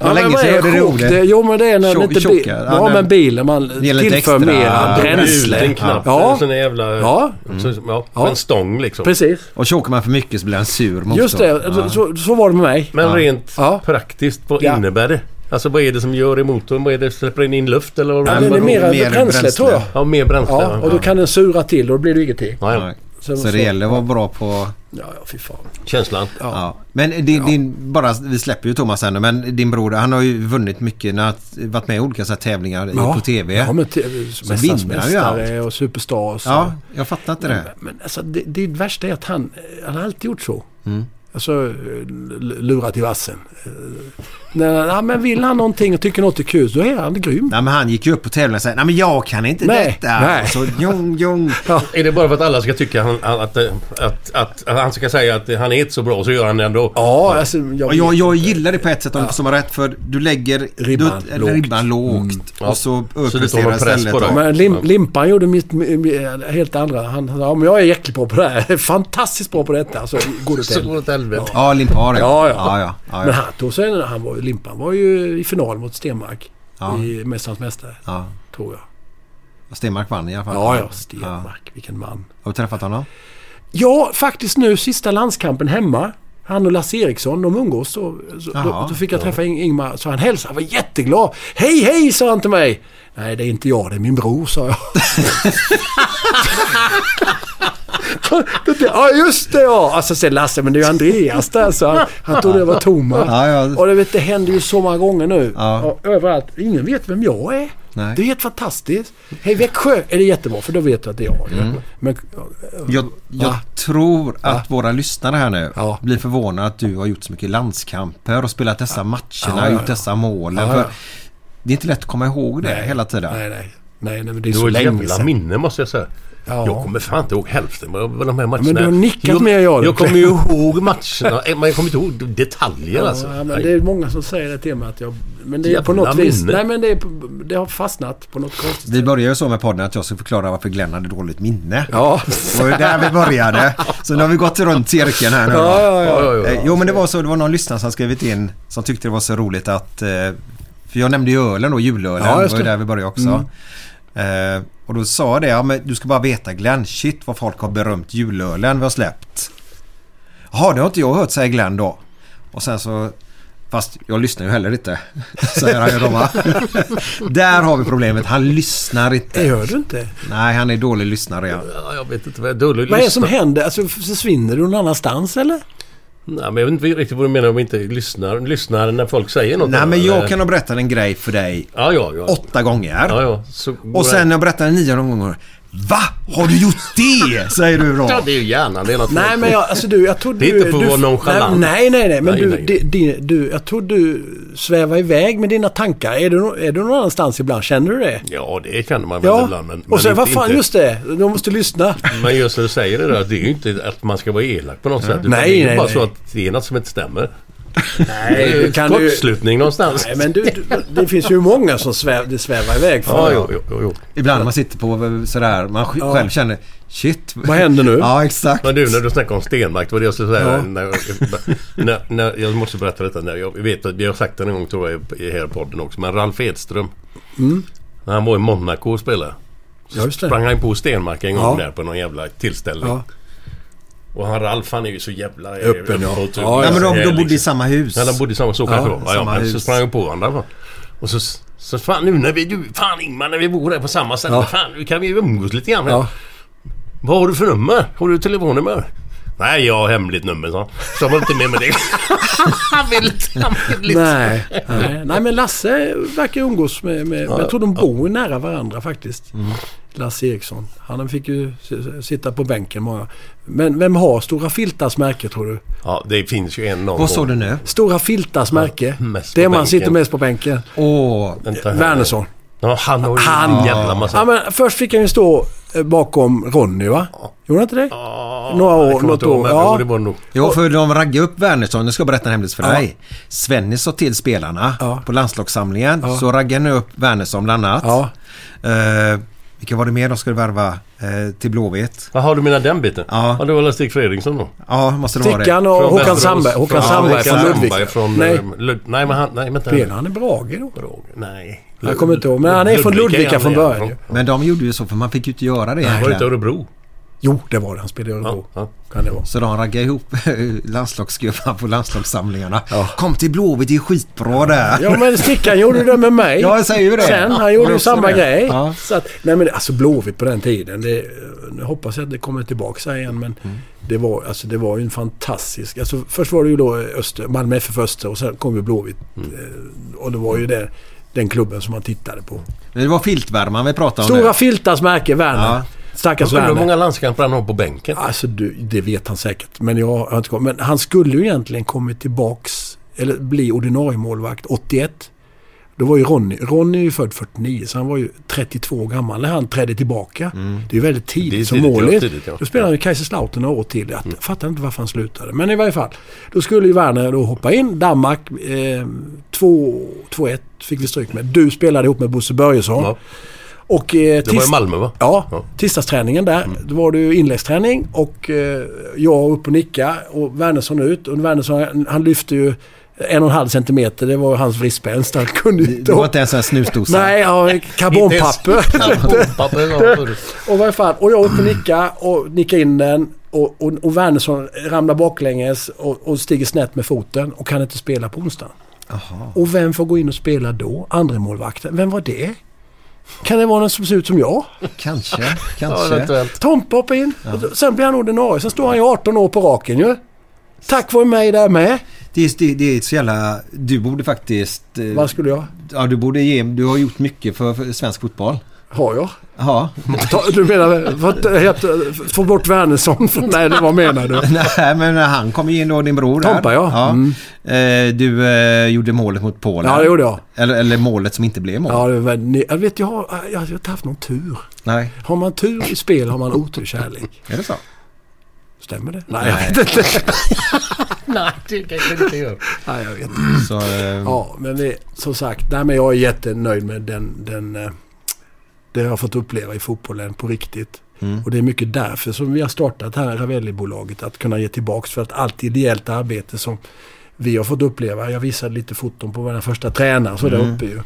B: var länge
E: vad
B: sedan jag
E: är
B: hörde det
E: chock?
B: ordet.
E: Det- Jo men det är när
B: Tjock-
E: det inte
B: tjockare.
E: bil,
B: Ja,
E: ja,
B: men-
E: men bilen man
B: det gäller lite
E: tillför
B: extra-
E: mer bränsle.
D: En knapp.
E: Ja.
D: En sån där jävla...
E: Ja.
D: Så, ja. En stång liksom.
E: Precis.
B: Och chokar man för mycket så blir han sur motståndare.
E: Just det,
B: Ja.
E: så, så var det med mig.
D: Men rent praktiskt, vad
E: Ja.
D: innebär det? Alltså vad är det som gör i motorn? Vad är det? Släpper den in luft eller? vad-
E: Ja, den är
D: Vadå?
E: mera bränsle, tror jag.
D: Ja, mer bränsle.
E: Ja, och då kan den sura till och då blir det ingenting.
D: Nej.
B: Så, det gäller att vara bra på...
E: Ja, ja, fy fan.
D: Känslan.
B: Ja. Men din, din, bara, vi släpper ju Thomas här nu, men din bror han har ju vunnit mycket när han varit med i olika så här tävlingar på TV.
E: Ja, men TV,
B: så vinner han ju allt.
E: och superstars.
B: Ja, jag fattar inte
E: Men,
B: det.
E: men alltså, det, det värsta är att han, eh, han har alltid gjort så.
B: Mm.
E: Alltså, l- lurat i vassen. Eh, När, ja, men vill han någonting och tycker något är kul, då är han grym.
B: Nej, men han gick ju upp på tävlingen och sa nej men jag kan inte
E: Nej,
B: detta.
E: nej.
B: Och Så, jong, jong.
D: Är det bara för att alla ska tycka han, att, att, att, att, att han ska säga att han är inte så bra så gör han det ändå?
E: Ja, alltså, jag,
B: Och jag, jag gillar det på ett sätt om som har rätt för du lägger
E: Ribban
B: du,
E: lågt. Mm.
B: ribban lågt
D: Ja.
B: och så
D: Så du tar
B: överpresterar
D: någon press
B: istället.
D: på det?
E: Men lim, Limpan gjorde mitt, mitt- helt andra. Han sa, ja men jag är jäkligt bra på det här. Fantastiskt bra på detta. alltså. Så går det
D: Så
E: till.
D: går det åt helvete.
B: Ja, limpar
E: Ja, ja.
B: ja, ja, ja,
E: Men
B: ja.
E: han tog sig, han var ju, Limpan var ju i final mot Stenmark
B: Ja.
E: i Mästarnas Mästare.
B: ja.
E: Tror jag.
B: Stenmark vann i alla fall.
E: Ja, ja. Stenmark, vilken man.
B: Har du träffat honom?
E: Ja, faktiskt nu sista landskampen hemma. Han och Lasse Eriksson, de umgås. Så, så,
B: Jaha,
E: då, då fick jag träffa Ing- Ingmar, så han hälsade. Han var jätteglad. Hej, hej, sa han till mig. Nej, det är inte jag, det är min bror, sa jag. Då tänkte jag, Ja just det ja! Alltså sen Lasse, men det är ju Andreas där så han, han trodde det var Thomas.
B: Ja, ja.
E: Och du vet, det händer ju så många gånger nu.
B: Ja.
E: Och överallt. Ingen vet vem jag är.
B: Nej.
E: Det är helt fantastiskt. Hej Växjö är det jättebra för då vet du att det är jag.
B: Mm.
E: Men,
B: Jag, jag
E: Va?
B: tror att våra lyssnare här nu
E: Ja.
B: blir förvånade att du har gjort så mycket landskamper och spelat dessa matcherna,
E: Ja, ja,
B: gjort dessa målen.
E: Ja, ja.
B: För det är inte lätt att komma ihåg det hela tiden.
E: nej, nej. Nej, nej men det är
D: Det
E: så
D: var ett
E: länge
D: jävla
E: sedan.
D: minne måste jag säga.
E: Ja.
D: Jag kommer fan inte ihåg hälften av de här matcherna.
E: Men du har nickat
D: jag,
E: mer än jag.
D: Jag kommer ju ihåg matcherna. Eh, Men jag kommer inte ihåg detaljer alltså.
E: Ja, men det är många som säger det till mig att jag... Men det är på
D: Jävla
E: något vis...
D: minne.
E: Nej men det, är, på- det har fastnat på något konstigt
B: Vi började ju så med podden att jag ska förklara varför Glenn hade dåligt minne.
E: Ja.
B: Det var ju där vi började. Så nu har vi gått runt cirkeln här nu. va?
E: ja, ja.
D: ja, ja.
B: Eh, Jo men det var så, det var någon lyssnare som skrivit in som tyckte det var så roligt att... eh, För jag nämnde ju ölen då, julölen.
E: Ja,
B: det
E: just
B: var ju
E: det.
B: där vi började också. Eh, Och då sa jag det, ja men du ska bara veta Glenn, shit vad folk har berömt julölen vi har släppt. Jaha, det har inte jag hört, säger Glenn då. Och sen så... Fast jag lyssnar ju heller inte, säger han ju då va? Där har vi problemet, han lyssnar
E: Det
B: inte.
E: gör du inte.
B: Nej, han är dålig lyssnare ja.
D: Ja, jag vet inte vad jag dålig
E: Vad är det som
D: lyssnare.
E: händer? Alltså försvinner du någon annanstans eller?
D: Nej, men jag vet inte riktigt vad du menar om inte lyssnar, lyssnar när folk säger något.
B: Nej, men
D: Eller-
B: jag kan ha berättat en grej för dig
D: Ja, ja, ja.
B: åtta gånger.
D: ja, ja. Så går
B: Och sen när jag berättar den nionde gången. Va? Har du gjort det? Säger du
D: Ja,
B: då.
D: det är ju hjärnan. Det är något
E: Nej men jag, alltså du, jag tror
D: Det är
E: du...
D: inte för att
E: du,
D: vara nonchalant.
E: Nej, nej, nej. Men
D: Nej,
E: du,
D: nej.
E: di- di- du, jag tror du svävar iväg med dina tankar. Är du, nå- är du någon annanstans ibland? Känner du det?
D: Ja, det känner man väl
E: Ja.
D: ibland. Men, men
E: Och sen,
D: inte-
E: vad fan,
D: inte-
E: just det. De måste lyssna.
D: Men just när du säger det där, det är ju inte att man ska vara elak på något sätt. utan
E: Nej,
D: det är ju
E: nej,
D: bara
E: nej.
D: så att det är något som inte stämmer. Nej, det är
E: kan
D: kan
E: du-
D: kortslutning någonstans.
E: Nej, men du, du, det finns ju många som sväv, det svävar iväg.
D: Ja, jo, jo, jo, jo.
B: Ibland man sitter på sådär. Man sj-
E: Ja.
B: själv känner. Shit.
E: Vad händer nu?
B: Ja exakt.
D: Men du, när du snackar om Stenmark, det var det jag skulle säga. När, när, när, jag måste berätta detta. När jag vet att vi har sagt det en gång tror jag i här i podden också. Men Ralf Edström. När han var i Monaco och spelade.
E: Ja, just det.
D: sprang han på Stenmark en gång
E: Ja.
D: där på någon jävla tillställning.
E: Ja.
D: Och han Ralf han är ju så jävla...
E: Öppen, ja.
D: uppåt,
E: Ja,
D: uppåt,
B: Nej, men
D: så här,
B: de, de bodde i
D: liksom.
B: samma hus.
D: Ja, de bodde i samma... Så kanske det var. Ja,
B: samma
D: ja, men så
B: hus.
D: sprang jag på varandra. va. Och så... Så fan nu när vi... Du, fan Ingmar, när vi bor där på samma ställe.
E: Ja.
D: Fan, nu kan vi ju umgås lite grann.
E: Ja.
D: Vad har du för nummer? Har du telefonnummer? Nej, jag har hemligt nummer, sa han. Så han var inte med med det. han vill inte hemligt.
E: Nej. Nej. Nej, men Lasse verkar umgås med... med jag tror de bor nära varandra faktiskt.
D: Mm.
E: Lasse Eriksson. Han fick ju s- sitta på bänken många. Men vem har Stora Filtars märke tror du?
D: Ja, det finns ju en någon
B: Vad sa
D: gång.
B: du nu?
E: Stora Filtars märke.
D: mest
E: det
D: på
E: man
D: bänken.
E: sitter mest på bänken.
B: Åh.
D: Vänta här.
E: Wernersson.
D: Ja, han har ju en
E: Han-
D: Ah. jävla massa...
E: Ja, men först fick han ju stå eh, bakom Ronny va? Gjorde han inte det?
D: Ja,
E: Några
D: Ah, jag
E: år,
D: kommer
E: något
D: inte ihåg,
E: år.
D: men
E: Ja.
D: jo, det var nog.
B: Jo, för de raggade upp Wernersson. Nu ska jag berätta en hemlis för dig. Svennis sa till spelarna på landslagssamlingen. Så raggade han upp Wernersson bland annat.
E: Ja.
B: Eh, vilka var det mer de skulle värva eh, till Blåvitt?
D: Jaha, du menar den biten?
B: Ja.
D: ja det var väl Stig Fredriksson då?
B: Ja, måste det vara det.
E: Stickan och
D: Från
E: Håkan
D: Västerås.
E: Sandberg. Håkan Sandberg
D: Håkan
E: från Ludvika.
D: Sandberg från...
E: Nej.
D: Nej, Lud... nej men han... Nej, vänta.
E: Spelar han i Brage då?
D: Brage? Nej.
E: Jag kommer inte ihåg, men han är från Ludvika
D: han
E: från
D: är
E: början
D: från.
E: ju.
B: Men de gjorde ju så för man fick ju inte göra det
D: Han var inte
B: egentligen.
D: Örebro.
E: Jo, det var det. Han spelade i Örebro. Kan det vara.
B: Så de raggar ihop eh, landslagsgubbar på landslagssamlingarna. Kom till Blåvitt, det är skitbra där.
E: Ja men Stickan gjorde det med mig.
B: Ja, jag säger ju det.
E: Sen,
B: Ja,
E: han gjorde
B: men
E: ju
B: också
E: samma
B: det.
E: grej.
B: Ja.
E: Så att, nej men alltså Blåvitt på den tiden. Det, nu hoppas jag att det kommer tillbaka igen men
B: Mm.
E: det, var, alltså, det var ju en fantastisk... Alltså, först var det ju då Öster, Malmö FF Öster och sen kom ju Blåvitt.
D: Mm.
E: Eh, Och det var ju det, den klubben som man tittade på.
B: Men Det var filtvärman vi pratade om
E: Stora
B: nu.
E: Filtars märke, Werner.
B: Ja.
E: Stackars
D: Undrar hur
E: Werner.
D: många landskamper han har på bänken.
E: Alltså du, det vet han säkert. Men jag har inte kommit. Men han skulle ju egentligen kommit tillbaks eller bli ordinarie målvakt 81. Då var ju Ronny. Ronny är ju född 49 så han var ju 32 år gammal när han trädde tillbaka. Det är ju väldigt tidigt,
D: Mm. Det är
E: som
D: tidigt, ja,
E: målis.
D: tidigt, ja. Mm.
E: Då spelade han i Kaiserslautern några år till. Jag fattar inte varför han slutade. Men i varje fall. Då skulle ju Werner då hoppa in. Danmark eh, 2 2-1 fick vi stryk med. Du spelade ihop med Bosse Börjesson.
D: Ja.
E: Och, eh,
D: Det var i
E: tis-
D: Malmö va?
E: Ja, tisdagsträningen där.
B: Mm.
E: Då var det ju inläggsträning och eh, jag upp och nicka och Wernersson ut. Och Wernersson han- han lyfte ju en och en halv centimeter. Det var ju hans vristspänst. Han kunde ju
B: Det
E: inte...
B: var inte ens en snusdosa.
E: Nej, ja, karbonpapper. och vad fan. Och jag upp och nicka och nicka in den. Och, och, och Wernersson ramlar baklänges och, och stiger snett med foten och kan inte spela på onsdagen. Och vem får gå in och spela då? Andra målvakten. Vem var det? Kan det vara någon som ser ut som jag?
B: Kanske, kanske.
E: Tompa hoppar in. Och då- Sen blir han ordinarie. Sen står han ju 18 år på raken ju. Tack vare mig där med.
B: Det är, det, det är så jävla... Du borde faktiskt... eh,
E: Vad skulle jag?
B: Ja, du borde ge... Du har gjort mycket för, för svensk fotboll.
E: Har jag?
B: Ja.
E: Ta, du menar vad heter, få bort Wernersson? från- Nej, det var menar du?
B: Nej, men han kom ju in och din bror där.
E: Tompa, ja. Mm.
B: Eh, Du eh, gjorde målet mot Polen.
E: Ja, det gjorde jag.
B: Eller, eller målet som inte blev mål.
E: Ja, det var, ni, jag vet, jag har, jag har inte haft någon tur.
B: Nej,
E: Har man tur i spel har man otur i kärlek.
B: är det så?
E: Stämmer det? Nej, jag vet inte.
D: Nej, Ah, det kanske inte gör.
E: Nej, jag vet inte.
B: Så, eh,
D: Mm.
E: Ja, men det, som sagt, nej, men jag är jättenöjd med den, den, eh, det jag har fått uppleva i fotbollen på riktigt.
D: Mm.
E: Och det är mycket därför som vi har startat här Ravelli-bolaget, att kunna ge tillbaks för att allt ideellt arbete som vi har fått uppleva. Jag visade lite foton på vår första tränare så
D: Mm.
E: där uppe ju.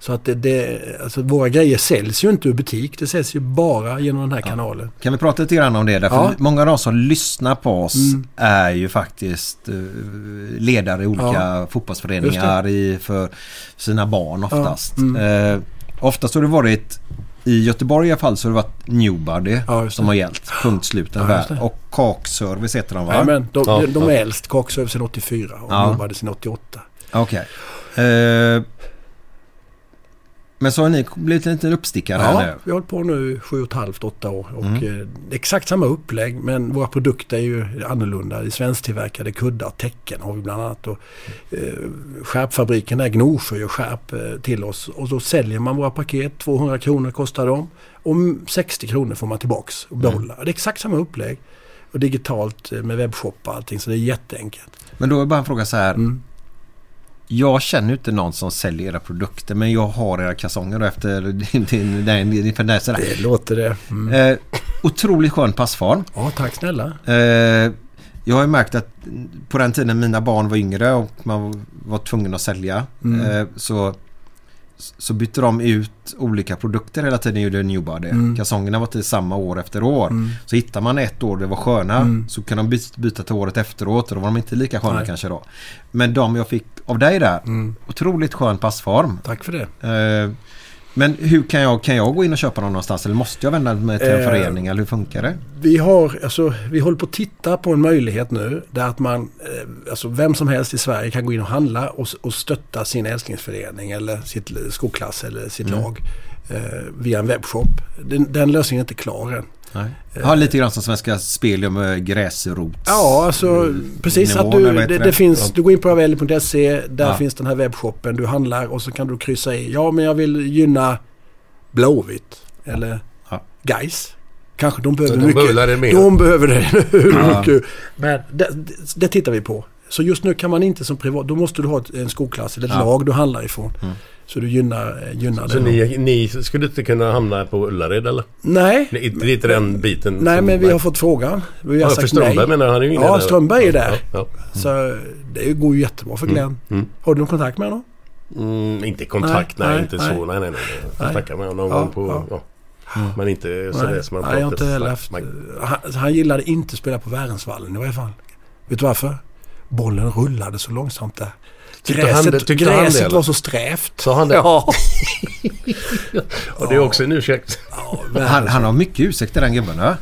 E: Så att det, det, alltså våra grejer säljs ju inte ur butik. Det säljs ju bara genom den här kanalen.
B: Kan vi prata lite grann om det? Därför
E: Ja.
B: Många av de som lyssnar på oss
E: Mm.
B: är ju faktiskt eh, ledare i olika
E: Ja.
B: fotbollsföreningar i, för sina barn oftast.
E: Ja. Mm.
B: Eh, oftast har det varit, i Göteborg i alla fall, så har det varit Newbody
E: Ja, just
B: som
E: det.
B: har gällt. Punkt slut.
E: Ja, just det.
B: och Kakservice heter de va?
E: Nej, men de,
D: Ja,
E: de, de
D: ja.
E: är äldst. Kaksöv sedan 84 och
B: Ja.
E: Nordbad sedan 88.
B: Okej. Eh, men så har ni blivit en liten uppstickare
E: Ja,
B: här nu.
E: vi har hållit på nu sju och ett halvt, åtta år. Och eh, det är exakt samma upplägg men våra produkter är ju annorlunda. Det är svensktillverkade kuddar, täcken har vi bland annat. Och, eh, skärpfabriken där, Gnosjö, gör skärp eh, till oss. Och så säljer man våra paket, 200 kronor kostar de. Och mm, 60 kronor får man tillbaks och behålla. Det är exakt samma upplägg. Och digitalt eh, med webbshop och allting så det är jätteenkelt.
B: Men då är bara en fråga så här.
E: Mm.
B: Jag känner ju inte någon som säljer era produkter men jag har era kalsonger och efter din, din, din, din, din där, sådär.
E: Det låter det. Mm.
B: Eh, otroligt skön passform.
E: Ja, tack snälla.
B: Eh, jag har ju märkt att på den tiden mina barn var yngre och man var tvungen att sälja
E: Mm.
B: eh, så, så bytte de ut olika produkter hela tiden gjorde Newbody.
E: Mm.
B: Kalsongerna var till samma år efter år.
E: Mm.
B: Så hittar man ett år det var sköna
E: Mm.
B: så kan de by- byta till året efteråt och då var de inte lika sköna
E: Nej.
B: kanske då. Men de jag fick av dig där,
E: Mm.
B: otroligt skön passform.
E: Tack för det.
B: Eh, men hur kan jag, kan jag gå in och köpa dem någonstans eller måste jag vända mig till en
E: Eh.
B: förening eller hur funkar det?
E: Vi, har, alltså, vi håller på att titta på en möjlighet nu där att man, eh, alltså vem som helst i Sverige kan gå in och handla och, s- och stötta sin älsklingsförening eller sitt l- skolklass eller sitt lag eh, via en webbshop. Den, den lösningen är inte klar än. Eh,
B: Ja, lite grann som Svenska Spel gör med gräsrots...
E: Ja, alltså precis.
B: nivån,
E: Att du,
B: eller vad
E: det,
B: heter
E: det
B: det?
E: finns, du går in på ravelli.se, där
B: Ja.
E: finns den här webbshoppen. Du handlar och så kan du kryssa i, ja men jag vill gynna Blåvitt eller
B: Ja.
E: Gais. Kanske de behöver
D: De
E: mycket.
D: behöver det mer.
E: De behöver det hur mycket. Men det, det, det tittar vi på. Så just nu kan man inte som privat, då måste du ha ett- en skolklass eller ett
B: Ja. Mm.
E: lag du handlar ifrån. Så du gynnar, eh, gynnar
D: Så
E: den.
D: ni, ni skulle inte kunna hamna på Ullared eller?
E: Nej,
D: Det är inte- det är inte den biten.
E: nej
D: som-
E: men vi har fått frågan. Vi har
D: Ja, för
E: sagt
D: Strömberg
E: nej.
D: menar jag, han är ju inne
E: Ja,
D: där.
E: Strömberg är där.
D: Ja,
E: Så det går ju jättebra för Glenn. Har du någon kontakt med honom?
D: ja. Mm, inte kontakt,
E: Nej,
D: nej,
E: nej,
D: inte
E: nej.
D: så. Nej, nej, nej. nej.
E: Nej.
D: Jag snackade med honom någon
E: Ja,
D: gång på...
E: ja.
D: Ja. Men inte sådär som man
E: Nej, jag har inte
D: pratar.
E: heller haft... Han, han gillade inte att spela på Värensvallen i varje fall. Vet du varför? Bollen rullade så långsamt där.
D: Tyckte han det-
E: Gräset,
D: tyckte han det,
E: gräset
D: eller?
E: var så strävt.
D: Sa han det?
E: Ja.
D: Och det är också en ursäkt.
B: Han, han har mycket ursäkter den gubben va?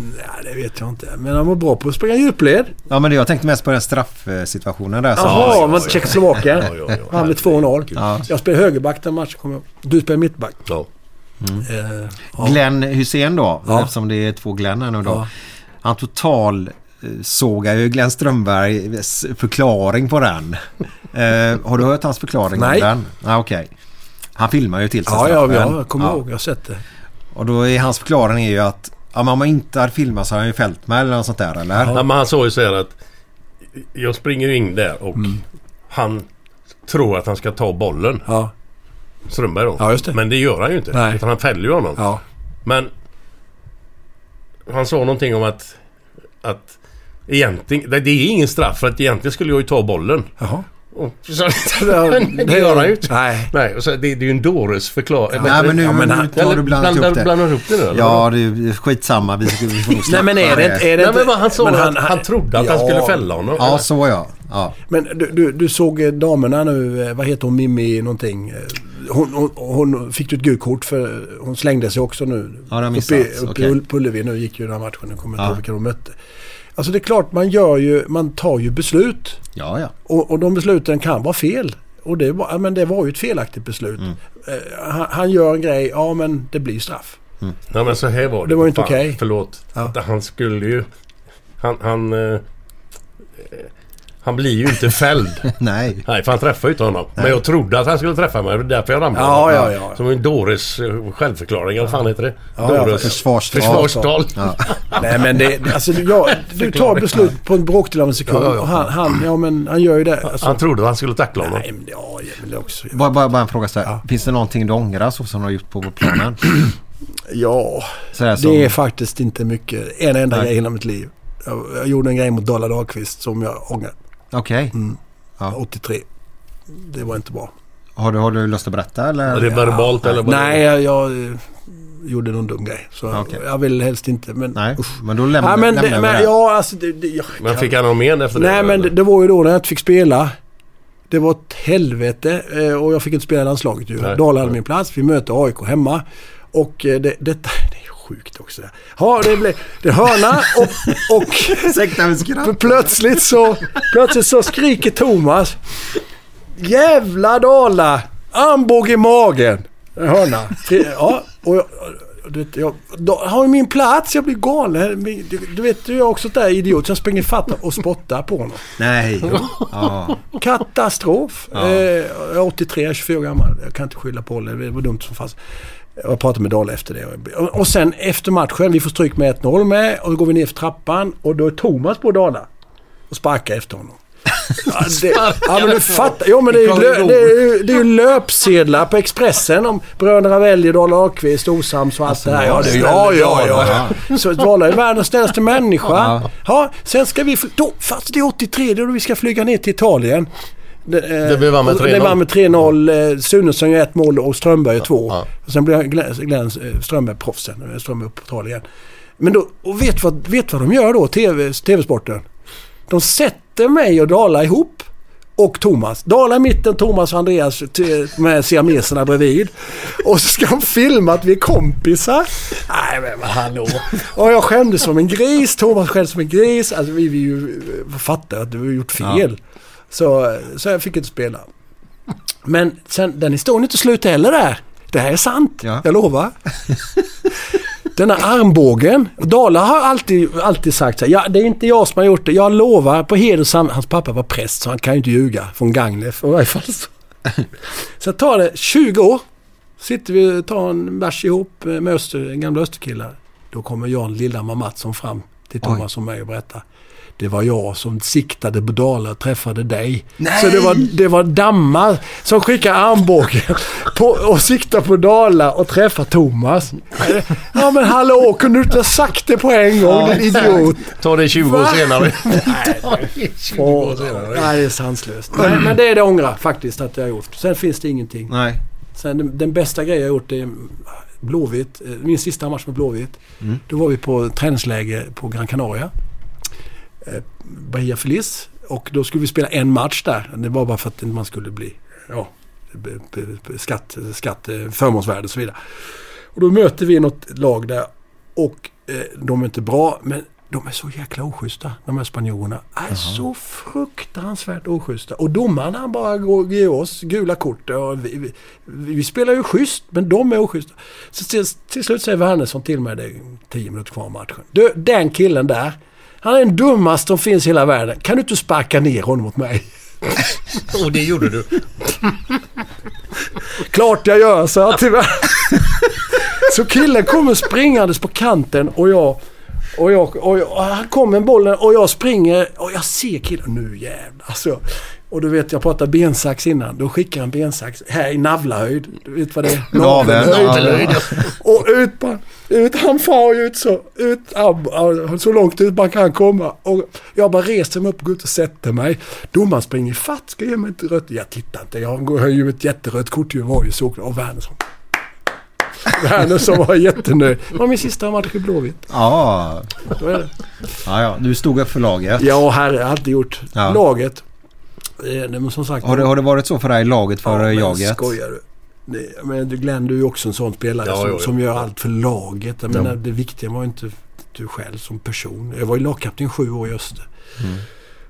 E: Nej, det vet jag inte. Men han var bra på att springa djupled.
B: Ja men det- jag tänkte mest på den straffsituationen där. som-
E: Jaha, ja, var Tjeckoslovakien.
B: Ja, ja, ja.
E: Han blev 2-0.
B: Ja.
E: Jag spelade högerback den matchen, kommer jag ihåg. Du spelade mittback.
D: Ja.
E: Eh,
B: Mm. Glenn Hussein då,
E: Ja.
B: eftersom det är två Glenn här nu då.
E: Ja.
B: Han total eh, sågar ju Glenn Strömbergs förklaring på den. eh, har du hört hans förklaring
E: Nej.
B: om den? Nej. Ah, okej. Han filmar ju till sig
E: Ja, ja,
B: straffen.
E: ja, jag kommer
B: Ja.
E: ihåg. Jag har sett det.
B: Och då är hans förklaring är ju att ja, men om man inte hade filmat så hade han ju fällt mig eller något sånt där eller?
D: Ja, men han sa ju så här att jag springer in där och
E: Mm.
D: han tror att han ska ta bollen.
E: Ja.
D: Strömberg då.
E: Ja, just det.
D: Men det gör han ju inte.
E: Nej.
D: Utan han fäller ju honom.
E: Ja.
D: Men han sa någonting om att, att egentligen, det det är ingen straff för att egentligen skulle jag ju ta bollen.
E: Jaha.
D: Och så, men det gör han ju inte.
E: Nej.
D: Nej, och så, det, det är ju en dåres förklaring.
B: Nej men nu,
D: Ja,
B: nu
D: han-
B: har du blandat
D: blandar-
B: ihop det.
D: Blandar ihop det nu eller?
B: Ja, det är skitsamma. Vi, vi får nog
E: Nej, men är
B: släppa
E: det inte... Är det
D: Nej, men
E: inte-
D: vad han sa
E: men
D: att han trodde att han skulle fälla honom.
B: Ja, så ja. ja.
E: Men du, du, du såg eh, damerna nu, eh, vad heter hon, Mimmi någonting? Eh, Hon, hon, hon fick ju ett gult kort för eh, hon slängde sig också nu.
B: Ja, det har
E: uppe i-
B: missats.
E: uppe
B: Okej.
E: i Ull- på Ullevi nu gick ju den här matchen, nu kommer
B: Ja.
E: jag inte ihåg vilka de mötte. Alltså det är klart man gör ju, man tar ju beslut.
B: Ja, ja.
E: Och, och de besluten kan vara fel. Och det var, ja, men det var ju ett felaktigt beslut.
B: Mm.
E: Eh, han, han gör en grej, ja men det blir straff.
D: Nej men så här var det.
E: Det var ju inte
D: Fan,
E: okej.
D: Förlåt. Att Han skulle ju... Han... Han, eh, eh, han blir ju inte fälld.
B: Nej.
D: Nej, för han träffade ju inte honom. Men jag trodde att han skulle träffa mig. Det var därför jag ramlade.
E: Ja, ja, ja.
D: Som en Dores eh, självförklaring. Vad fan heter det?
E: Ja, ja,
B: försvarstal.
D: Försvarstal.
E: Nej men det, det- alltså jag, du tar beslut på en bråkdel av en sekund.
D: Ja, ja, ja.
E: Och han, han, ja men han gör ju det. Alltså,
D: Han trodde att han skulle tackla honom.
E: nej men det- ja, jag vill också.
B: Bara, bara, bara en fråga så här. Finns det någonting du ångrar så som du har gjort på planen?
E: Ja,
B: Så här, som,
E: det är faktiskt inte mycket. En enda
B: Nej.
E: grej i hela mitt liv. Jag, jag gjorde en grej mot Dala Dahlqvist som jag ångrar.
B: Okej.
E: Mm.
B: Ja.
E: 83. Det var inte bra.
B: Har, du, har du lust att berätta eller?
D: Är det verbalt eller vad?
E: Nej, jag, jag eh, gjorde någon dum grej. Så
B: Okej.
E: jag vill helst inte. Men,
B: Nej,
E: usch.
B: men då lämnar,
E: Nej, men,
B: lämnar
E: det,
B: vi
E: men
B: det.
E: ja, alltså det, det, jag
D: Men
E: kan-
D: fick han någon men efter det?
E: Nej, men
D: eller?
E: det, det var ju då när jag inte fick spela. Det var ett helvete eh, och jag fick inte spela i landslaget ju.
D: Nej.
E: Dala hade min plats. Vi möter AIK hemma. Och eh, det, detta... Det är sjukt också. Ja, det blev... Det är hörna och... och
B: Ursäkta mitt skratt.
E: P- plötsligt så, plötsligt så skriker Thomas. Jävla Dala! Armbåge i magen! En Hörna. Tre- Ja, och jag, du vet, jag då har ju min plats. Jag blir galen. Min- Du, du vet, jag är också där idiot. Så jag springer fatt och spottar på honom.
B: Nej. Ja.
E: Katastrof! Eh, jag är 83, jag är 24 år gammal. Jag kan inte skylla på det. Det var dumt som fanns. Jag pratade med Dahl efter det. Och- Och sen efter matchen, vi får stryk med 1-0 med. Och då går vi ner för trappan och då är Thomas på Dala. Och sparkar efter honom. Ja, det, ja men du fattar. Jo men det är, ju, lö- det, är ju, det är ju löpsedlar på Expressen om bröderna väljer Dala Ahlqvist, osams och allt det här. Ja, det, ja, ja, ja, ja. Så Dala är världens snällaste människa. Ja, sen ska vi... fl- Då, fast det är 83, det är då vi ska flyga ner till Italien. Det, eh,
D: Det blev vann med
E: och
D: 3-0.
E: Det vann med 3-0. Eh, Sunesson gör ett mål och Strömberg gör två. Och sen blev Glenn, Glenn eh, Strömberg proffsen. Eh, Strömberg upp på tal igen. Men då, och vet vad, vet vad de gör då, TV, TV-sporten? De sätter mig och Dala ihop. Och Thomas. Dala i mitten, Thomas och Andreas t- med siameserna bredvid. Och så ska de filma att vi är kompisar. Nej men vad hallå. Och jag skämdes som en gris. Thomas skämdes som en gris. Alltså vi, vi ju fattar att du har gjort fel. Så, så jag fick inte spela. Men sen, den historien är inte slut heller där. Det här är sant,
B: Ja.
E: jag lovar. Den här armbågen. Dala har alltid, alltid sagt så här, ja, det är inte jag som har gjort det. Jag lovar på heder och sam-" Hans pappa var präst så han kan ju inte ljuga. Från Gagnef i varje fall. Så. Sen tar det 20 år. Sitter vi och tar en bärs ihop med öster, gamla österkillar. Då kommer Jan Lillhammar Mattsson fram till Thomas och mig och berättar. Det var jag som siktade på Dala och träffade dig. Så det var, det var dammar som skickade armbågen på, och siktade på Dala och träffade Thomas. Ja men hallå, kunde du inte ha sagt det på en gång din idiot?
D: Ta det 20 år
E: Va?
D: senare.
E: Åh, nej, det är sanslöst. Men, men det är det jag ångrar faktiskt att jag har gjort. Sen finns det ingenting.
B: Nej.
E: Sen, den, den bästa grejen jag gjort är Blåvitt, eh, min sista match med Blåvitt.
G: Mm.
E: Då var vi på träningsläger på Gran Canaria. Eh, Bahia Feliz. Och då skulle vi spela en match där. Det var bara för att man skulle bli ja, b- b- b- skatt, skatt, eh, förmånsvärde och så vidare. Och då möter vi något lag där och eh, de är inte bra men de är så jäkla oschyssta de här spanjorerna. Är så fruktansvärt oschyssta. Och domarna han bara går- ger oss gula kort. Och vi, vi, vi spelar ju schysst men de är oschyssta. Så till, till slut säger Wernersson till mig, det är 10 minuter kvar av matchen. Du, den killen där. Han är den dummaste som finns i hela världen. Kan du inte sparka ner honom mot mig?
D: Och det gjorde du.
E: Klart jag gör, så jag tyvärr. Så killen kommer springandes på kanten och jag... Och, jag, och, jag, och han kommer med bollen och jag springer och jag ser killen. Nu jävlar. Så, och du vet, jag pratade bensax innan. Då skickar han bensax här i navlahöjd. Du vet vad det är?
B: Naveln,
E: Navelhöjd. Och ut, på- ut, han far ju ut så, ut, ab- ab- så långt ut man kan komma. Och jag bara reser mig upp och går ut och sätter mig. Domaren springer ifatt, ska ge mig ett rött. Jag tittar inte, jag går- har ju ett jätterött kort ju, var ju så. Och Wernersson. Wernersson var jättenöjd. Det var min sista match i Blåvitt.
B: Ja.
E: Då är det.
B: ja, ja. Du stod upp för laget.
E: Ja, herre, jag hade gjort
B: Ja.
E: laget. Eh, nej, Men som sagt.
B: Har det, har det varit så för dig, laget för
E: men
B: jaget?
E: skojar du? Nej, Men du, Glenn, du är ju också en sån spelare
B: Ja,
E: som,
B: jo, jo.
E: som gör allt för laget. Jag
B: Ja.
E: menar, det viktiga var ju inte du själv som person. Jag var ju lagkapten sju år i Öster.
B: Mm.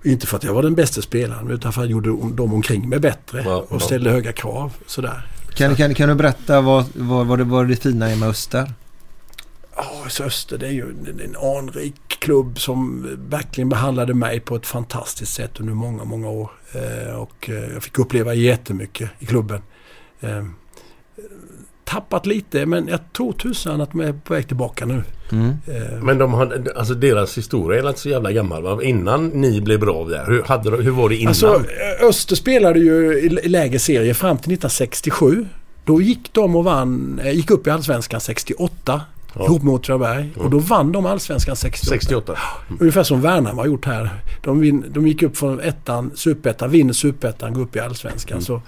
E: Inte för att jag var den bästa spelaren utan för att jag gjorde om- dem omkring mig bättre
B: Ja,
E: och
B: ja.
E: ställde höga krav. Sådär.
B: Kan, kan, kan du berätta vad, vad, vad, det, vad det fina är med Öster?
E: Ja, så Öster det är ju en, en anrik klubb som verkligen behandlade mig på ett fantastiskt sätt under många, många år. Eh, och eh, jag fick uppleva jättemycket i klubben. Eh, tappat lite men jag tror tusan att de är på väg tillbaka nu. Eh,
D: Men de hade, alltså deras historia är inte så jävla gammal va? Innan ni blev bra där. Hur, hade, de- hur var det innan?
E: Alltså, Öster spelade ju i i lägre serie fram till 1967. Då gick de och vann, eh, gick upp i Allsvenskan 68 ihop med Åtvidaberg. Och då vann de Allsvenskan 68.
D: 68.
E: Ungefär som Värnamo har gjort här. De, vin, de gick upp från ettan, superettan, vinner superettan, går upp i Allsvenskan. Så,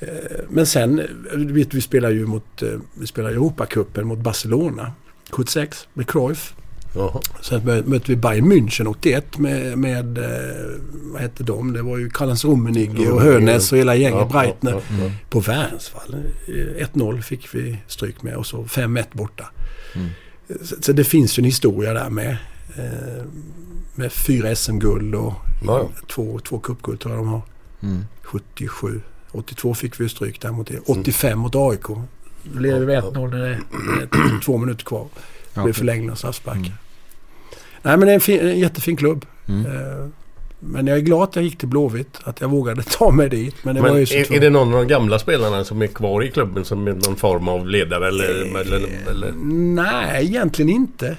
E: eh, men sen, eh, du vet, vi spelar ju mot, eh, vi spelar i Europacupen mot Barcelona 76 med Cruyff. Sen mö- mötte vi Bayern München 81 med, med eh, vad hette de? Det var ju Karl-Heinz Rummenigge och Hönes och hela gänget,
D: Ja, ja,
E: Breitner.
D: ja, ja.
E: På Värnsvall. Eh, 1-0 fick vi stryk med och så 5-1 borta.
D: Mm.
E: Så, så det finns ju en historia där med. Eh, med fyra SM-guld och
D: Ja,
E: två, två cupguld tror jag de har.
B: Mm.
E: 77. 82 fick vi stryk där mot er. 85 mot AIK. Mm. Då leder vi 1-0 när det är två minuter kvar. Det blir
B: Okej.
E: förlängning och straffsparkar. Nej men det är en, fin, en jättefin klubb.
B: Mm.
E: Eh, Men jag är glad att jag gick till Blåvitt. Att jag vågade ta mig dit. Men det
D: Men
E: var ju så
D: är, är
E: tungt.
D: det någon av de gamla spelarna som är kvar i klubben som är någon form av ledare eller... eller, eller?
E: Nej, egentligen inte.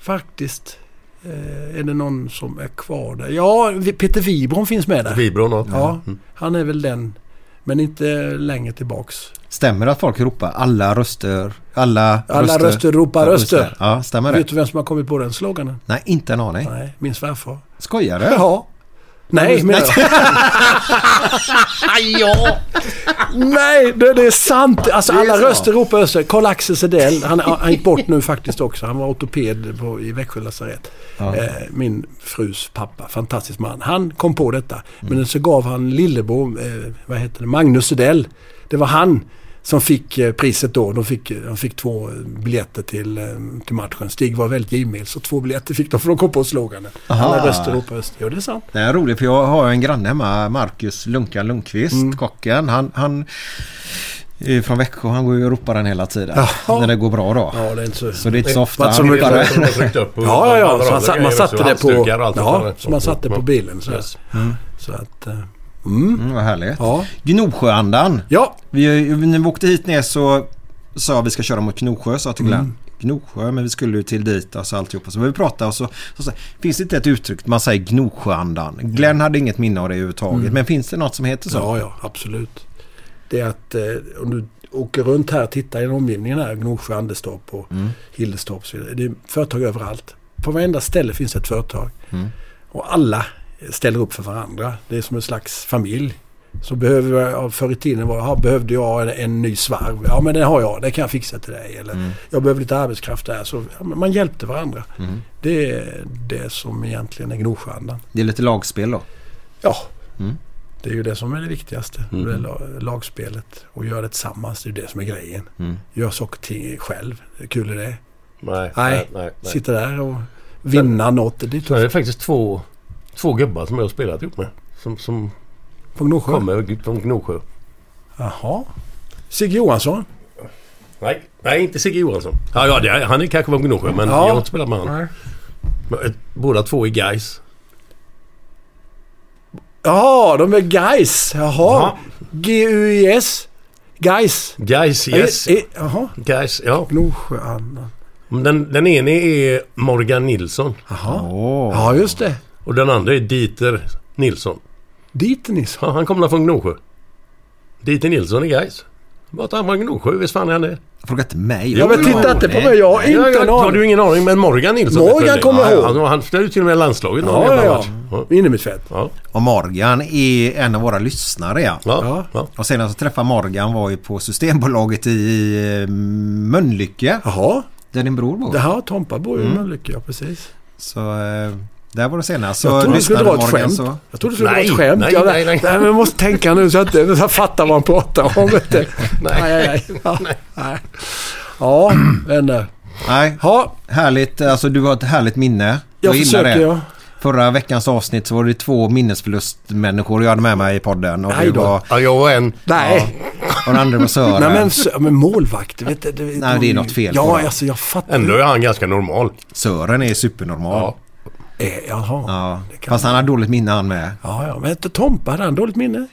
E: Faktiskt. Eh, är det någon som är kvar där? Ja, vi- Peter Wibron finns med där.
D: Wibron, ja.
E: ja. Han är väl den. Men inte längre tillbaks.
B: Stämmer det att folk ropar alla röster? Alla,
E: Alla röster, ropar röster.
B: Ja, stämmer det?
E: Vet du vem som har kommit på den sloganen?
B: Nej, inte en aning.
E: Nej, min svärfar.
B: Skojar du?
E: Ja. Nej, men...
D: ja!
E: Nej, det, det är sant. Alltså
G: Det är
E: alla
G: så.
E: röster ropar öster. Carl Axel Sedell, han, han gick bort nu faktiskt också. Han var ortoped på, i Växjö lasarett.
G: Ja.
E: Eh, min frus pappa, fantastisk man. Han kom på detta. Men så gav han lillebror, eh, vad heter det, Magnus Sedell. Det var han som fick eh, priset då. De fick, de fick två eh, biljetter till, eh, till matchen. Stig var väldigt givmild så två biljetter fick de för de kom på sloganen. Alla
B: Aha.
E: röster ropar öster. Ja, det är sant.
B: Det är roligt för jag har en granne hemma, Marcus Lunkan Lundqvist,
E: Mm.
B: kocken. Han, han är från Växjö, han går ju och ropar den hela tiden. När det går bra då.
E: Ja, det är inte så,
B: Så det är inte så ofta
E: Vart som
B: han
E: mycket-
B: ropar
E: Ja,
B: det.
E: ja, ja. Så man, sa- man satte det på...
B: Halsdukar och allt sånt
E: Ja,
B: där.
E: så man satte på bilen. Så,
B: Yes.
E: så att... eh,
B: Mm. vad härligt.
E: Ja.
B: Gnosjöandan.
E: Ja.
B: Vi, när vi åkte hit ner så sa vi ska köra mot Gnosjö, sa jag till Glenn.
E: Mm.
B: Gnosjö, men vi skulle ju till dit och så alltihopa. Så började vi pratade och så, så, sa- finns det inte ett uttryck man säger Gnosjöandan. Glenn hade inget minne av det överhuvudtaget.
E: Mm.
B: Men finns det något som heter så?
E: Ja, ja, absolut. Det är att eh, om du åker runt här och tittar i omgivningen här, Gnosjö, Anderstorp och
B: Mm.
E: Hillerstorp. och så vidare, Det är företag överallt. På varenda ställe finns ett företag.
G: Mm.
E: Och alla ställer upp för varandra. Det är som en slags familj. Så behöver jag, ja, förr i tiden var, ja, behövde jag en, en ny svarv. Ja men det har jag, det kan jag fixa till dig. Eller
B: Mm.
E: jag behöver lite arbetskraft där. Så ja, men man hjälpte varandra.
B: Mm.
E: Det är det som egentligen är Gnosjöandan.
B: Det är lite lagspel då?
E: Ja.
B: Mm.
E: Det är ju det som är det viktigaste.
B: Mm.
E: Det är la- lagspelet. Och göra det tillsammans. Det är ju det som är grejen.
B: Mm.
E: Gör saker och ting själv. Hur kul är det?
D: Nej,
E: nej,
D: nej, nej.
E: Sitta där och vinna något. Det är
D: Så det är
E: tufft.
D: faktiskt två, två gubbar som jag har spelat ihop med. Som, som
E: På Gnosjö?
D: kommer från Gnosjö.
E: Jaha. Sigge Johansson?
D: Nej, nej inte Sigge Johansson. Ja, ja, det är, han är kanske från Gnosjö men
E: Ja.
D: jag har inte spelat med honom. Men, eh, Båda två är guys.
E: Ja, de är guys. Jaha. G-U-I-S? Guys.
D: Guys, yes.
E: Eh, eh, Jaha.
D: Guys, ja.
E: Gnosjöandan.
D: Den, den ene är Morgan Nilsson.
E: Jaha. Ja, just det.
D: Och den andra är Dieter Nilsson.
E: Dieter Nilsson?
D: Ja, han kommer från Gnosjö. Dieter Nilsson är guys. Bara att han var Gnosjö, visst fan är han det?
B: Fråga inte mig.
D: Jo,
E: Ja, men
D: jo,
E: titta
D: jo.
E: inte på mig. Jag har
D: Nej,
E: inte en
D: Har du
E: aning.
D: ingen aning? Men Morgan Nilsson.
E: Morgan
D: vet du det?
E: kommer jag ihåg.
D: Han, han spelade ju till och med i landslaget någon
E: Ja,
D: jävla
E: ja,
D: match.
E: ja. Innermittfält.
D: Ja.
B: Och Morgan är en av våra lyssnare ja.
D: Ja, ja.
B: Och senast jag träffade Morgan var ju på Systembolaget i, i eh, Mölnlycke.
E: Jaha.
B: Där din bror bor.
E: Det här Tompa bor ju i
B: Mm.
E: Mölnlycke, ja precis.
B: Så eh, där var det senast. Så
E: jag trodde du skulle
B: lyssnade
E: dra ett
B: Morgan
E: skämt.
B: så-
E: Jag trodde du skulle
D: Nej,
E: dra ett skämt.
D: nej,
E: jag,
D: nej, nej.
E: men jag måste tänka nu så att jag inte fattar vad han pratar om. Vet du.
D: Nej.
E: nej, nej. Ja, nej. ja vänner.
B: Nej,
E: Ja,
B: härligt. Alltså du har ett härligt minne.
E: jag
B: gillar
E: försöker
B: det.
E: jag.
B: Förra veckans avsnitt så var det två minnesförlustmänniskor jag hade med mig i podden. Och,
E: Aj
B: du
E: då.
B: var,
D: Ja, jag var en.
E: Nej.
B: och den andra var Sören.
E: Nej men, så, men målvakt. Vet du, vet
B: Nej,
E: du-
B: det är något fel på
E: Ja,
B: det.
E: alltså jag fattar.
D: Ändå är han ganska normal.
B: Sören är supernormal.
E: Eh, Jaha.
B: Ja.
E: Det kan-
B: Fast han har dåligt minne han med.
E: Ja, ja. Men inte Tompa, hade han dåligt minne?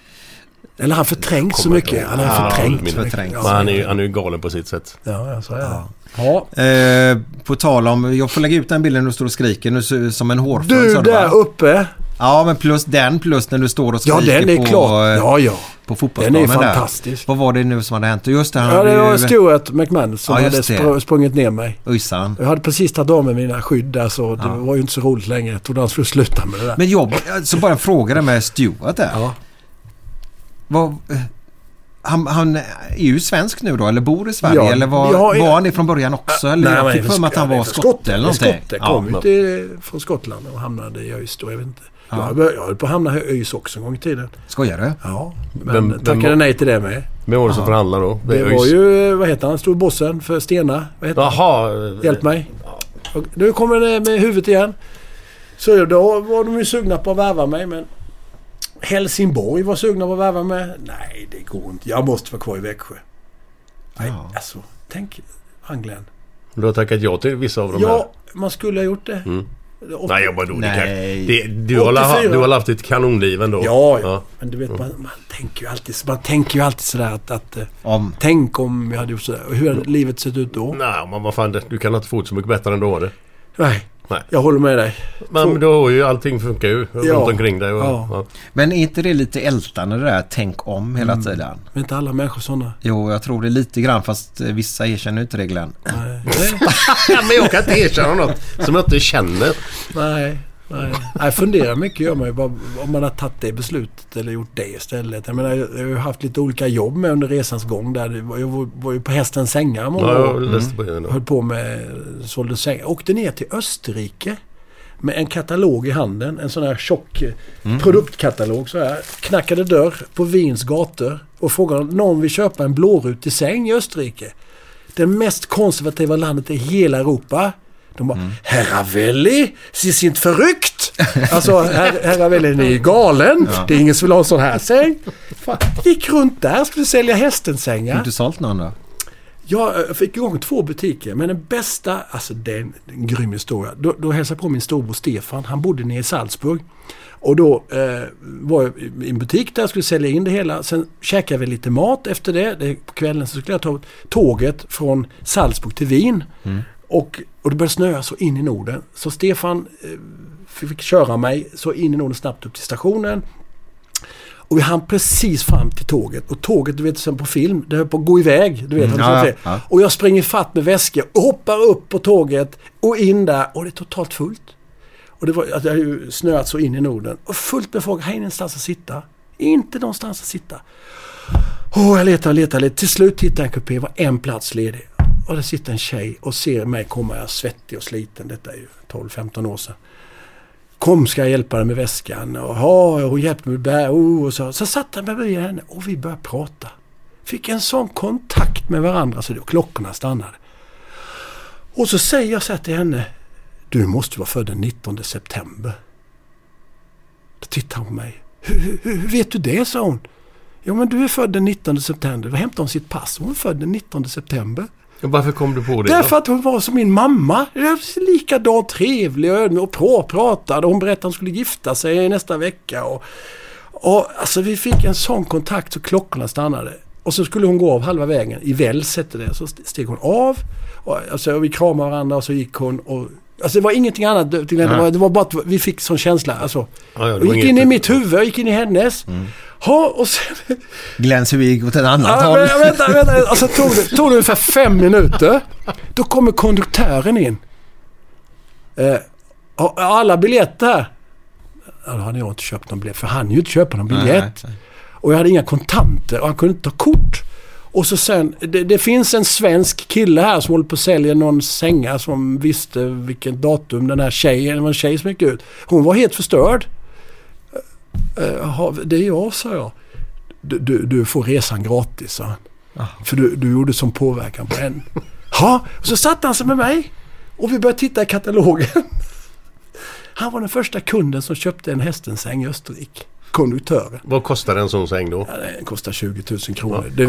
E: Eller han förträngt så mycket. Han
D: Ja,
E: har förträngt.
D: dåligt
E: så mycket.
B: Förträngt.
D: Men han är ju han är ju galen på sitt sätt.
E: Ja, ja, så är det. Ja.
B: Eh, på tal om, jag får lägga ut den bilden du står och skriker nu så- som en hårfön.
E: Du
B: sa
E: där
B: va?
E: uppe.
B: Ja men plus den plus när du står och
E: Ja,
B: skriker
E: den är
B: på,
E: klar.
B: eh,
E: Ja, ja.
B: på fotbollsplanen
E: Den är
B: där.
E: fantastisk.
B: Vad var det nu som hade hänt? Just det, han
E: Ja,
B: hade
E: det var
B: ju...
E: Stuart McMahon som
B: Ja, just
E: hade spr-
B: det.
E: sprungit ner mig.
B: Ojsan.
E: Jag hade precis tagit av mig mina skydd där så det var ju inte så roligt längre. Jag trodde han skulle sluta med det där.
B: Men jag, så bara en fråga där med Stuart där.
E: Ja.
B: Vad, eh, han, han är ju svensk nu då eller bor i Sverige
E: Ja,
B: eller var,
E: jag har-
B: var han det från början också? Eller jag fick för mig att han var skotte eller någonting.
E: Skotte
B: Ja.
E: kom ju till, från Skottland och hamnade i ÖIS då. Jag vet inte. Jag, bör- jag höll på att hamna i ÖIS också en gång i tiden.
B: Skojar du?
E: Ja, men
D: Vem- vem
E: tackade
D: var-
E: nej till det med.
D: Vem var det som förhandlade då?
E: Det
D: är
E: var ju, vad heter han, storbossen för Stena? Vad heter han?
D: Jaha.
E: Hjälp mig. Och nu kommer det med huvudet igen. Så då var de ju sugna på att värva mig men Helsingborg var sugna på att värva mig. Nej, det går inte. Jag måste vara kvar i Växjö. Nej,
B: Ja.
E: alltså. Tänk Anglen.
D: Du har tackat ja till vissa av de här.
E: Ja, man skulle ha gjort det. Åtta-
D: Mm. Nej, jag bara då. det kan-
B: Nej.
D: Det, du, har, la-
E: 84.
D: du har haft ett kanonliv ändå.
E: Ja, ja. Men du vet, man, man, tänker ju alltid, man tänker ju alltid sådär att... att eh,
B: Om.
E: tänk om jag hade gjort sådär. Och Hur hade livet sett ut då?
D: Mm. Nej, men vad fan. Du kan inte få det så mycket bättre än du har det.
E: Nej.
D: Nej.
E: Jag håller med dig.
D: Men du har ju allting funkar ju
E: Ja.
D: runt omkring dig. Och,
E: Ja.
D: ja.
B: Men är inte det lite ältande det där tänk om hela
E: Mm.
B: tiden?
E: Men inte alla människor sådana.
B: Jo, jag tror det lite grann fast eh, vissa erkänner inte det Glenn.
E: Nej.
D: Ja, men jag kan inte erkänna något som jag inte känner.
E: Nej. Nej. Nej, fundera mycket gör man ju bara om man har tagit det beslutet eller gjort det istället. Jag menar, jag har ju haft lite olika jobb med under resans gång. Där det var, jag var- var ju på hästens sängar många
D: Ja, jag
E: år.
D: läste på det.
E: Höll
D: då.
E: på med, sålde sängar. Åkte ner till Österrike med en katalog i handen. En sån här tjock eh, produktkatalog så här. Knackade dörr på Wiens gator och frågade om någon vill köpa en blårutig säng i Österrike. Det mest konservativa landet i hela Europa. De bara Herravelli, ses inte förryckt! Alltså her Herravelli, ni är galen. Det är ingen som vill ha en sån här säng. Fan, gick runt där, skulle sälja hästensängar.
B: Har du sålt någon då?
E: Jag eh, fick igång två butiker, men den bästa, alltså det är en, en grym historia. Då, då hälsade jag på min storbror Stefan, han bodde nere i Salzburg. Och då eh, var jag i- i en butik där jag skulle sälja in det hela. Sen käkade vi lite mat efter det. det på kvällen så skulle jag ta tåget från Salzburg till Wien. Och, och det började snöa så in i Norden. Så Stefan eh, fick köra mig så in i Norden snabbt upp till stationen. Och vi hann precis fram till tåget. Och tåget, du vet som på film, det höll på att gå iväg. Du vet,
B: Mm,
E: har du
B: ja,
E: sett det?
B: ja.
E: Och jag springer fatt med väskor och hoppar upp på tåget och in där och det är totalt alltså, fullt. Och det, var, det har ju snöat så in i Norden. Och fullt med folk, här är ingenstans att sitta. Inte någonstans att sitta. Åh, jag letar och letar lite. Till slut hittar jag en kupé. Det var en plats ledig. Och där sitter en tjej och ser mig komma. Jag är svettig och sliten. Detta är ju 12-15 år sedan. Kom ska jag hjälpa dig med väskan. Och, "Ja, hon hjälpte mig där. Oh, och så. så satt jag mig bredvid henne och vi började prata. Fick en sån kontakt med varandra så det, klockorna stannade. Och så säger jag så här till henne. Du måste vara född den 19 september. Då tittar hon på mig. Hur, hur, hur vet du det? sa hon. Jo men du är född den 19 september. Då hämtade hon sitt pass. Hon är född den 19 september.
D: Varför kom du på det?
E: Därför att hon var som min mamma. Likadant trevlig och ödmjuk och pra- pratade. Hon berättade att hon skulle gifta sig nästa vecka. Och, och, alltså vi fick en sån kontakt så klockorna stannade. Och så skulle hon gå av halva vägen. I Välls hette det. Så st- steg hon av. Och, alltså, och vi kramade varandra och så gick hon. Och, alltså det var ingenting annat. Det det var, det var bara att vi fick sån känsla. Alltså,
N: Ja, ja, det
E: och
N: var inget-
E: gick
N: typ. Mm.
E: in i mitt huvud och gick in i hennes. Ha, och sen,
B: Glenn Svig åt ett annat
E: Ja,
B: håll.
E: men, vänta, vänta. Alltså, tog, det, tog det ungefär fem minuter. Då kommer konduktören in. Eh, har har alla biljetter här? Ja, då hade jag inte köpt någon biljett. För han ju inte köpa någon biljett. Och jag hade inga kontanter och han kunde inte ta kort. Och så sen, det, det finns en svensk kille här som håller på att sälja någon sänga som visste vilken datum den här tjejen, det var en tjej som gick ut. Hon var helt förstörd. Eh, Jaha, det är jag, sa jag. Du, du, du får resan gratis, sa han. För du, du gjorde som påverkan på en. Ja, och så satte han sig med mig. Och vi började titta i katalogen. Han var den första kunden som köpte en hästensäng i Österrike. Konduktören.
D: Vad kostar en sån säng då?
E: Den kostar 20 000 kronor. Det,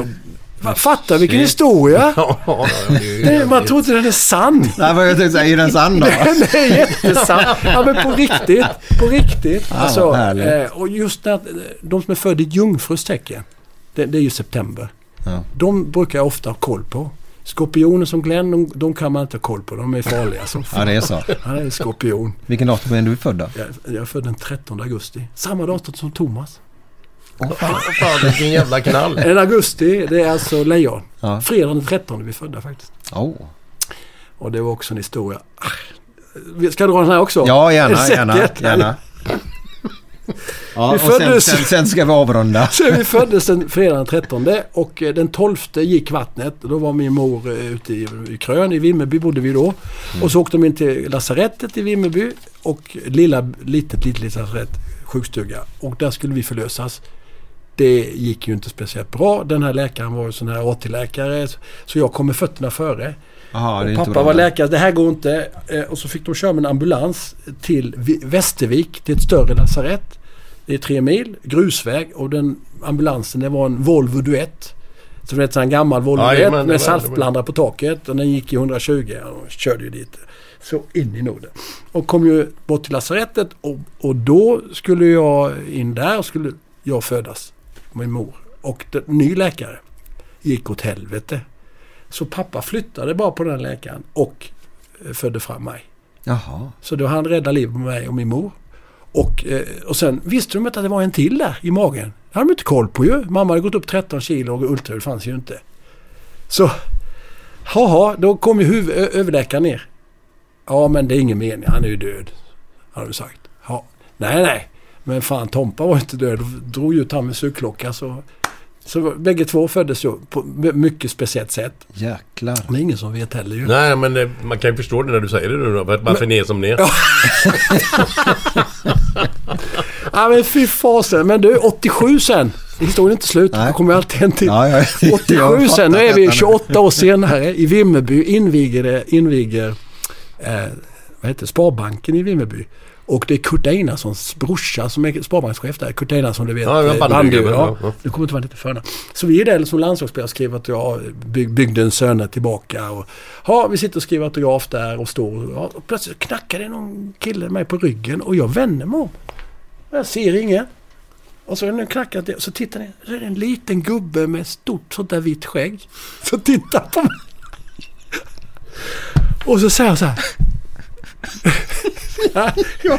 E: va- fatta vilken historia!
D: Ja, ja, ja, det är ju-
E: Nej, man tror inte den är sann.
B: Nej, vad jag tänkte säga, är den sann då?
E: Den är jättesann. Ja, men på riktigt. På riktigt.
B: Ah,
E: Alltså,
B: vad härligt.
E: eh, och just när, de som är födda i Jungfrus tecken. Det, det är ju september.
B: Ja.
E: De brukar jag ofta ha koll på. Skorpioner som Glenn, de, de kan man inte ha koll på. De är farliga som
B: Ja, det är så.
E: Han är en skorpion.
B: Vilken datum är du född då?
E: Jag, jag är född den 13 augusti. Samma datum som Thomas.
D: Fan vilken jävla knall.
E: En augusti, det är alltså lejon.
B: Ja.
E: Fredagen den 13 är vi födda faktiskt.
B: Oh.
E: Och det var också en historia. Ah, Ska jag dra den här också?
B: Ja,
E: Är
B: gärna,
E: det
B: gärna,
E: säkert?
B: gärna. Ja,
E: Vi
B: och sen,
E: föddes-
B: sen, sen ska vi avrunda.
E: Så vi föddes den fredagen den 13 och eh, den 12 gick vattnet. Då var min mor eh, ute i, i Krön, i Vimmerby bodde vi då.
B: Mm.
E: Och så åkte de in till lasarettet i Vimmerby och lilla, litet, litet, litet lasarett, sjukstuga. Och där skulle vi förlösas. Det gick ju inte speciellt bra. Den här läkaren var ju sån här AT-läkare så jag kom med fötterna före.
B: Aha, det är
E: Och
B: inte
E: pappa
B: bra.
E: var läkare, det här går inte. Eh, Och så fick de köra med en ambulans till Vi- Västervik, till ett större lasarett. Det är tre mil, grusväg och den ambulansen det var en Volvo Duett. Så du vet en gammal Volvo
D: Jajamän,
E: Duett
D: det var-
E: med saltblandare på taket och den gick i 120 och de körde ju dit. Så in i Norden. Och kom ju bort till lasarettet och, och då skulle jag in där och skulle jag födas. Min mor. Och den, ny läkare gick åt helvete. Så pappa flyttade bara på den läkaren och eh, födde fram mig.
B: Jaha.
E: Så då han räddade livet på mig och min mor. Och, eh, och sen visste de inte att det var en till där i magen. Det hade de inte koll på ju. Mamma hade gått upp 13 kilo och ultraljud fanns ju inte. Så, haha, då kom ju huv- ö- överläkaren ner. Ja, men det är ingen mening. Han är ju död. Har de sagt. Ja. Nej, nej. Men fan, Tompa var ju inte död. Då drog ju ut han med sugklocka. Så, så bägge två föddes ju på mycket speciellt sätt.
B: Jäklar.
E: Det är ingen som vet heller ju.
D: Nej men det, man kan ju förstå det när du säger det nu då. För att varför ni är som ni är.
E: Ja men fy fasen. Men du, 87 sen. Historien är inte slut.
B: Nej.
E: Det kommer alltid en till.
B: Ja, ja. Jag har
E: 87 sen. Nu
B: fattat
E: är vi
B: detta
E: 28 år senare i Vimmerby. Inviger, det- inviger eh, vad heter det? Sparbanken i Vimmerby. Och det är Kurt Einarssons brorsa som är sparbankschef där. Kurt Einarsson, du vet.
D: Ja, ja,
E: eh,
D: bandygubben,
E: ja.
D: ja.
E: Du kommer inte vara lite förna. Så vi är där som landslagsspelare och skriver att jag byg, bygdens söner tillbaka. Och, ja, vi sitter och skriver autograf där och står. Ja, och plötsligt knackar det någon kille mig på ryggen och jag vänder mig om. Jag ser ingen. Och så nu knackat det. Så tittar ni. Så är det en liten gubbe med stort sånt där vitt skägg. Så tittar på mig. Och så säger jag så här. Vänta.
D: Ja,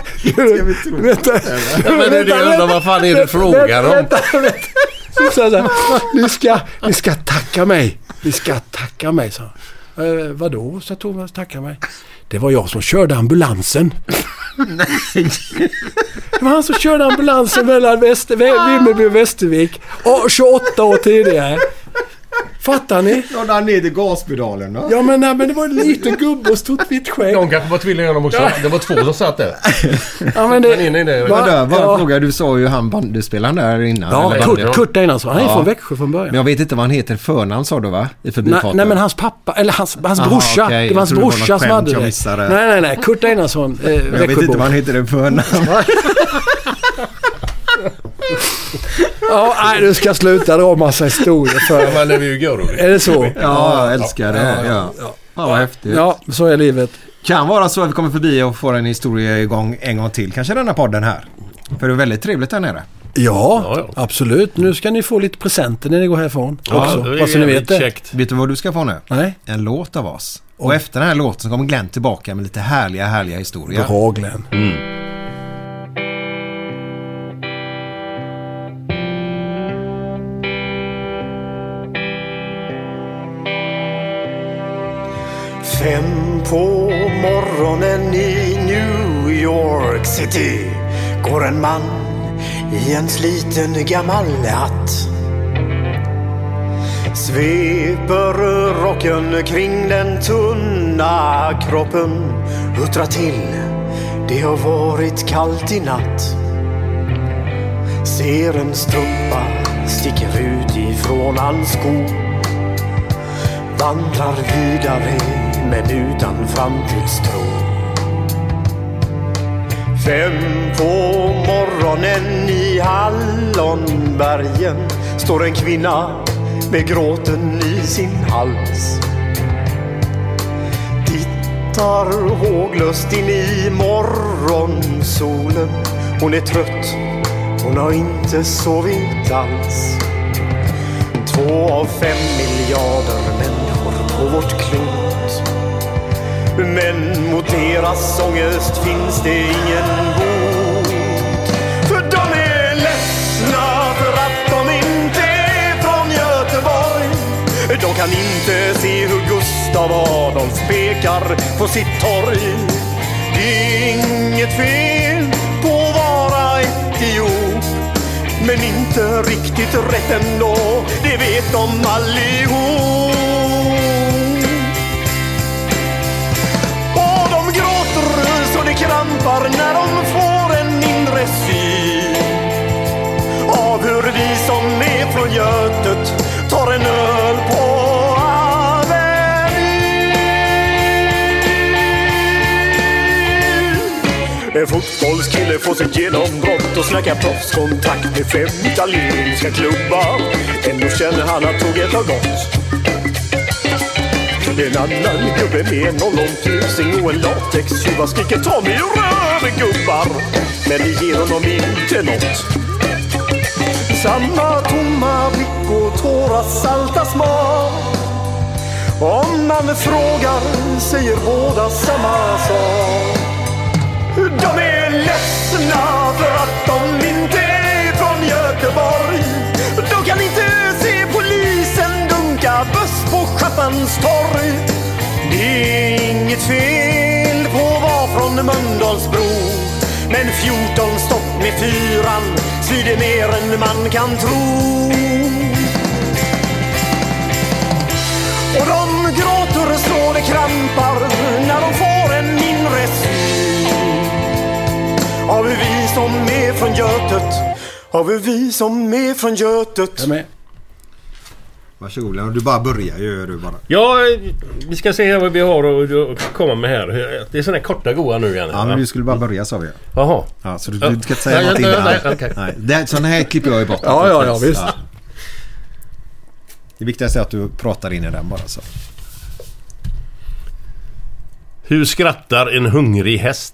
D: men det är det jag undrar, vad fan är det frågan om?
E: Vänta, vänta. Så sa jag så här, ni ska, ni ska tacka mig. Ni ska tacka mig, sa han. Eh, vadå, sa Thomas, tacka mig. Det var jag som körde ambulansen.
G: Det var han som körde ambulansen mellan Väster, Vä- Vimmerby och Västervik. Och 28 år tidigare. Fattar ni?
B: Ja, där nere i gaspedalen va?
G: Ja men, nej, men det var en liten gubbe och stort vitt skägg.
O: De kanske var tvillingar de också. Det var två som satt där.
G: Ja, men det,
O: Men inne i det-
B: Vad där, vad
G: Ja.
B: fråga, du sa ju han bandyspelaren där innan.
G: Ja,
B: eller bandy-
G: Kurt, Kurt Einarsson. Han är
B: Ja.
G: från Växjö från
B: Men
G: början.
B: jag vet inte vad han heter. Förnamn sa du va? I
G: Nej,
B: förbifarten.
G: nej men hans pappa, eller hans, hans
B: Aha,
G: brorsa.
B: okej.
G: Det var hans
B: Jag trodde det var
G: brorsa
B: något
G: som
B: skämt
G: hade
B: jag
G: det.
B: missade.
G: Nej, nej, nej. Kurt Einarsson, eh,
B: Men jag vet inte
G: Växjöbo.
B: vad han heter i förnamn.
G: Ja, nej, du ska sluta dra massa historier
O: Ja,
G: för
O: men det var ju görroligt.
G: Är det så?
B: Ja, jag älskar det. Ja, ja. vad häftigt.
G: Ja, så är livet.
B: Kan vara så att vi kommer förbi och får en historia igång en gång till. Kanske denna podden här. För det är väldigt trevligt där nere.
G: Ja,
O: Ja, ja.
G: absolut. Nu ska ni få lite presenter när ni går härifrån också.
O: det är
G: Bara så ni vet
O: jävligt
G: det.
O: käckt.
B: Vet du vad du ska få nu?
G: Nej.
B: En låt av oss. Och efter den här låten så kommer Glenn tillbaka med lite härliga, härliga historier.
G: Bra Glenn.
C: Fem på morgonen i New York City går en man i en sliten gammal hatt. Sveper rocken kring den tunna kroppen, huttrar till. Det har varit kallt i natt. Ser en strumpa sticker ut ifrån hans sko. Vandrar vidare men utan framtidstro. Fem på morgonen i Hallonbergen står en kvinna med gråten i sin hals. Tittar håglöst in i morgonsolen. Hon är trött, hon har inte sovit alls. Två av fem miljarder människor på vårt klot. Men mot deras ångest finns det ingen bot. För de är ledsna för att de inte är från Göteborg. De kan inte se hur Gustav Adolf pekar på sitt torg. Det är inget fel på att vara etiop. Men inte riktigt rätt ändå, det vet de allihop. Och de gråter så det krampar när de får en inre sy Av hur vi som är från Götet tar en öl på Avenyn. en fotbollskille får sitt genombrott och snackar proffskontakt med fem italienska klubbar. Ändå känner han att tåget har gått. En annan gubbe med en ollontusing och en latextjuva skriker ta mig ur röven gubbar. Men det ger honom inte något. Samma tomma blick och tårar salta smak. Om man frågar säger båda samma sak. De är ledsna för att de inte är från Göteborg. De kan inte se polisen dunka buss på Schappans torg. Det är inget fel på att vara från Mölndalsbro. Men 14 stopp med fyran, så det är mer än man kan tro. Och de gråter så det krampar när de får en inre syn Har vi vi som är från Götet? Har vi vi som är från Götet?
G: Jag med.
B: Varsågod Glenn. Du bara börjar ju. Du bara.
D: Ja, vi ska se här vad vi har att- att komma med här. Det är såna här korta goa nu Janne.
B: Ja,
D: va?
B: men du skulle bara börja sa vi ju.
D: Jaha.
B: Ja, så du, du ska inte säga
D: Nej,
B: någonting
D: nej,
B: där.
D: nej, okej.
B: Nej, det här- Sådana här klipper jag i botten.
G: Ja, ja, ja, visst.
B: Det viktigaste är att du pratar in i den bara så.
D: Hur skrattar en hungrig häst?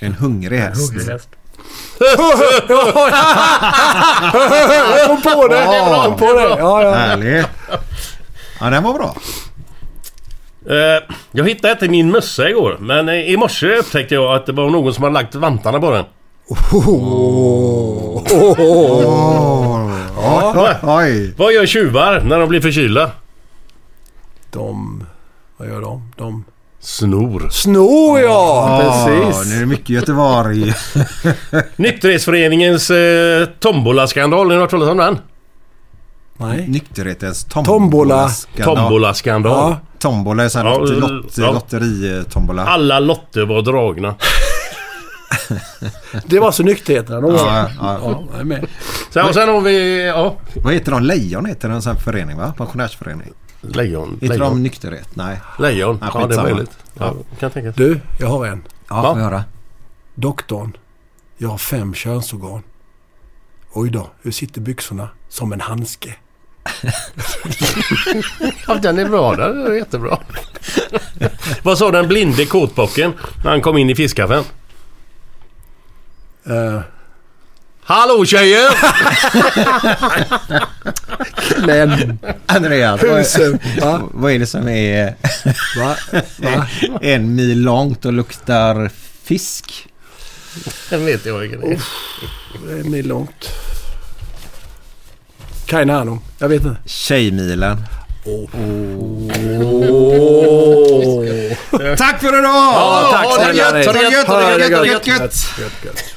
B: En hungrig häst.
G: Jag kom på det! Jag kom på det! Ja, ja.
B: Härligt. Ja, den var bra.
D: Eh, jag hittade inte min mössa igår, men eh, i morse upptäckte jag att det var någon som hade lagt vantarna på den.
B: Ja, Oj.
D: Vad gör tjuvar när de blir förkylda?
G: De... Vad gör de? De...
D: Snor.
G: Snor ja!
B: Nu är det mycket Göteborg.
D: Nykterhetsföreningens eh, tombola-skandal. Har ni hört talas om den?
G: Nej.
B: Nykterhetens
G: Tombola.
B: tombolaskandal.
D: Tombola-skandal.
B: Tombola är sån här
D: Ja,
B: lot, lot,
D: ja.
B: lotteritombola.
D: Alla lotter var dragna.
G: Det var så nykterheten då.
B: Ja,
G: Ja,
B: ja, ja.
G: jag är med.
D: Sen, och sen har vi... Ja.
B: Vad heter de? Lejon heter en sån här förening va? Pensionärsförening.
D: Lejon.
B: Heter de
D: Lejon.
B: nykterhet? Nej.
D: Lejon.
B: Ja,
D: Ja, det är
B: skitsamma.
D: möjligt. Ja, kan tänkas.
G: Du, jag har en.
B: Ja,
D: Va?
B: får jag höra.
G: Doktorn. Jag har fem könsorgan. Oj då, hur sitter byxorna? Som en handske.
D: Ja, den är bra. Den är jättebra. Vad sa den blinde kåtbocken när han kom in i fiskaffären?
G: Eh,
D: Hallå tjejer!
B: Men Andreas,
G: Husen, va?
B: vad, vad är det som är
G: va? Va?
B: en mil långt och luktar fisk?
D: Den vet jag vilken det är.
G: Det är ni långt. Keine Ahnung. Jag vet inte.
B: Tjejmilen. Tack för idag!
D: tack
B: ha det
D: snälla
B: gött,
D: dig.
B: ha det gött, ha det gött, ha det gött, gött!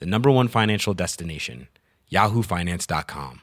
P: the number one financial destination, yahoofinance.com.